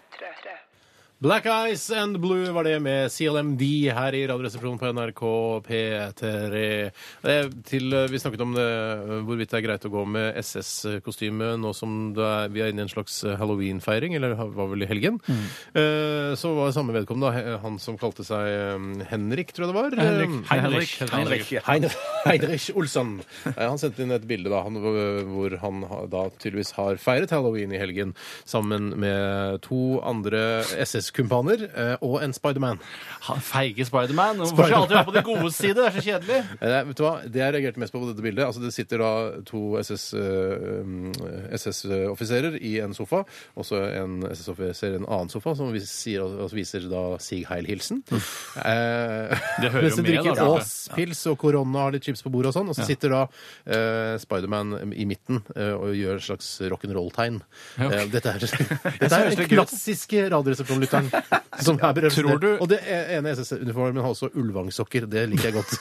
Speaker 3: Black Eyes and Blue var det med CLMD her i Radioresepsjonen på NRK P3. Eh, Til, eh, vi snakket om det, eh, hvorvidt det er greit å gå med SS-kostyme nå som det er, vi er inne i en slags eh, halloween-feiring, eller ha- var vel i helgen.
Speaker 4: Mm.
Speaker 3: Eh, Så var det samme vedkommende, he- han som kalte seg eh, Henrik, tror jeg det var.
Speaker 4: Henrik.
Speaker 3: Eh,
Speaker 4: Heinrich. Heinrich.
Speaker 3: Heine- Heinrich Olsson. Eh, Han sendte inn et bilde da, han, hvor han ha- da tydeligvis har feiret halloween i helgen sammen med to andre SS-kumpaner eh, og en Spiderman.
Speaker 4: Han feige Spiderman. Hvorfor skal jeg alltid være på de gode side? Det er så kjedelig.
Speaker 3: Eh, Vet du hva? Det jeg reagerte mest på på dette bildet, altså det sitter da to eh, um, SS-offiserer i en sofa, og så en SS-offiser i en annen sofa, som vi sier, altså viser da Sig Heil-hilsen. Eh,
Speaker 4: Det hører
Speaker 3: mens
Speaker 4: jo
Speaker 3: de
Speaker 4: med, da.
Speaker 3: drikker
Speaker 4: kanskje.
Speaker 3: Ås-pils og korona har litt chips på bordet og sånn, og så sitter da eh, Spiderman i midten eh, og gjør et slags rock'n'roll-tegn.
Speaker 4: Ja, ok.
Speaker 3: Eh, dette er, dette er
Speaker 4: høres
Speaker 3: den
Speaker 4: litt gøy ut.
Speaker 3: klassiske radioresepsjonlytteren som er
Speaker 4: Tror
Speaker 3: berømt.
Speaker 4: du-
Speaker 3: Og det e-, ene SS-uniformen har også ulvangsokker. Det liker jeg godt.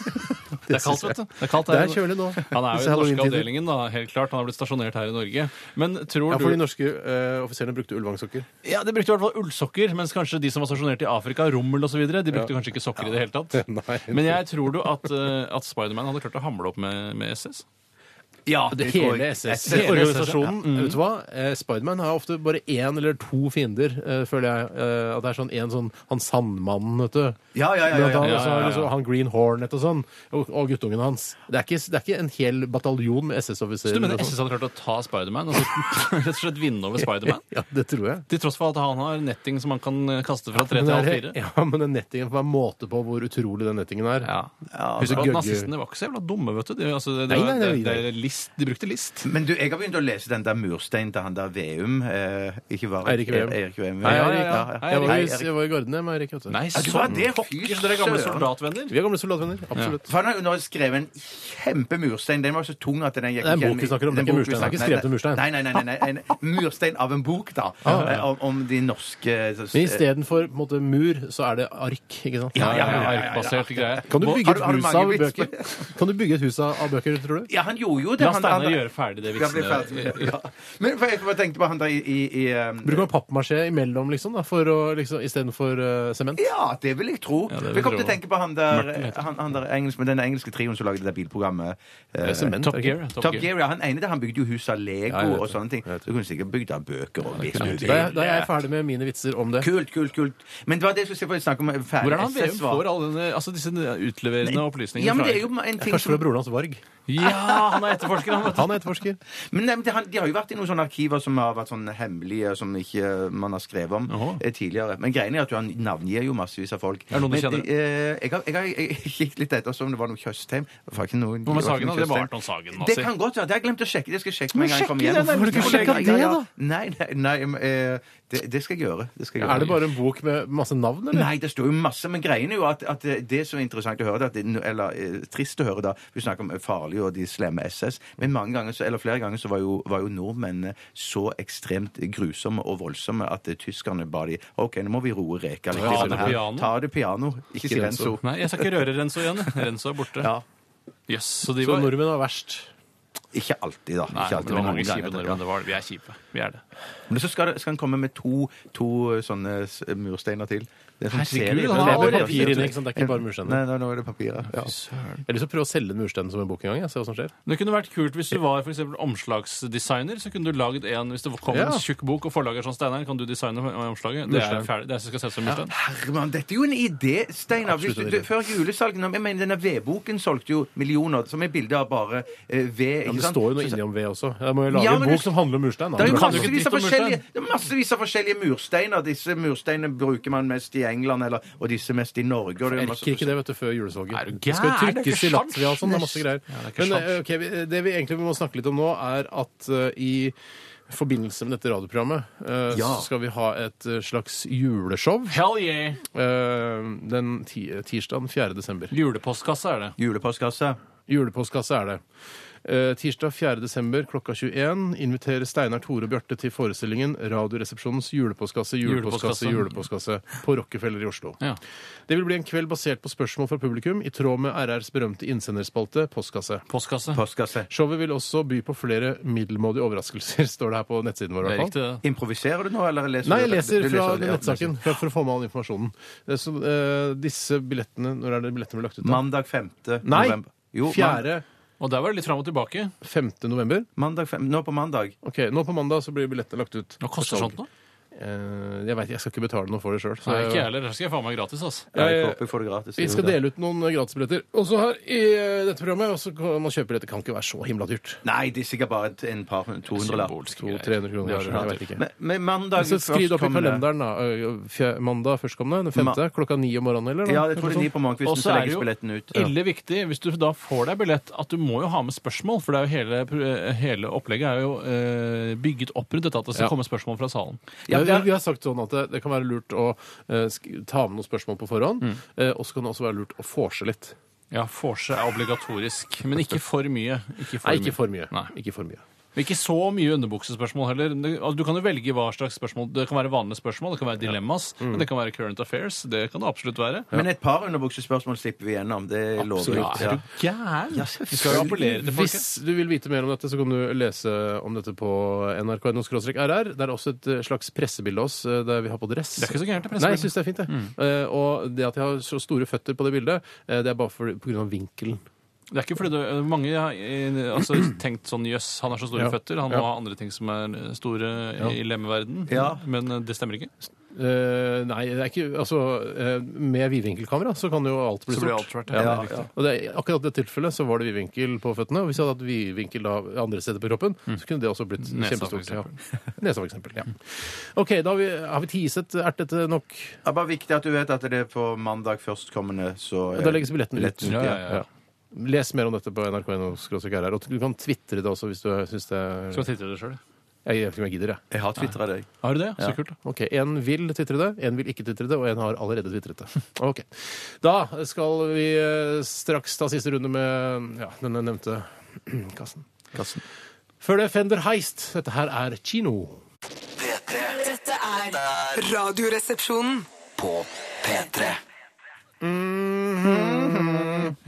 Speaker 4: Det er kaldt, vet du. Det er kaldt
Speaker 3: Det
Speaker 4: her.
Speaker 3: er kjølig nå. Disse
Speaker 4: Han er jo i den norske
Speaker 3: Halloween-tider.
Speaker 4: avdelingen, da. Helt klart. Han har blitt stasjonert her i Norge. Men tror
Speaker 3: Ja, for de
Speaker 4: du
Speaker 3: norske eh, offiserene brukte ulvangsokker.
Speaker 4: Ja, de brukte i hvert fall ullsokker, mens kanskje de som var stasjonert i Afrika, Rommel osv., de brukte kanskje ikke sokker i det hele tatt.
Speaker 3: Nei.
Speaker 4: Men jeg tror du at, eh, at Spiderman hadde klart å hamle opp med, med SS?
Speaker 5: Ja,
Speaker 3: Det
Speaker 5: tror jeg.
Speaker 3: hele E. SS-organisasjonen. Vet du hva? Eh, Spiderman har ofte bare én eller to fiender, eh, føler jeg. Eh, at det er sånn en sånn Han Sandmannen, vet du.
Speaker 5: Ja, ja, ja, ja,
Speaker 3: Blant
Speaker 5: ja,
Speaker 3: annet,
Speaker 5: ja,
Speaker 3: og så har
Speaker 4: ja, ja.
Speaker 3: liksom Han Green Hornet og sånn. Og, og guttungen hans. Det er, ikke, det er ikke en hel bataljon med
Speaker 4: Så
Speaker 3: SS-offiserer.
Speaker 4: du mener
Speaker 3: og sånn.
Speaker 4: SS hadde klart å ta Spiderman? Altså, rett og slett vinne over Spiderman?
Speaker 3: Ja, det tror jeg.
Speaker 4: Til tross for at han har netting som han kan eh, kaste fra tre
Speaker 3: Men
Speaker 4: til halv
Speaker 3: det er-
Speaker 4: fire?
Speaker 3: ja, men den nettingen får være måte på hvor utrolig den nettingen er.
Speaker 4: Ja.
Speaker 3: Husker
Speaker 4: Husk at
Speaker 3: Gøgge-
Speaker 4: nazistene var ikke så jævla dumme, vet du. De, altså, det, det,
Speaker 3: Nei, nei,
Speaker 4: var-
Speaker 3: nei,
Speaker 4: det,
Speaker 3: nei.
Speaker 4: det, list, de brukte list.
Speaker 5: Men du, jeg har begynt å lese den der mursteinen til han der Veum. Eh, ikke var
Speaker 3: Eirik Veum.
Speaker 5: Eirik Veum.
Speaker 3: Nei, Eirik,
Speaker 4: Hei,
Speaker 3: Jeg var,
Speaker 4: Eirik.
Speaker 3: i- jeg var i Gardene med Erik, vet du.
Speaker 4: Nei,
Speaker 5: Ja, du var
Speaker 4: sånn
Speaker 5: det? Fy
Speaker 4: pokker, så dere er gamle
Speaker 5: søren.
Speaker 4: soldatvenner.
Speaker 3: Vi er gamle soldatvenner. Absolutt.
Speaker 5: For han har jo nå skrevet en kjempe murstein. Den var så tung at den gikk
Speaker 3: Det er en
Speaker 5: ikke
Speaker 3: bok vi snakker om, det er
Speaker 5: Den
Speaker 3: ikke
Speaker 5: bok vi
Speaker 3: murstein. Det er ikke
Speaker 5: snakker-
Speaker 3: skrevet en murstein. Ah,
Speaker 5: Nei, nei, nei, nei, nei, nei. En Murstein av en bok, da. Eh, Om, om de norske
Speaker 3: Men istedenfor på en måte, mur, så er det ark. ikke sant?
Speaker 5: Ja, ja, ja, ja, ja.
Speaker 4: Arkbasert greie.
Speaker 3: Kan du
Speaker 4: Hva-
Speaker 3: bygge
Speaker 5: Har
Speaker 3: et
Speaker 5: du- har du
Speaker 3: hus
Speaker 5: mange
Speaker 3: av
Speaker 5: vitser?
Speaker 3: bøker? Kan du bygge et hus av av bøker, tror du?
Speaker 5: Ja, han gjorde jo det.
Speaker 4: La
Speaker 5: han-
Speaker 4: Steinar
Speaker 5: han-
Speaker 4: gjøre ferdig det
Speaker 5: Ja, bli
Speaker 4: vitsene.
Speaker 5: ferdig. Ja. Men for jeg bare tenkte på han der i, i, i eh,
Speaker 3: Bruker man pappmasjé imellom, liksom, da, for å, liksom, istedenfor uh, sement?
Speaker 5: Ja, det vil jeg tro.
Speaker 4: Ja, det vil
Speaker 5: jeg kom
Speaker 4: jeg
Speaker 5: til å
Speaker 4: tro.
Speaker 5: tenke på han der, eh,
Speaker 4: Merten heter
Speaker 5: han, han der engelsk, med den engelske trioen som lagde det der bilprogrammet. eh,
Speaker 3: Det er sement.
Speaker 4: Top
Speaker 3: er det ikke?
Speaker 4: Gear. Top
Speaker 5: Top
Speaker 4: Gear.
Speaker 5: Gear, ja. Han ene der, han bygde jo hus av Lego
Speaker 3: Ja, jeg vet
Speaker 5: og
Speaker 3: det.
Speaker 5: sånne ting. Så kunne du sikkert bygd av bøker og hvis du
Speaker 3: Da er, da er jeg
Speaker 5: vil.
Speaker 3: ferdig med mine vitser om det.
Speaker 5: Kult, kult, kult. Men det var det jeg skulle si, for jeg snakker om eh, ferdig
Speaker 4: Hvor er det han Veum
Speaker 5: SS var-
Speaker 4: får alle denne, altså disse utleverende opplysningene
Speaker 5: Ja, men det er
Speaker 4: fra?
Speaker 5: jo en ting
Speaker 3: Kanskje
Speaker 5: som
Speaker 3: fra broren hans Varg.
Speaker 4: Ja, han er etterforsker, han, vet du.
Speaker 3: Han er etterforsker.
Speaker 5: Men nei, men det, han- de har jo vært i noen sånne arkiver som har vært sånn hemmelige, som ikke eh, man har skrevet om
Speaker 4: Jaha.
Speaker 5: eh, tidligere. Men greien er at jo, han navngir jo massevis av folk.
Speaker 4: Er det noen du
Speaker 5: Men,
Speaker 4: kjenner?
Speaker 5: eh, jeg, har, jeg, har, jeg gikk litt etter så om det var noe Tjøstheim. Det var ikke noe- det
Speaker 4: Hva
Speaker 5: var
Speaker 4: med
Speaker 5: ikke
Speaker 4: Sagen?
Speaker 5: noe
Speaker 4: da? Det var altså.
Speaker 5: Tjøstheim.
Speaker 4: Arton Sagen.
Speaker 5: Det
Speaker 4: Nazi.
Speaker 5: kan godt være. Det har jeg glemt å sjekke. Det skal jeg sjekke
Speaker 4: Men
Speaker 5: med en gang jeg kommer
Speaker 4: sjekke
Speaker 5: hjem.
Speaker 3: har
Speaker 4: det, da. Hvorfor
Speaker 3: du ikke sjekket det, da?
Speaker 5: Nei, nei, nei eh, det, det skal jeg gjøre. Det skal jeg gjøre.
Speaker 3: Er det bare en bok med masse navn, eller? Sånn
Speaker 5: Nei, det står jo masse, men greien er jo at, at det som er interessant å høre, det er at det, eller eh, trist å høre da, vi snakker om eh, farlige og de slemme SS, men mange ganger, så, eller flere ganger så var jo, var jo nordmennene så ekstremt grusomme og voldsomme at eh, tyskerne ba de, ok, nå må vi roe reka litt.
Speaker 4: Ta
Speaker 5: liksom
Speaker 4: det
Speaker 5: her.
Speaker 4: piano.
Speaker 5: Ta det piano, ikke si
Speaker 3: Renzo.
Speaker 5: Renzo.
Speaker 4: Nei, jeg skal ikke røre Renzo igjen. jeg. Renzo er borte.
Speaker 5: Ja.
Speaker 4: Jøss, så de
Speaker 3: Så
Speaker 4: var
Speaker 3: nordmenn var verst.
Speaker 5: Ikke alltid da.
Speaker 4: Nei,
Speaker 5: ikke
Speaker 4: men
Speaker 5: alltid,
Speaker 4: det var
Speaker 5: men
Speaker 4: mange
Speaker 5: noen ganger,
Speaker 4: kjipe
Speaker 5: ja.
Speaker 4: nordmenn. det var- Vi er kjipe. Vi er det.
Speaker 5: Men så skal, det, skal han komme med to, to eh, sånne s- mursteiner til. Det er sånn
Speaker 4: Herregud,
Speaker 5: serie-
Speaker 4: han har
Speaker 5: Det er
Speaker 4: papir
Speaker 5: papir
Speaker 3: inne, ikke sant? Det er ikke bare mursteiner.
Speaker 5: Nei, nei, nå er det papiret. Ja.
Speaker 4: Søren.
Speaker 3: Jeg har lyst til å prøve å selge den mursteinen som en bok en gang. Jeg. Se hva som skjer.
Speaker 4: Det kunne vært kult hvis du var for eksempel omslagsdesigner. Så kunne du laget en hvis det kom
Speaker 3: Ja.
Speaker 4: en tjukk bok og forlager sånn Steinar, kan du designe omslaget. Det er
Speaker 3: Murstein.
Speaker 4: ferdig. Det er, skal settes som murstein.
Speaker 5: Herman, dette er jo en idé, Steinar. Hvis du-
Speaker 3: Absolutt en
Speaker 5: du-
Speaker 3: idé.
Speaker 5: Før julesalgen Jeg mener, denne vedboken solgte jo millioner, som er bilde av bare eh, ved.
Speaker 3: Ja,
Speaker 5: ikke
Speaker 3: men det
Speaker 5: sant?
Speaker 3: står jo noe
Speaker 5: Så-
Speaker 3: inni om ved også. Jeg må jo lage
Speaker 5: Ja,
Speaker 3: en
Speaker 5: men
Speaker 3: bok
Speaker 5: det-
Speaker 3: som handler om murstein. da.
Speaker 5: det er jo
Speaker 4: kan jo ikke
Speaker 5: massevis
Speaker 4: dritt
Speaker 5: av,
Speaker 4: om murstein.
Speaker 5: forskjellige, det er massevis av forskjellige mursteiner. Disse mursteinene bruker man mest i England, eller, og disse mest i Norge. Og det er
Speaker 3: Jeg
Speaker 5: masse-
Speaker 3: rekker ikke det vet du, før julesalget.
Speaker 4: Er du
Speaker 3: Det skal jo
Speaker 4: gæren? Det er
Speaker 3: trykkes
Speaker 4: ikke
Speaker 3: i Latvia og sånn. Det er masse
Speaker 4: sjans.
Speaker 3: greier.
Speaker 4: Ja, det er ikke
Speaker 3: Men
Speaker 4: sjans.
Speaker 3: eh, ok, vi- det vi egentlig må snakke litt om nå, er at eh, i forbindelse med dette radioprogrammet eh,
Speaker 5: Ja.
Speaker 3: så skal vi ha et eh, slags juleshow
Speaker 4: Hell yeah!
Speaker 3: eh, den ti tirsdagen 4. desember.
Speaker 4: Julepostkasse er det.
Speaker 5: Julepostkasse.
Speaker 3: Julepostkasse er det. Eh, tirsdag 4. desember klokka 21 inviterer Steinar, Tore og Bjarte til forestillingen Radioresepsjonens julepostkasse, julepostkasse, julepostkasse på Rockefeller i Oslo.
Speaker 4: Ja.
Speaker 3: Det vil bli en kveld basert på spørsmål fra publikum, i tråd med RRs berømte innsenderspalte Postkasse.
Speaker 4: Postkasse.
Speaker 5: Postkasse.
Speaker 3: Showet vil også by på flere middelmådige overraskelser, står det her på nettsiden vår. i
Speaker 4: Det er
Speaker 3: hvert fall.
Speaker 4: riktig, det.
Speaker 5: Improviserer du nå, eller leser
Speaker 3: Nei,
Speaker 5: du
Speaker 3: jeg leser
Speaker 5: Du
Speaker 3: fra
Speaker 5: det, ja.
Speaker 3: nettsaken for, for å få med all informasjonen. Eh, Så eh, disse billettene Når er det billettene blir lagt ut? da?
Speaker 5: Mandag 5.
Speaker 3: Nei!
Speaker 5: november. Jo, man-
Speaker 3: 4.
Speaker 4: Og der var det litt fram og tilbake.
Speaker 3: 5. november.
Speaker 5: mandag fem, nå på mandag.
Speaker 3: Ok, Nå på mandag så blir billettene lagt ut.
Speaker 4: Hva koster sånt, da?
Speaker 3: Eh, jeg vet, jeg skal ikke betale noe for det sjøl.
Speaker 4: Nei, ikke jeg heller. Der skal jeg faen meg gratis, altså. ass.
Speaker 5: Ja, jeg håper jeg får det gratis.
Speaker 3: Vi skal dele ut noen eh, gratisbilletter også her i eh, dette programmet. Og så kan man kjøpe dette. Kan ikke være så himla dyrt.
Speaker 5: Nei, det er sikkert bare et en par 200 lapp.
Speaker 4: Symbolske greier.
Speaker 3: 200-300 kroner.
Speaker 4: Det er så
Speaker 3: Jeg
Speaker 4: dyrt.
Speaker 3: vet ikke.
Speaker 5: Men, men mandag
Speaker 3: Så skriv det opp i
Speaker 5: førstkommende-
Speaker 3: kalenderen, da. Ø, fje- Mandag førstkommende. Den femte. Klokka ni om morgenen, eller?
Speaker 5: Ja, jeg tror det er ni på morgenkvisten,
Speaker 4: Og
Speaker 5: så
Speaker 4: så er det
Speaker 5: legges
Speaker 4: jo
Speaker 5: billetten ut.
Speaker 4: ille viktig, hvis du da får deg billett, at du må jo ha med spørsmål. For det er jo hele, hele opplegget er jo eh, bygget opp rundt dette at det skal
Speaker 3: Ja.
Speaker 4: komme spørsmål fra salen.
Speaker 3: Ja, vi, har, vi har sagt sånn at det, det kan være lurt å eh, sk ta med noen spørsmål på forhånd. eh, og så kan det også være lurt å forse litt.
Speaker 4: Ja, vorse er obligatorisk, men ikke for mye. Ikke for
Speaker 3: Nei, ikke for mye.
Speaker 4: Nei.
Speaker 3: Ikke for mye.
Speaker 4: Men ikke så mye underbuksespørsmål heller. Det- altså, Du kan jo velge hva slags spørsmål. Det kan være vanlige spørsmål, det kan være dilemmas,
Speaker 3: Mm.
Speaker 4: men det kan være current affairs. Det kan det absolutt være.
Speaker 5: Men et par underbuksespørsmål slipper vi gjennom. Det lover
Speaker 3: Absolutt.
Speaker 5: jeg. Ja.
Speaker 4: gæren?
Speaker 5: Ja,
Speaker 4: Vi skal jo appellere til folket.
Speaker 3: Hvis du vil vite mer om dette, så kan du lese om dette på nrk.no-rr. Det er også et eh, slags pressebilde av oss eh, der vi har på dress.
Speaker 4: Det er ikke så gærent, det
Speaker 3: Nei, jeg
Speaker 4: pressebildet.
Speaker 3: syns det er fint, det. Eh, og det at jeg har så store føtter på det bildet, eh, det er bare for, på grunn av vinkelen.
Speaker 4: Det er ikke fordi det, mange har eh, altså, tenkt sånn jøss, han har så store
Speaker 3: Ja.
Speaker 4: føtter, han
Speaker 3: Ja.
Speaker 4: må ha andre ting som er eh, store i lemmeverden.
Speaker 5: Ja.
Speaker 4: Men eh, det stemmer ikke.
Speaker 3: Eh, nei, det er ikke Altså, eh, med vidvinkelkamera så kan jo alt bli
Speaker 4: Så blir
Speaker 3: stort.
Speaker 5: Ja,
Speaker 4: alt svart. det er
Speaker 5: ja.
Speaker 4: riktig.
Speaker 3: Og det, akkurat i dette tilfellet så var det vidvinkel på føttene. Og hvis jeg hadde hatt vidvinkel da andre steder på kroppen, så kunne det også blitt
Speaker 4: Mm. Nesa, for
Speaker 3: kjempestort. Ja. Nesa, for eksempel. Ja. OK, da har vi, har vi tiset ertete nok.
Speaker 5: Det er bare viktig at du vet at det er på mandag førstkommende, så eh,
Speaker 3: Og da legges billetten ut.
Speaker 5: Billetten ut,
Speaker 4: ja, ja, ja.
Speaker 3: Les mer om dette på nrk.no. skråstrek RR, Og du kan tvitre det også hvis du syns det er
Speaker 4: Skal jeg titte i det sjøl?
Speaker 3: Jeg vet ikke om jeg gidder, jeg.
Speaker 5: Jeg har tvitra deg.
Speaker 4: Har du det? Så kult. da.
Speaker 3: Ok, Én vil tvitre det, én vil ikke tvitre det, og én har allerede tvitret det. Ok. Da skal vi eh, straks ta siste runde med ja, denne nevnte kassen.
Speaker 5: Karsten.
Speaker 3: Før det Fender Heist. Dette her er Kino.
Speaker 2: P3
Speaker 6: Dette er Radioresepsjonen.
Speaker 2: på P3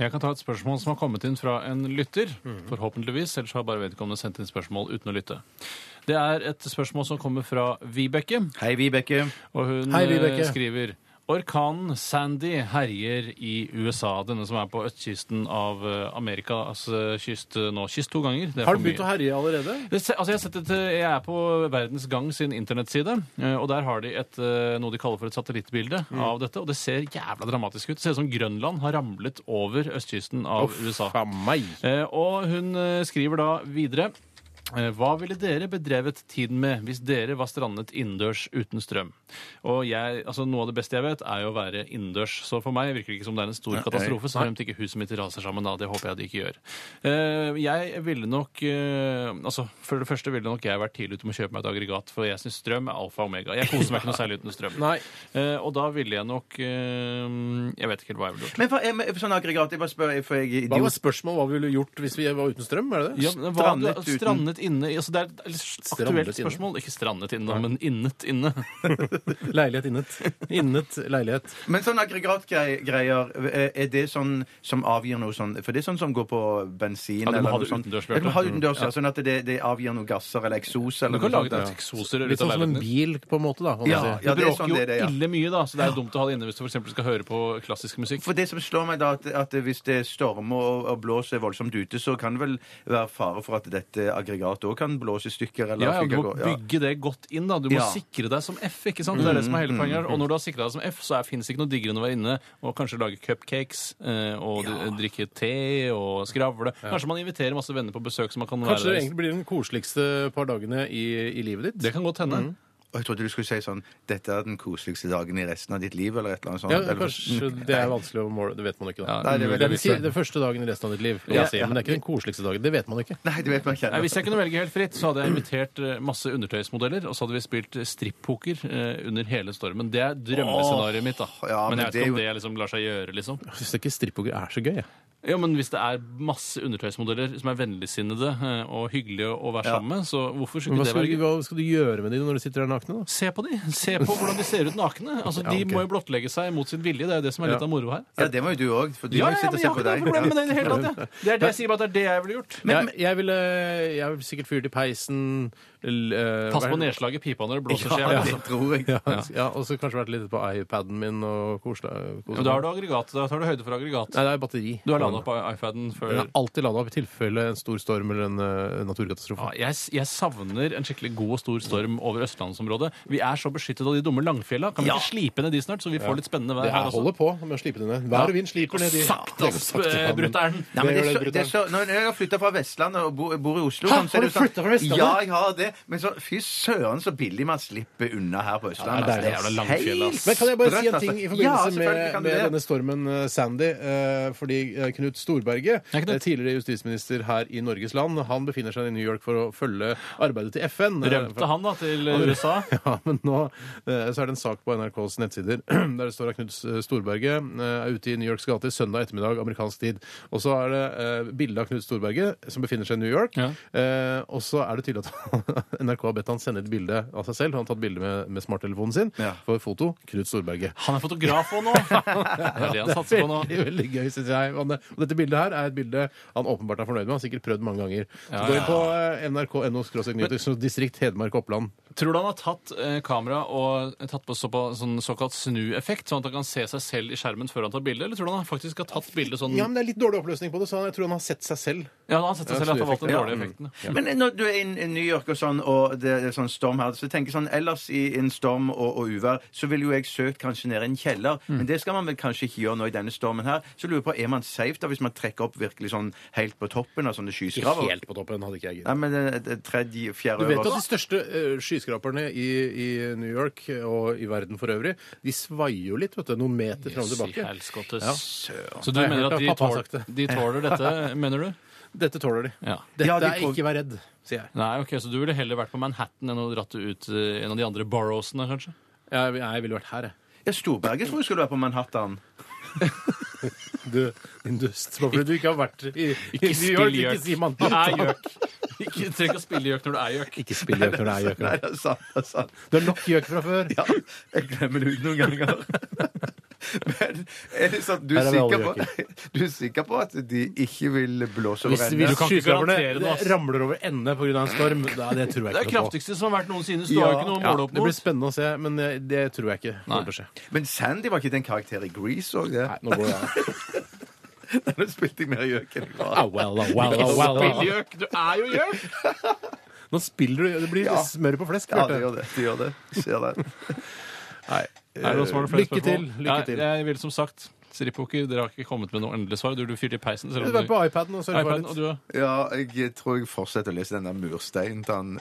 Speaker 4: Jeg kan ta et spørsmål som har kommet inn fra en lytter.
Speaker 3: Mm.
Speaker 4: Forhåpentligvis, ellers har bare vedkommende sendt inn spørsmål uten å lytte. Det er et spørsmål som kommer fra Vibeke,
Speaker 5: Hei, Vibeke.
Speaker 4: og hun
Speaker 3: Hei, Vibeke.
Speaker 4: eh, skriver Orkanen Sandy herjer i USA, denne som er på østkysten av eh, Amerikas eh, kyst eh, nå. Kyst to ganger. Det er
Speaker 3: Har
Speaker 4: for
Speaker 3: du begynt
Speaker 4: mye.
Speaker 3: å herje allerede?
Speaker 4: Det se- Altså jeg, har sett et, eh, jeg er på Verdens Gang sin internettside, eh, og der har de et, eh, noe de kaller for et satellittbilde av dette. Og det ser jævla dramatisk ut. Det ser ut som Grønland har ramlet over østkysten av USA.
Speaker 3: Faen meg.
Speaker 4: Eh, Og hun eh, skriver da videre eh, hva ville dere bedrevet tiden med hvis dere var strandet innendørs uten strøm? Og jeg, altså Noe av det beste jeg vet, er jo å være innendørs. Så for meg virker det ikke som det er en stor katastrofe, så fremt ikke huset mitt raser sammen. da, Det håper jeg det ikke gjør. Eh, Jeg ville nok eh, altså For det første ville nok jeg vært tidlig ute med å kjøpe meg et aggregat, for jeg syns strøm er alfa og omega. Jeg koser meg ikke noe særlig uten strøm.
Speaker 3: Nei.
Speaker 4: Eh, Og da ville jeg nok eh, Jeg vet ikke helt hva jeg ville gjort.
Speaker 5: Men for, jeg, men for sånn aggregat, jeg bare spør, for jeg er
Speaker 3: Hva var
Speaker 5: idiot.
Speaker 3: spørsmålet hva vi ville gjort hvis vi var uten strøm? er det det?
Speaker 4: Ja, men hva,
Speaker 5: Strandet
Speaker 4: strandet,
Speaker 5: uten-
Speaker 4: strandet inne i- altså Det er et litt
Speaker 3: Strandet
Speaker 4: aktuelt
Speaker 3: inne.
Speaker 4: spørsmål. Ikke strandet inne, da, men innet inne.
Speaker 3: Leilighet innet. Innet leilighet.
Speaker 5: Men sånn aggregatgreier, er det sånn som avgir noe sånn For det er sånn som går på bensin
Speaker 4: Ja, du
Speaker 5: eller
Speaker 4: må ha
Speaker 5: noe
Speaker 4: det
Speaker 5: sånt.
Speaker 4: utendørs,
Speaker 5: Ja, Du må ha det
Speaker 4: Bjarte.
Speaker 5: utendørs, ja. Sånn at det, det avgir noen gasser eller eksos
Speaker 4: Du
Speaker 5: eller
Speaker 4: kan
Speaker 5: noe
Speaker 4: lage
Speaker 5: sånt.
Speaker 4: et
Speaker 5: ja.
Speaker 4: eksoser
Speaker 3: Litt
Speaker 4: ut av
Speaker 3: sånn som en
Speaker 4: leiligheten din.
Speaker 3: bil, på en måte. da. kan man
Speaker 5: Ja,
Speaker 3: si.
Speaker 5: ja,
Speaker 4: Det
Speaker 5: det er
Speaker 4: bråker
Speaker 5: sånn
Speaker 4: jo
Speaker 5: det er det, ja.
Speaker 4: ille mye, da, så det er dumt å ha det inne hvis du for eksempel skal høre på klassisk musikk.
Speaker 5: For det som slår meg da, at, at hvis det stormer og, og blåser voldsomt ute, så kan det vel være fare for at dette aggregatet òg kan blåse i stykker eller
Speaker 4: Ja, ja, Du
Speaker 5: fyke
Speaker 4: må
Speaker 5: av gårde.
Speaker 4: bygge det godt inn. da. Du må
Speaker 5: Ja.
Speaker 4: sikre deg som F. ikke sant? Det er det som er hele poenget her. Og når du har sikra deg som F, så fins ikke noe diggere enn å være inne og kanskje lage cupcakes eh, og drikke te og skravle. Kanskje man inviterer masse venner på besøk. så man kan
Speaker 3: Kanskje det
Speaker 4: være der.
Speaker 3: egentlig blir den koseligste par dagene i, i livet ditt?
Speaker 5: Mm.
Speaker 4: Det kan godt hende.
Speaker 5: Og jeg trodde du skulle si sånn Dette er den koseligste dagen i resten av ditt liv, eller et eller annet sånt. Mm.
Speaker 3: Ja,
Speaker 5: eller-
Speaker 3: kanskje Det er vanskelig å måle. Det vet man ikke, da. Mm.
Speaker 4: Ja, Nei, det
Speaker 3: det er
Speaker 4: vet jeg
Speaker 3: den,
Speaker 4: ikke.
Speaker 3: si- den første dagen i resten av ditt liv. kan
Speaker 4: Ja.
Speaker 3: man si, Men det er ikke den koseligste dagen. Det vet man ikke.
Speaker 5: Nei, det vet man ikke.
Speaker 4: Nei, Hvis jeg kunne velge helt fritt, så hadde jeg invitert eh, masse undertøysmodeller, og så hadde vi spilt eh, strippoker eh, under hele stormen. Det er drømmescenarioet mitt, da.
Speaker 5: ja, men
Speaker 4: men jeg vet
Speaker 5: det er
Speaker 4: ikke om
Speaker 5: jo-
Speaker 4: det liksom lar seg gjøre, liksom.
Speaker 3: Jeg syns ikke strippoker er så gøy. Jeg.
Speaker 4: Ja, men hvis det er masse undertøysmodeller som er vennligsinnede eh, og hyggelige å være
Speaker 5: Ja.
Speaker 4: sammen med, så hvorfor
Speaker 3: Men hva
Speaker 4: skulle ikke det
Speaker 3: skal,
Speaker 4: være
Speaker 3: du,
Speaker 4: gøy?
Speaker 3: hva skal du gjøre med de når du sitter der nakne? da?
Speaker 4: Se på de! Se på hvordan de ser ut nakne. Altså,
Speaker 3: Ja,
Speaker 4: De
Speaker 3: ok.
Speaker 4: må jo blottlegge seg mot sin vilje. Det er jo det som er litt
Speaker 3: Ja.
Speaker 4: av moroa her.
Speaker 5: Ja, det må jo du òg, for du
Speaker 4: Ja,
Speaker 5: må jo
Speaker 4: ja,
Speaker 5: sitte og
Speaker 4: men
Speaker 5: se
Speaker 4: jeg har
Speaker 5: på
Speaker 4: ikke noe
Speaker 5: deg.
Speaker 4: problem med det i det hele tatt. jeg. Det er det jeg sier, bare at det er det jeg ville gjort.
Speaker 3: jeg, jeg ville jeg vil sikkert fyrt i peisen l- eh,
Speaker 4: Pass på
Speaker 3: vært-
Speaker 4: nedslaget i pipa når det blåser
Speaker 5: Ja,
Speaker 4: skjevt.
Speaker 5: det
Speaker 4: altså.
Speaker 5: tror jeg.
Speaker 3: Ja, ja, og så kanskje vært litt på iPaden min og koselig.
Speaker 4: Men Da har du aggregat. Da tar du høyde for aggregat.
Speaker 3: Nei, det er batteri.
Speaker 4: Du har landa på iPaden før
Speaker 3: Den er alltid lada opp i tilfelle en stor storm eller en eh, naturkatastrofe.
Speaker 4: ja, Ah, jeg, jeg savner en skikkelig god og stor storm over østlandsområdet. Vi er så beskyttet av de dumme langfjella. Kan vi ikke slipe ned de snart, så vi får litt spennende vær
Speaker 3: Det
Speaker 4: her
Speaker 3: her
Speaker 4: også?
Speaker 3: holder på med å slipe det ned. Vær og vind sliper ned i
Speaker 4: Sakte, ass,
Speaker 3: ja, men-
Speaker 4: eh, brutter'n!
Speaker 5: Nei, men
Speaker 3: Det
Speaker 5: det
Speaker 3: gjør
Speaker 5: er
Speaker 3: det
Speaker 5: så, det er så, når jeg har flytta fra Vestlandet og bor, bor i Oslo
Speaker 3: Hæ?
Speaker 5: sånn, så er
Speaker 3: Har du
Speaker 5: det jo sånn-
Speaker 3: flyttet fra Vestlandet?
Speaker 5: Ja, jeg har det. Men så, fy søren så billig man slipper unna her på Østlandet. Altså,
Speaker 3: Ja, det er
Speaker 5: ass.
Speaker 4: deilig. Det er jævla altså. langfjellet, ass.
Speaker 3: Men kan jeg bare si en
Speaker 5: Rett,
Speaker 3: ting i
Speaker 5: altså. Ja,
Speaker 3: forbindelse
Speaker 5: selvfølgelig
Speaker 3: med,
Speaker 5: kan du
Speaker 3: med
Speaker 5: det.
Speaker 3: denne stormen eh, Sandy? eh, fordi eh, Knut Storberget,
Speaker 4: Ja, Knut.
Speaker 3: eh, tidligere justisminister her i Norges land, han befinner seg i New York for å følge arbeidet til FN. eh, for-
Speaker 4: Rømte han da til USA?
Speaker 3: Ja, men nå eh, så er det en sak på NRKs nettsider der det står at Knut Storberget eh, er ute i New Yorks gater søndag ettermiddag amerikansk tid. Og så er det eh, bilde av Knut Storberget som befinner seg i New York.
Speaker 4: Ja.
Speaker 3: Eh, og så er det tydelig at NRK har bedt han sende et bilde av seg selv. Han har tatt bilde med, med smarttelefonen sin
Speaker 5: Ja.
Speaker 3: for foto. Knut Storberget.
Speaker 4: Han er fotograf òg nå! Det er det han satser på nå.
Speaker 3: Veldig, veldig gøy, synes jeg. Og det- og dette bildet her er et bilde han åpenbart er fornøyd med. Han har sikkert prøvd mange ganger. Så
Speaker 4: Ja,
Speaker 3: går
Speaker 4: ja.
Speaker 3: vi på eh, nrk.no distrikt Hedmark og Oppland.
Speaker 4: Tror du han har tatt eh, kamera og tatt på såpa, sånn såkalt snueffekt, sånn at han kan se seg selv i skjermen før han tar bilde, eller tror du han faktisk har tatt bilde sånn
Speaker 3: Ja,
Speaker 4: Ja,
Speaker 3: men det er litt dårlig oppløsning på det, så han, jeg tror han har sett seg selv.
Speaker 4: han har sett seg selv at han har valgt den
Speaker 5: Ja,
Speaker 4: dårlige
Speaker 5: mm.
Speaker 4: effekten. ja.
Speaker 5: Men når du er i i New York og sånn, og det er sånn storm her, så tenker jeg sånn ellers i en storm og, og uvær, så ville jo jeg søkt kanskje ned i en kjeller,
Speaker 3: Mm.
Speaker 5: men det skal man vel kanskje ikke gjøre nå i denne stormen her. Så lurer jeg på, er man safe da hvis man trekker opp virkelig sånn helt på toppen av sånne skyskraver?
Speaker 3: Helt på toppen hadde ikke jeg
Speaker 5: Nei,
Speaker 3: giddet.
Speaker 5: men eh, det- det tredje, fjerde
Speaker 3: Du vet at de
Speaker 5: øverste.
Speaker 3: største eh, skyskraperne i, i New York og i verden for øvrig, de svaier jo litt, vet du. Noen meter fram og
Speaker 4: Jøss i
Speaker 3: tilbake.
Speaker 4: helskottes.
Speaker 3: Ja.
Speaker 4: Så du
Speaker 3: Nei, jeg
Speaker 4: mener
Speaker 3: hørte
Speaker 4: at de,
Speaker 3: at pappa har
Speaker 4: tål,
Speaker 3: sagt det.
Speaker 4: de tåler dette, mener du?
Speaker 3: Dette tåler de.
Speaker 4: Ja.
Speaker 3: Dette
Speaker 5: Ja, de
Speaker 3: er
Speaker 5: tåler-
Speaker 3: ikke vær redd, sier jeg.
Speaker 4: Nei, ok, Så du ville heller vært på Manhattan enn å dratt ut eh, en av de andre borrowsene, kanskje?
Speaker 3: Jeg, jeg ville vært her, jeg.
Speaker 5: Ja, Storberget tror jeg skulle være på Manhattan.
Speaker 3: Du, din dust. Bare fordi du ikke har vært i, i New York, ikke si mann.
Speaker 4: Du er gjøk. Ikke trenger ikke å spille gjøk når du er gjøk.
Speaker 3: Ikke spill gjøk når du er gjøk.
Speaker 5: Nei, det er sant, det er sant.
Speaker 3: Du har nok gjøk fra før.
Speaker 5: Ja, jeg glemmer det ut noen ganger. Men er det sånn, du
Speaker 3: Her er vi
Speaker 5: er, sikker
Speaker 3: alle
Speaker 5: på, du er sikker på at de ikke vil blåse over
Speaker 3: Hvis,
Speaker 5: ende?
Speaker 3: hvis
Speaker 4: kan ikke garantere
Speaker 3: skyskraperne
Speaker 4: noe, ass.
Speaker 3: ramler over ende pga. en storm, da, det tror jeg
Speaker 4: Det
Speaker 3: ikke noe
Speaker 4: er
Speaker 3: på.
Speaker 4: kraftigste som har vært noensinne, så du har jo ikke noe å
Speaker 3: Ja,
Speaker 4: måle opp
Speaker 3: det blir
Speaker 4: mot.
Speaker 3: spennende å se, men eh, det tror jeg ikke kommer til å skje.
Speaker 5: Men Sandy var ikke den karakteren i Grease òg, det?
Speaker 3: Nei, nå går jeg.
Speaker 5: Nå spilte jeg mer gjøk enn jeg var.
Speaker 3: Ah, well, ah, well, ah, well, ah.
Speaker 4: Spille gjøk! Du er jo gjøk!
Speaker 3: Nå spiller du Det blir
Speaker 5: Ja.
Speaker 3: smør på flesk.
Speaker 5: Ja,
Speaker 3: Bjarte.
Speaker 5: det gjør det. det, gjør det. Ser det.
Speaker 3: Nei, Eh,
Speaker 4: Er det noen som har noen flere
Speaker 3: Lykke til,
Speaker 4: spørsmål?
Speaker 3: lykke til.
Speaker 4: Nei, jeg vil som sagt Strippoker, dere har ikke kommet med noe endelig svar. Du, du fyrte i peisen.
Speaker 3: Du
Speaker 4: Selv om
Speaker 3: er
Speaker 4: du,
Speaker 3: på iPaden og surfer
Speaker 4: iPaden, og
Speaker 3: litt.
Speaker 4: du,
Speaker 5: Ja, jeg tror jeg fortsetter å lese den der mursteinen til han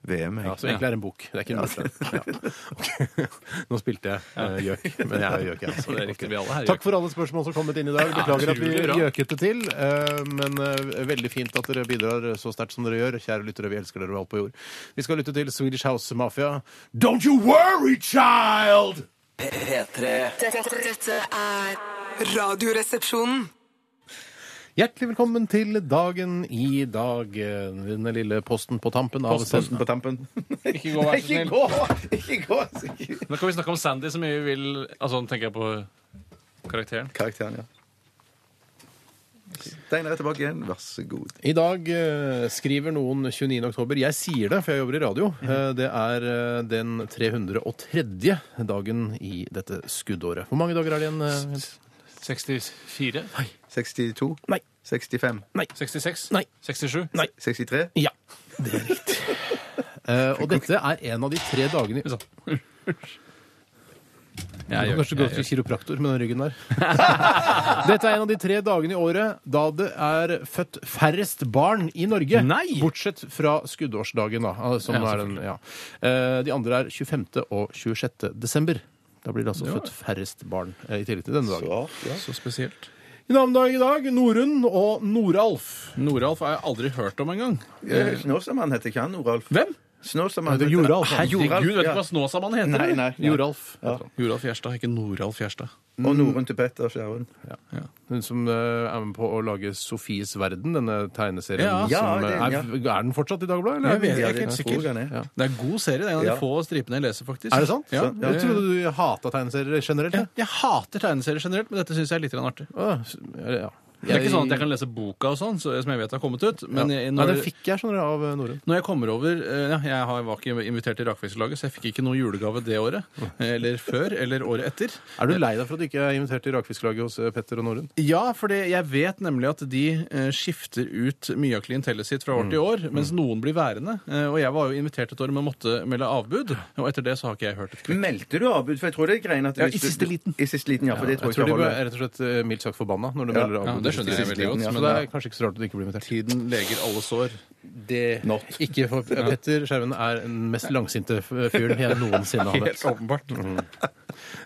Speaker 5: VM.
Speaker 3: Ja,
Speaker 5: jeg.
Speaker 3: så egentlig er det en bok. Det er ikke en bok. Ja. Ok. Nå spilte jeg eh, gjøk, men jeg er gjøk, jeg.
Speaker 4: det er riktig, vi alle er gjøk.
Speaker 3: Takk for alle spørsmål som har kommet inn i dag. Beklager at vi
Speaker 4: utrolig bra.
Speaker 3: gjøket det til, eh, men eh, veldig fint at dere bidrar så sterkt som dere gjør. Kjære lyttere, vi elsker dere over alt på jord. Vi skal lytte til Swedish House Mafia. Don't you worry, child!
Speaker 2: P3
Speaker 6: Dette, dette er Radioresepsjonen.
Speaker 3: Hjertelig velkommen til dagen i dag. eh, Denne lille posten på tampen av
Speaker 5: Posten på tampen.
Speaker 4: Ikke gå, vær så
Speaker 5: Ikke
Speaker 4: snill.
Speaker 5: gå! Ikke gå! Ikke-
Speaker 4: Nå kan vi snakke om Sandy så mye vi vil. Altså, nå tenker jeg på karakteren.
Speaker 5: Karakteren, ja. Steinar er tilbake igjen. Vær så god.
Speaker 3: I dag eh, skriver noen 29. oktober. Jeg sier det, for jeg jobber i radio.
Speaker 4: Mhm.
Speaker 3: Eh, det er eh, den 303. dagen i dette skuddåret. Hvor mange dager er det igjen? eh, Jens?
Speaker 4: 64?
Speaker 5: 62?
Speaker 3: Nei.
Speaker 5: 65?
Speaker 4: 66?
Speaker 3: Nei.
Speaker 4: 67?
Speaker 5: 63?
Speaker 3: Ja, det er riktig. Eh, og dette er en av de tre dagene i- du
Speaker 4: Jeg gjør
Speaker 3: kan kanskje
Speaker 4: det,
Speaker 3: gå
Speaker 4: jeg
Speaker 3: til kiropraktor med den ryggen der. Dette er en av de tre dagene i året da det er født færrest barn i Norge.
Speaker 4: Nei!
Speaker 3: Bortsett fra skuddårsdagen, da. Altså, Som
Speaker 4: Ja,
Speaker 3: er den, ja. Eh, De andre er 25. og 26. desember. Da blir det altså født færrest barn eh, i tillegg til denne dagen.
Speaker 4: Så spesielt.
Speaker 3: I navnedag i dag Norunn og Noralf.
Speaker 4: Noralf har jeg aldri hørt om engang.
Speaker 5: Eh, Snåsamann heter ikke han, Noralf.
Speaker 4: Hvem?
Speaker 5: Snåsamann.
Speaker 3: Nei, det er
Speaker 5: heter-
Speaker 3: Joralf,
Speaker 4: Ah,
Speaker 3: han.
Speaker 5: Hæ, Joralf,
Speaker 4: Herregud, vet du
Speaker 5: ja.
Speaker 4: hva Snåsamann heter?
Speaker 5: Nei,
Speaker 4: eller?
Speaker 5: nei, nei.
Speaker 3: Joralf.
Speaker 4: Joralf Gjerstad, ikke Noralf Gjerstad.
Speaker 5: Og Norunn til Petter Skjæren.
Speaker 3: Hun som eh, er med på å lage Sofies verden, denne tegneserien.
Speaker 4: Ja.
Speaker 5: Ja,
Speaker 3: som, eh,
Speaker 5: det- ja.
Speaker 3: er, er den fortsatt i Dagbladet? eller?
Speaker 4: Jeg vet- jeg er ikke helt
Speaker 5: tror
Speaker 4: sikker.
Speaker 5: han er.
Speaker 3: Ja.
Speaker 4: Det er god serie. Det er en av de
Speaker 5: Ja.
Speaker 4: få stripene jeg leser, faktisk.
Speaker 3: Er det sant?
Speaker 4: Ja.
Speaker 3: Jeg trodde du hata tegneserier generelt.
Speaker 4: Jeg,
Speaker 3: jeg.
Speaker 4: jeg hater tegneserier generelt, men dette syns jeg er litt grann artig.
Speaker 3: Å, s- Ja.
Speaker 4: Det er ikke sånn at jeg kan lese boka og sånn, så- som jeg vet har kommet ut. Men jeg,
Speaker 3: Nei,
Speaker 4: når,
Speaker 3: den fikk jeg skjønner du, av eh, Norunn.
Speaker 4: når jeg kommer over eh, ja, Jeg har- var ikke invitert til Rakfiskelaget, så jeg fikk ikke noe julegave det året. eh, Eller før, eller året etter.
Speaker 3: Er du lei deg for at du ikke er invitert til rakfisklaget hos eh, Petter og Norunn?
Speaker 4: Ja, for det, jeg vet nemlig at de eh, skifter ut mye av klientellet sitt fra år til år, mens noen blir værende. Eh, og jeg var jo invitert et år, men måtte melde avbud. Og etter det så har ikke jeg hørt et kvekk.
Speaker 5: Meldte du avbud? For jeg tror det er greien at
Speaker 4: Ja,
Speaker 5: hvis
Speaker 4: i
Speaker 5: du-
Speaker 4: siste liten.
Speaker 5: I siste liten, ja, for det tror
Speaker 3: Jeg
Speaker 5: jeg
Speaker 3: tror
Speaker 5: ikke
Speaker 3: de ble
Speaker 5: holder.
Speaker 3: rett og slett eh, mildt sagt forbanna når du
Speaker 5: Ja.
Speaker 3: melder
Speaker 4: Ja,
Speaker 3: avbud.
Speaker 5: Ja,
Speaker 4: det skjønner jeg veldig godt.
Speaker 3: Så
Speaker 4: Men
Speaker 3: det
Speaker 4: det
Speaker 3: er kanskje ikke så rart at du ikke blir invitert.
Speaker 4: tiden leger alle sår.
Speaker 3: Det Ikke for Petter Skjerven er den mest langsinte f- fyren jeg noensinne har møtt. Mm.
Speaker 4: Helt åpenbart.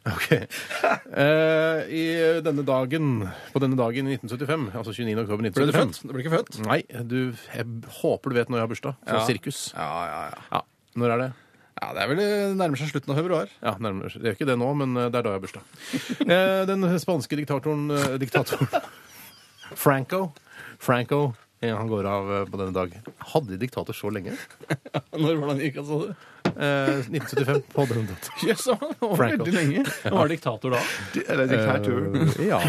Speaker 3: Ok. Eh, I denne dagen, på denne dagen i 1975, altså 29. oktober
Speaker 4: Ble du
Speaker 3: 1975
Speaker 4: født? Du ble ikke født?
Speaker 3: Nei, du, jeg håper du vet når jeg har bursdag. Fra
Speaker 4: Ja.
Speaker 3: sirkus.
Speaker 4: Ja, ja, ja.
Speaker 3: Ja. Når er det?
Speaker 4: ja det er vel eh, det nærmer seg slutten av februar.
Speaker 3: Ja, nærmere. Det er jo ikke det nå, men eh, det er da jeg har bursdag. Eh, Den spanske diktatoren, eh, diktatoren Franco Franco eh, han går av eh, på denne dag. Hadde de diktator så lenge?
Speaker 4: Når var det han gikk, altså?
Speaker 3: Eh, 1975 på denne datoen.
Speaker 4: Jøss, han var
Speaker 3: Franco.
Speaker 4: veldig lenge. Han var diktator da.
Speaker 5: Eller diktaturen.
Speaker 3: Eh, Ja.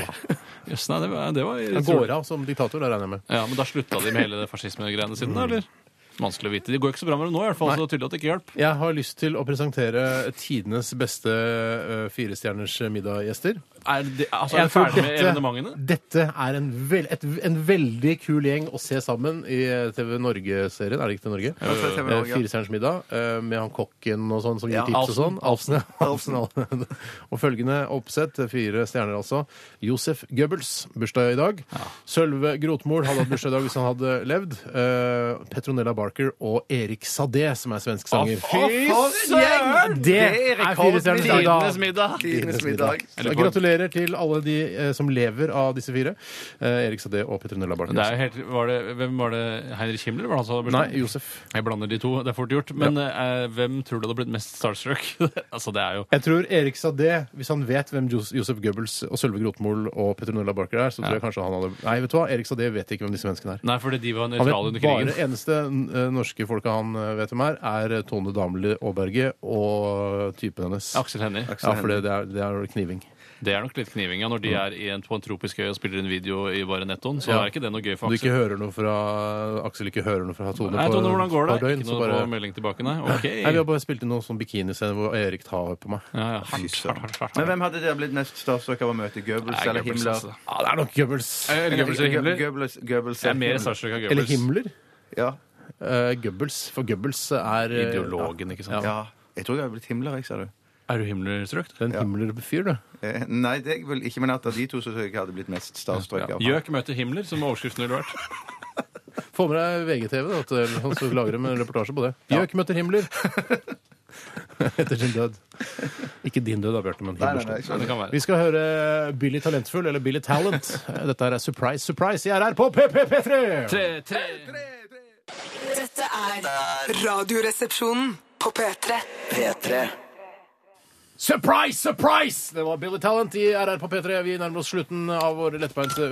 Speaker 4: Jøss, nei, det var, det var
Speaker 3: Han går av som diktator, det regner jeg med.
Speaker 4: Ja, Men da slutta de med hele det fascismegreiene sine, da, eller? Vanskelig å vite. Det går ikke så bra med det nå, i hvert fall, så det er tydelig at det ikke hjelper.
Speaker 3: Jeg har lyst til å presentere tidenes beste eh, firestjerners middag-gjester.
Speaker 4: Er det, altså, er
Speaker 3: Jeg
Speaker 4: det
Speaker 3: tror
Speaker 4: ferdig med evenementene?
Speaker 3: dette, dette er en, vel, et, en veldig kul gjeng å se sammen i eh, TV Norge-serien. Er det ikke TV Norge?
Speaker 5: Ja, for TV Norge, ja.
Speaker 3: Firestjerners middag eh, med han kokken og sånn som gir
Speaker 5: Ja,
Speaker 3: tips og sånn. Alfsen. ja. Alfsen. og følgende oppsett, fire stjerner altså. Josef Goebbels, bursdag i dag. Sølve Grotmol hadde hatt bursdag i dag hvis han hadde levd. Eh, Petronella Barker og Erik Sade, som er svensk sanger.
Speaker 5: søren!
Speaker 3: Det er firestjerners middag.
Speaker 4: middag!
Speaker 5: Tidenes middag.
Speaker 3: Så Gratulerer til alle de eh, som lever av disse fire. Eh, Erik Sade og Petronella Barker.
Speaker 4: Det er jo helt, var det, hvem var det? Heinrich Himmler? Var det han som hadde
Speaker 3: Nei,
Speaker 4: bursdag?
Speaker 3: Josef.
Speaker 4: Jeg blander de to, det er fort gjort. Men eh, hvem tror du hadde blitt mest starstruck? altså, det er jo
Speaker 3: Jeg tror Erik Sade, hvis han vet hvem Jos- Josef Goebbels og Sølve Grotmol og Petronella Barker er, så tror jeg kanskje han hadde Nei, vet du hva, Erik Sade vet ikke hvem disse menneskene er.
Speaker 4: Nei, fordi de var
Speaker 3: Han
Speaker 4: nøytrale
Speaker 3: vet
Speaker 4: under krigen.
Speaker 3: bare eneste eh, norske folka han eh, vet hvem er, er Tone Damli Aaberge og eh, typen hennes.
Speaker 4: Aksel Hennie.
Speaker 3: Ja, for det, det, er, det er kniving.
Speaker 4: Det er nok litt kniving. Ja. Når de er i en, på en tropisk øy og spiller en video i bare nettoen, så
Speaker 3: Ja.
Speaker 4: er ikke det noe gøy
Speaker 3: Du
Speaker 4: for
Speaker 3: ikke
Speaker 4: Aksel.
Speaker 3: hører noe fra Aksel ikke hører noe fra Tone
Speaker 4: Nei, Tone, hvordan går det?
Speaker 3: par døgn,
Speaker 4: ikke
Speaker 3: så
Speaker 4: noe
Speaker 3: bare-
Speaker 4: på melding tilbake, nei? OK.
Speaker 3: Nei, Vi har bare spilt inn noen sånn bikiniscener hvor Erik tar på meg.
Speaker 4: Ja, ja. Hardt, hardt, hardt, hardt.
Speaker 5: Men hvem hadde dere blitt nest starstruck av å møte Goebbels
Speaker 4: Nei,
Speaker 5: eller
Speaker 4: Goebbels,
Speaker 5: Himmler?
Speaker 4: altså.
Speaker 3: Ja, det er nok Goebbels.
Speaker 4: Eh, Goebbels eller Himmler?
Speaker 5: Goebbels, Goebbels
Speaker 4: Jeg er mer starstruck av Goebbels.
Speaker 3: Eller Himmler.
Speaker 5: Ja.
Speaker 3: Eh, Goebbels. For Goebbels er eh,
Speaker 4: Ideologen, ikke sant.
Speaker 5: ja. Jeg tror jeg hadde blitt Himmler, jeg, sa du.
Speaker 4: Er du Himmler-struck?
Speaker 3: Det er en Himmler-fyr, du.
Speaker 5: Eh, Nei, det er jeg vel ikke, men at av de to så tror jeg jeg hadde blitt mest starstruck av.
Speaker 4: Gjøk møter Himmler, som overskriften ville vært.
Speaker 3: Få med deg VGTV, da, til, så lager de en reportasje på det. Bjørk møter Himmler. Etter sin død. Ikke din død, da, Bjarte, men
Speaker 5: Nei, nei,
Speaker 3: Himmlers død.
Speaker 5: nei, jeg
Speaker 4: Ja, det
Speaker 5: skjønner.
Speaker 4: kan være.
Speaker 3: Vi skal høre Billy Talentfull, eller Billy Talent. Dette her er Surprise Surprise i RR på PPP3!
Speaker 4: Tre, tre.
Speaker 6: Dette er Radioresepsjonen på P3.
Speaker 2: P3
Speaker 3: Surprise, surprise! Det var Billy Talent i RR på P3. Vi nærmer oss slutten av vår lettbeinte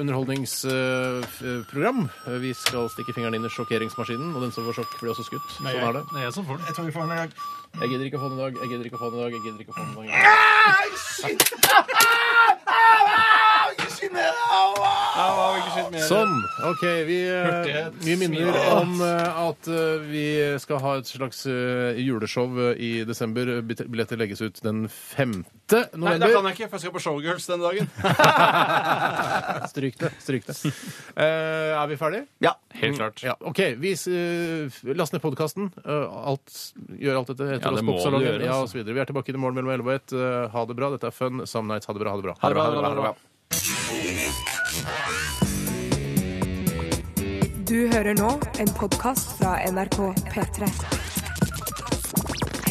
Speaker 3: underholdningsprogram. Vi skal stikke fingeren inn i sjokkeringsmaskinen, og den som får sjokk, blir også skutt. Sånn er det.
Speaker 4: Det er jeg som får den.
Speaker 3: Jeg gidder ikke å få den i dag, jeg gidder ikke å få den i dag, jeg gidder ikke å få den i
Speaker 5: Ah,
Speaker 3: dag.
Speaker 5: ah, Au, au, ikke skynd dere! Au, au! Au, au, ikke skynd
Speaker 4: litt mer
Speaker 3: Sånn. OK, vi, eh,
Speaker 4: Hurtighet,
Speaker 3: vi minner
Speaker 4: smidighet.
Speaker 3: om eh, at eh, vi skal ha et slags eh, juleshow eh, i desember. Bit- Billetter legges ut den 5.
Speaker 4: Nei, da kan
Speaker 3: november.
Speaker 4: jeg ikke, for jeg skal på Showgirls denne dagen.
Speaker 3: Stryk det. Stryk det. Eh, er vi ferdige?
Speaker 5: Ja.
Speaker 4: Helt klart.
Speaker 3: Ja, OK. Vi eh, f- last ned podkasten. Gjør alt dette etter
Speaker 4: Ja, det
Speaker 3: oss
Speaker 4: må du
Speaker 3: Popsalongen,
Speaker 4: gjøre, altså.
Speaker 3: Ja, og så videre. Vi er tilbake i morgen mellom 11 og 1. Eh, Ha det bra. Dette er fun. Some nights. Ha det bra. Ha det bra.
Speaker 4: Ha det bra, ha det bra, ha det bra.
Speaker 1: Du hører nå en podkast fra NRK P3.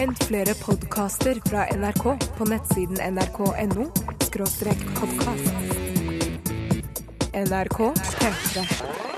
Speaker 1: Hent flere podkaster fra NRK på nettsiden nrk.no podkast. NRK P3.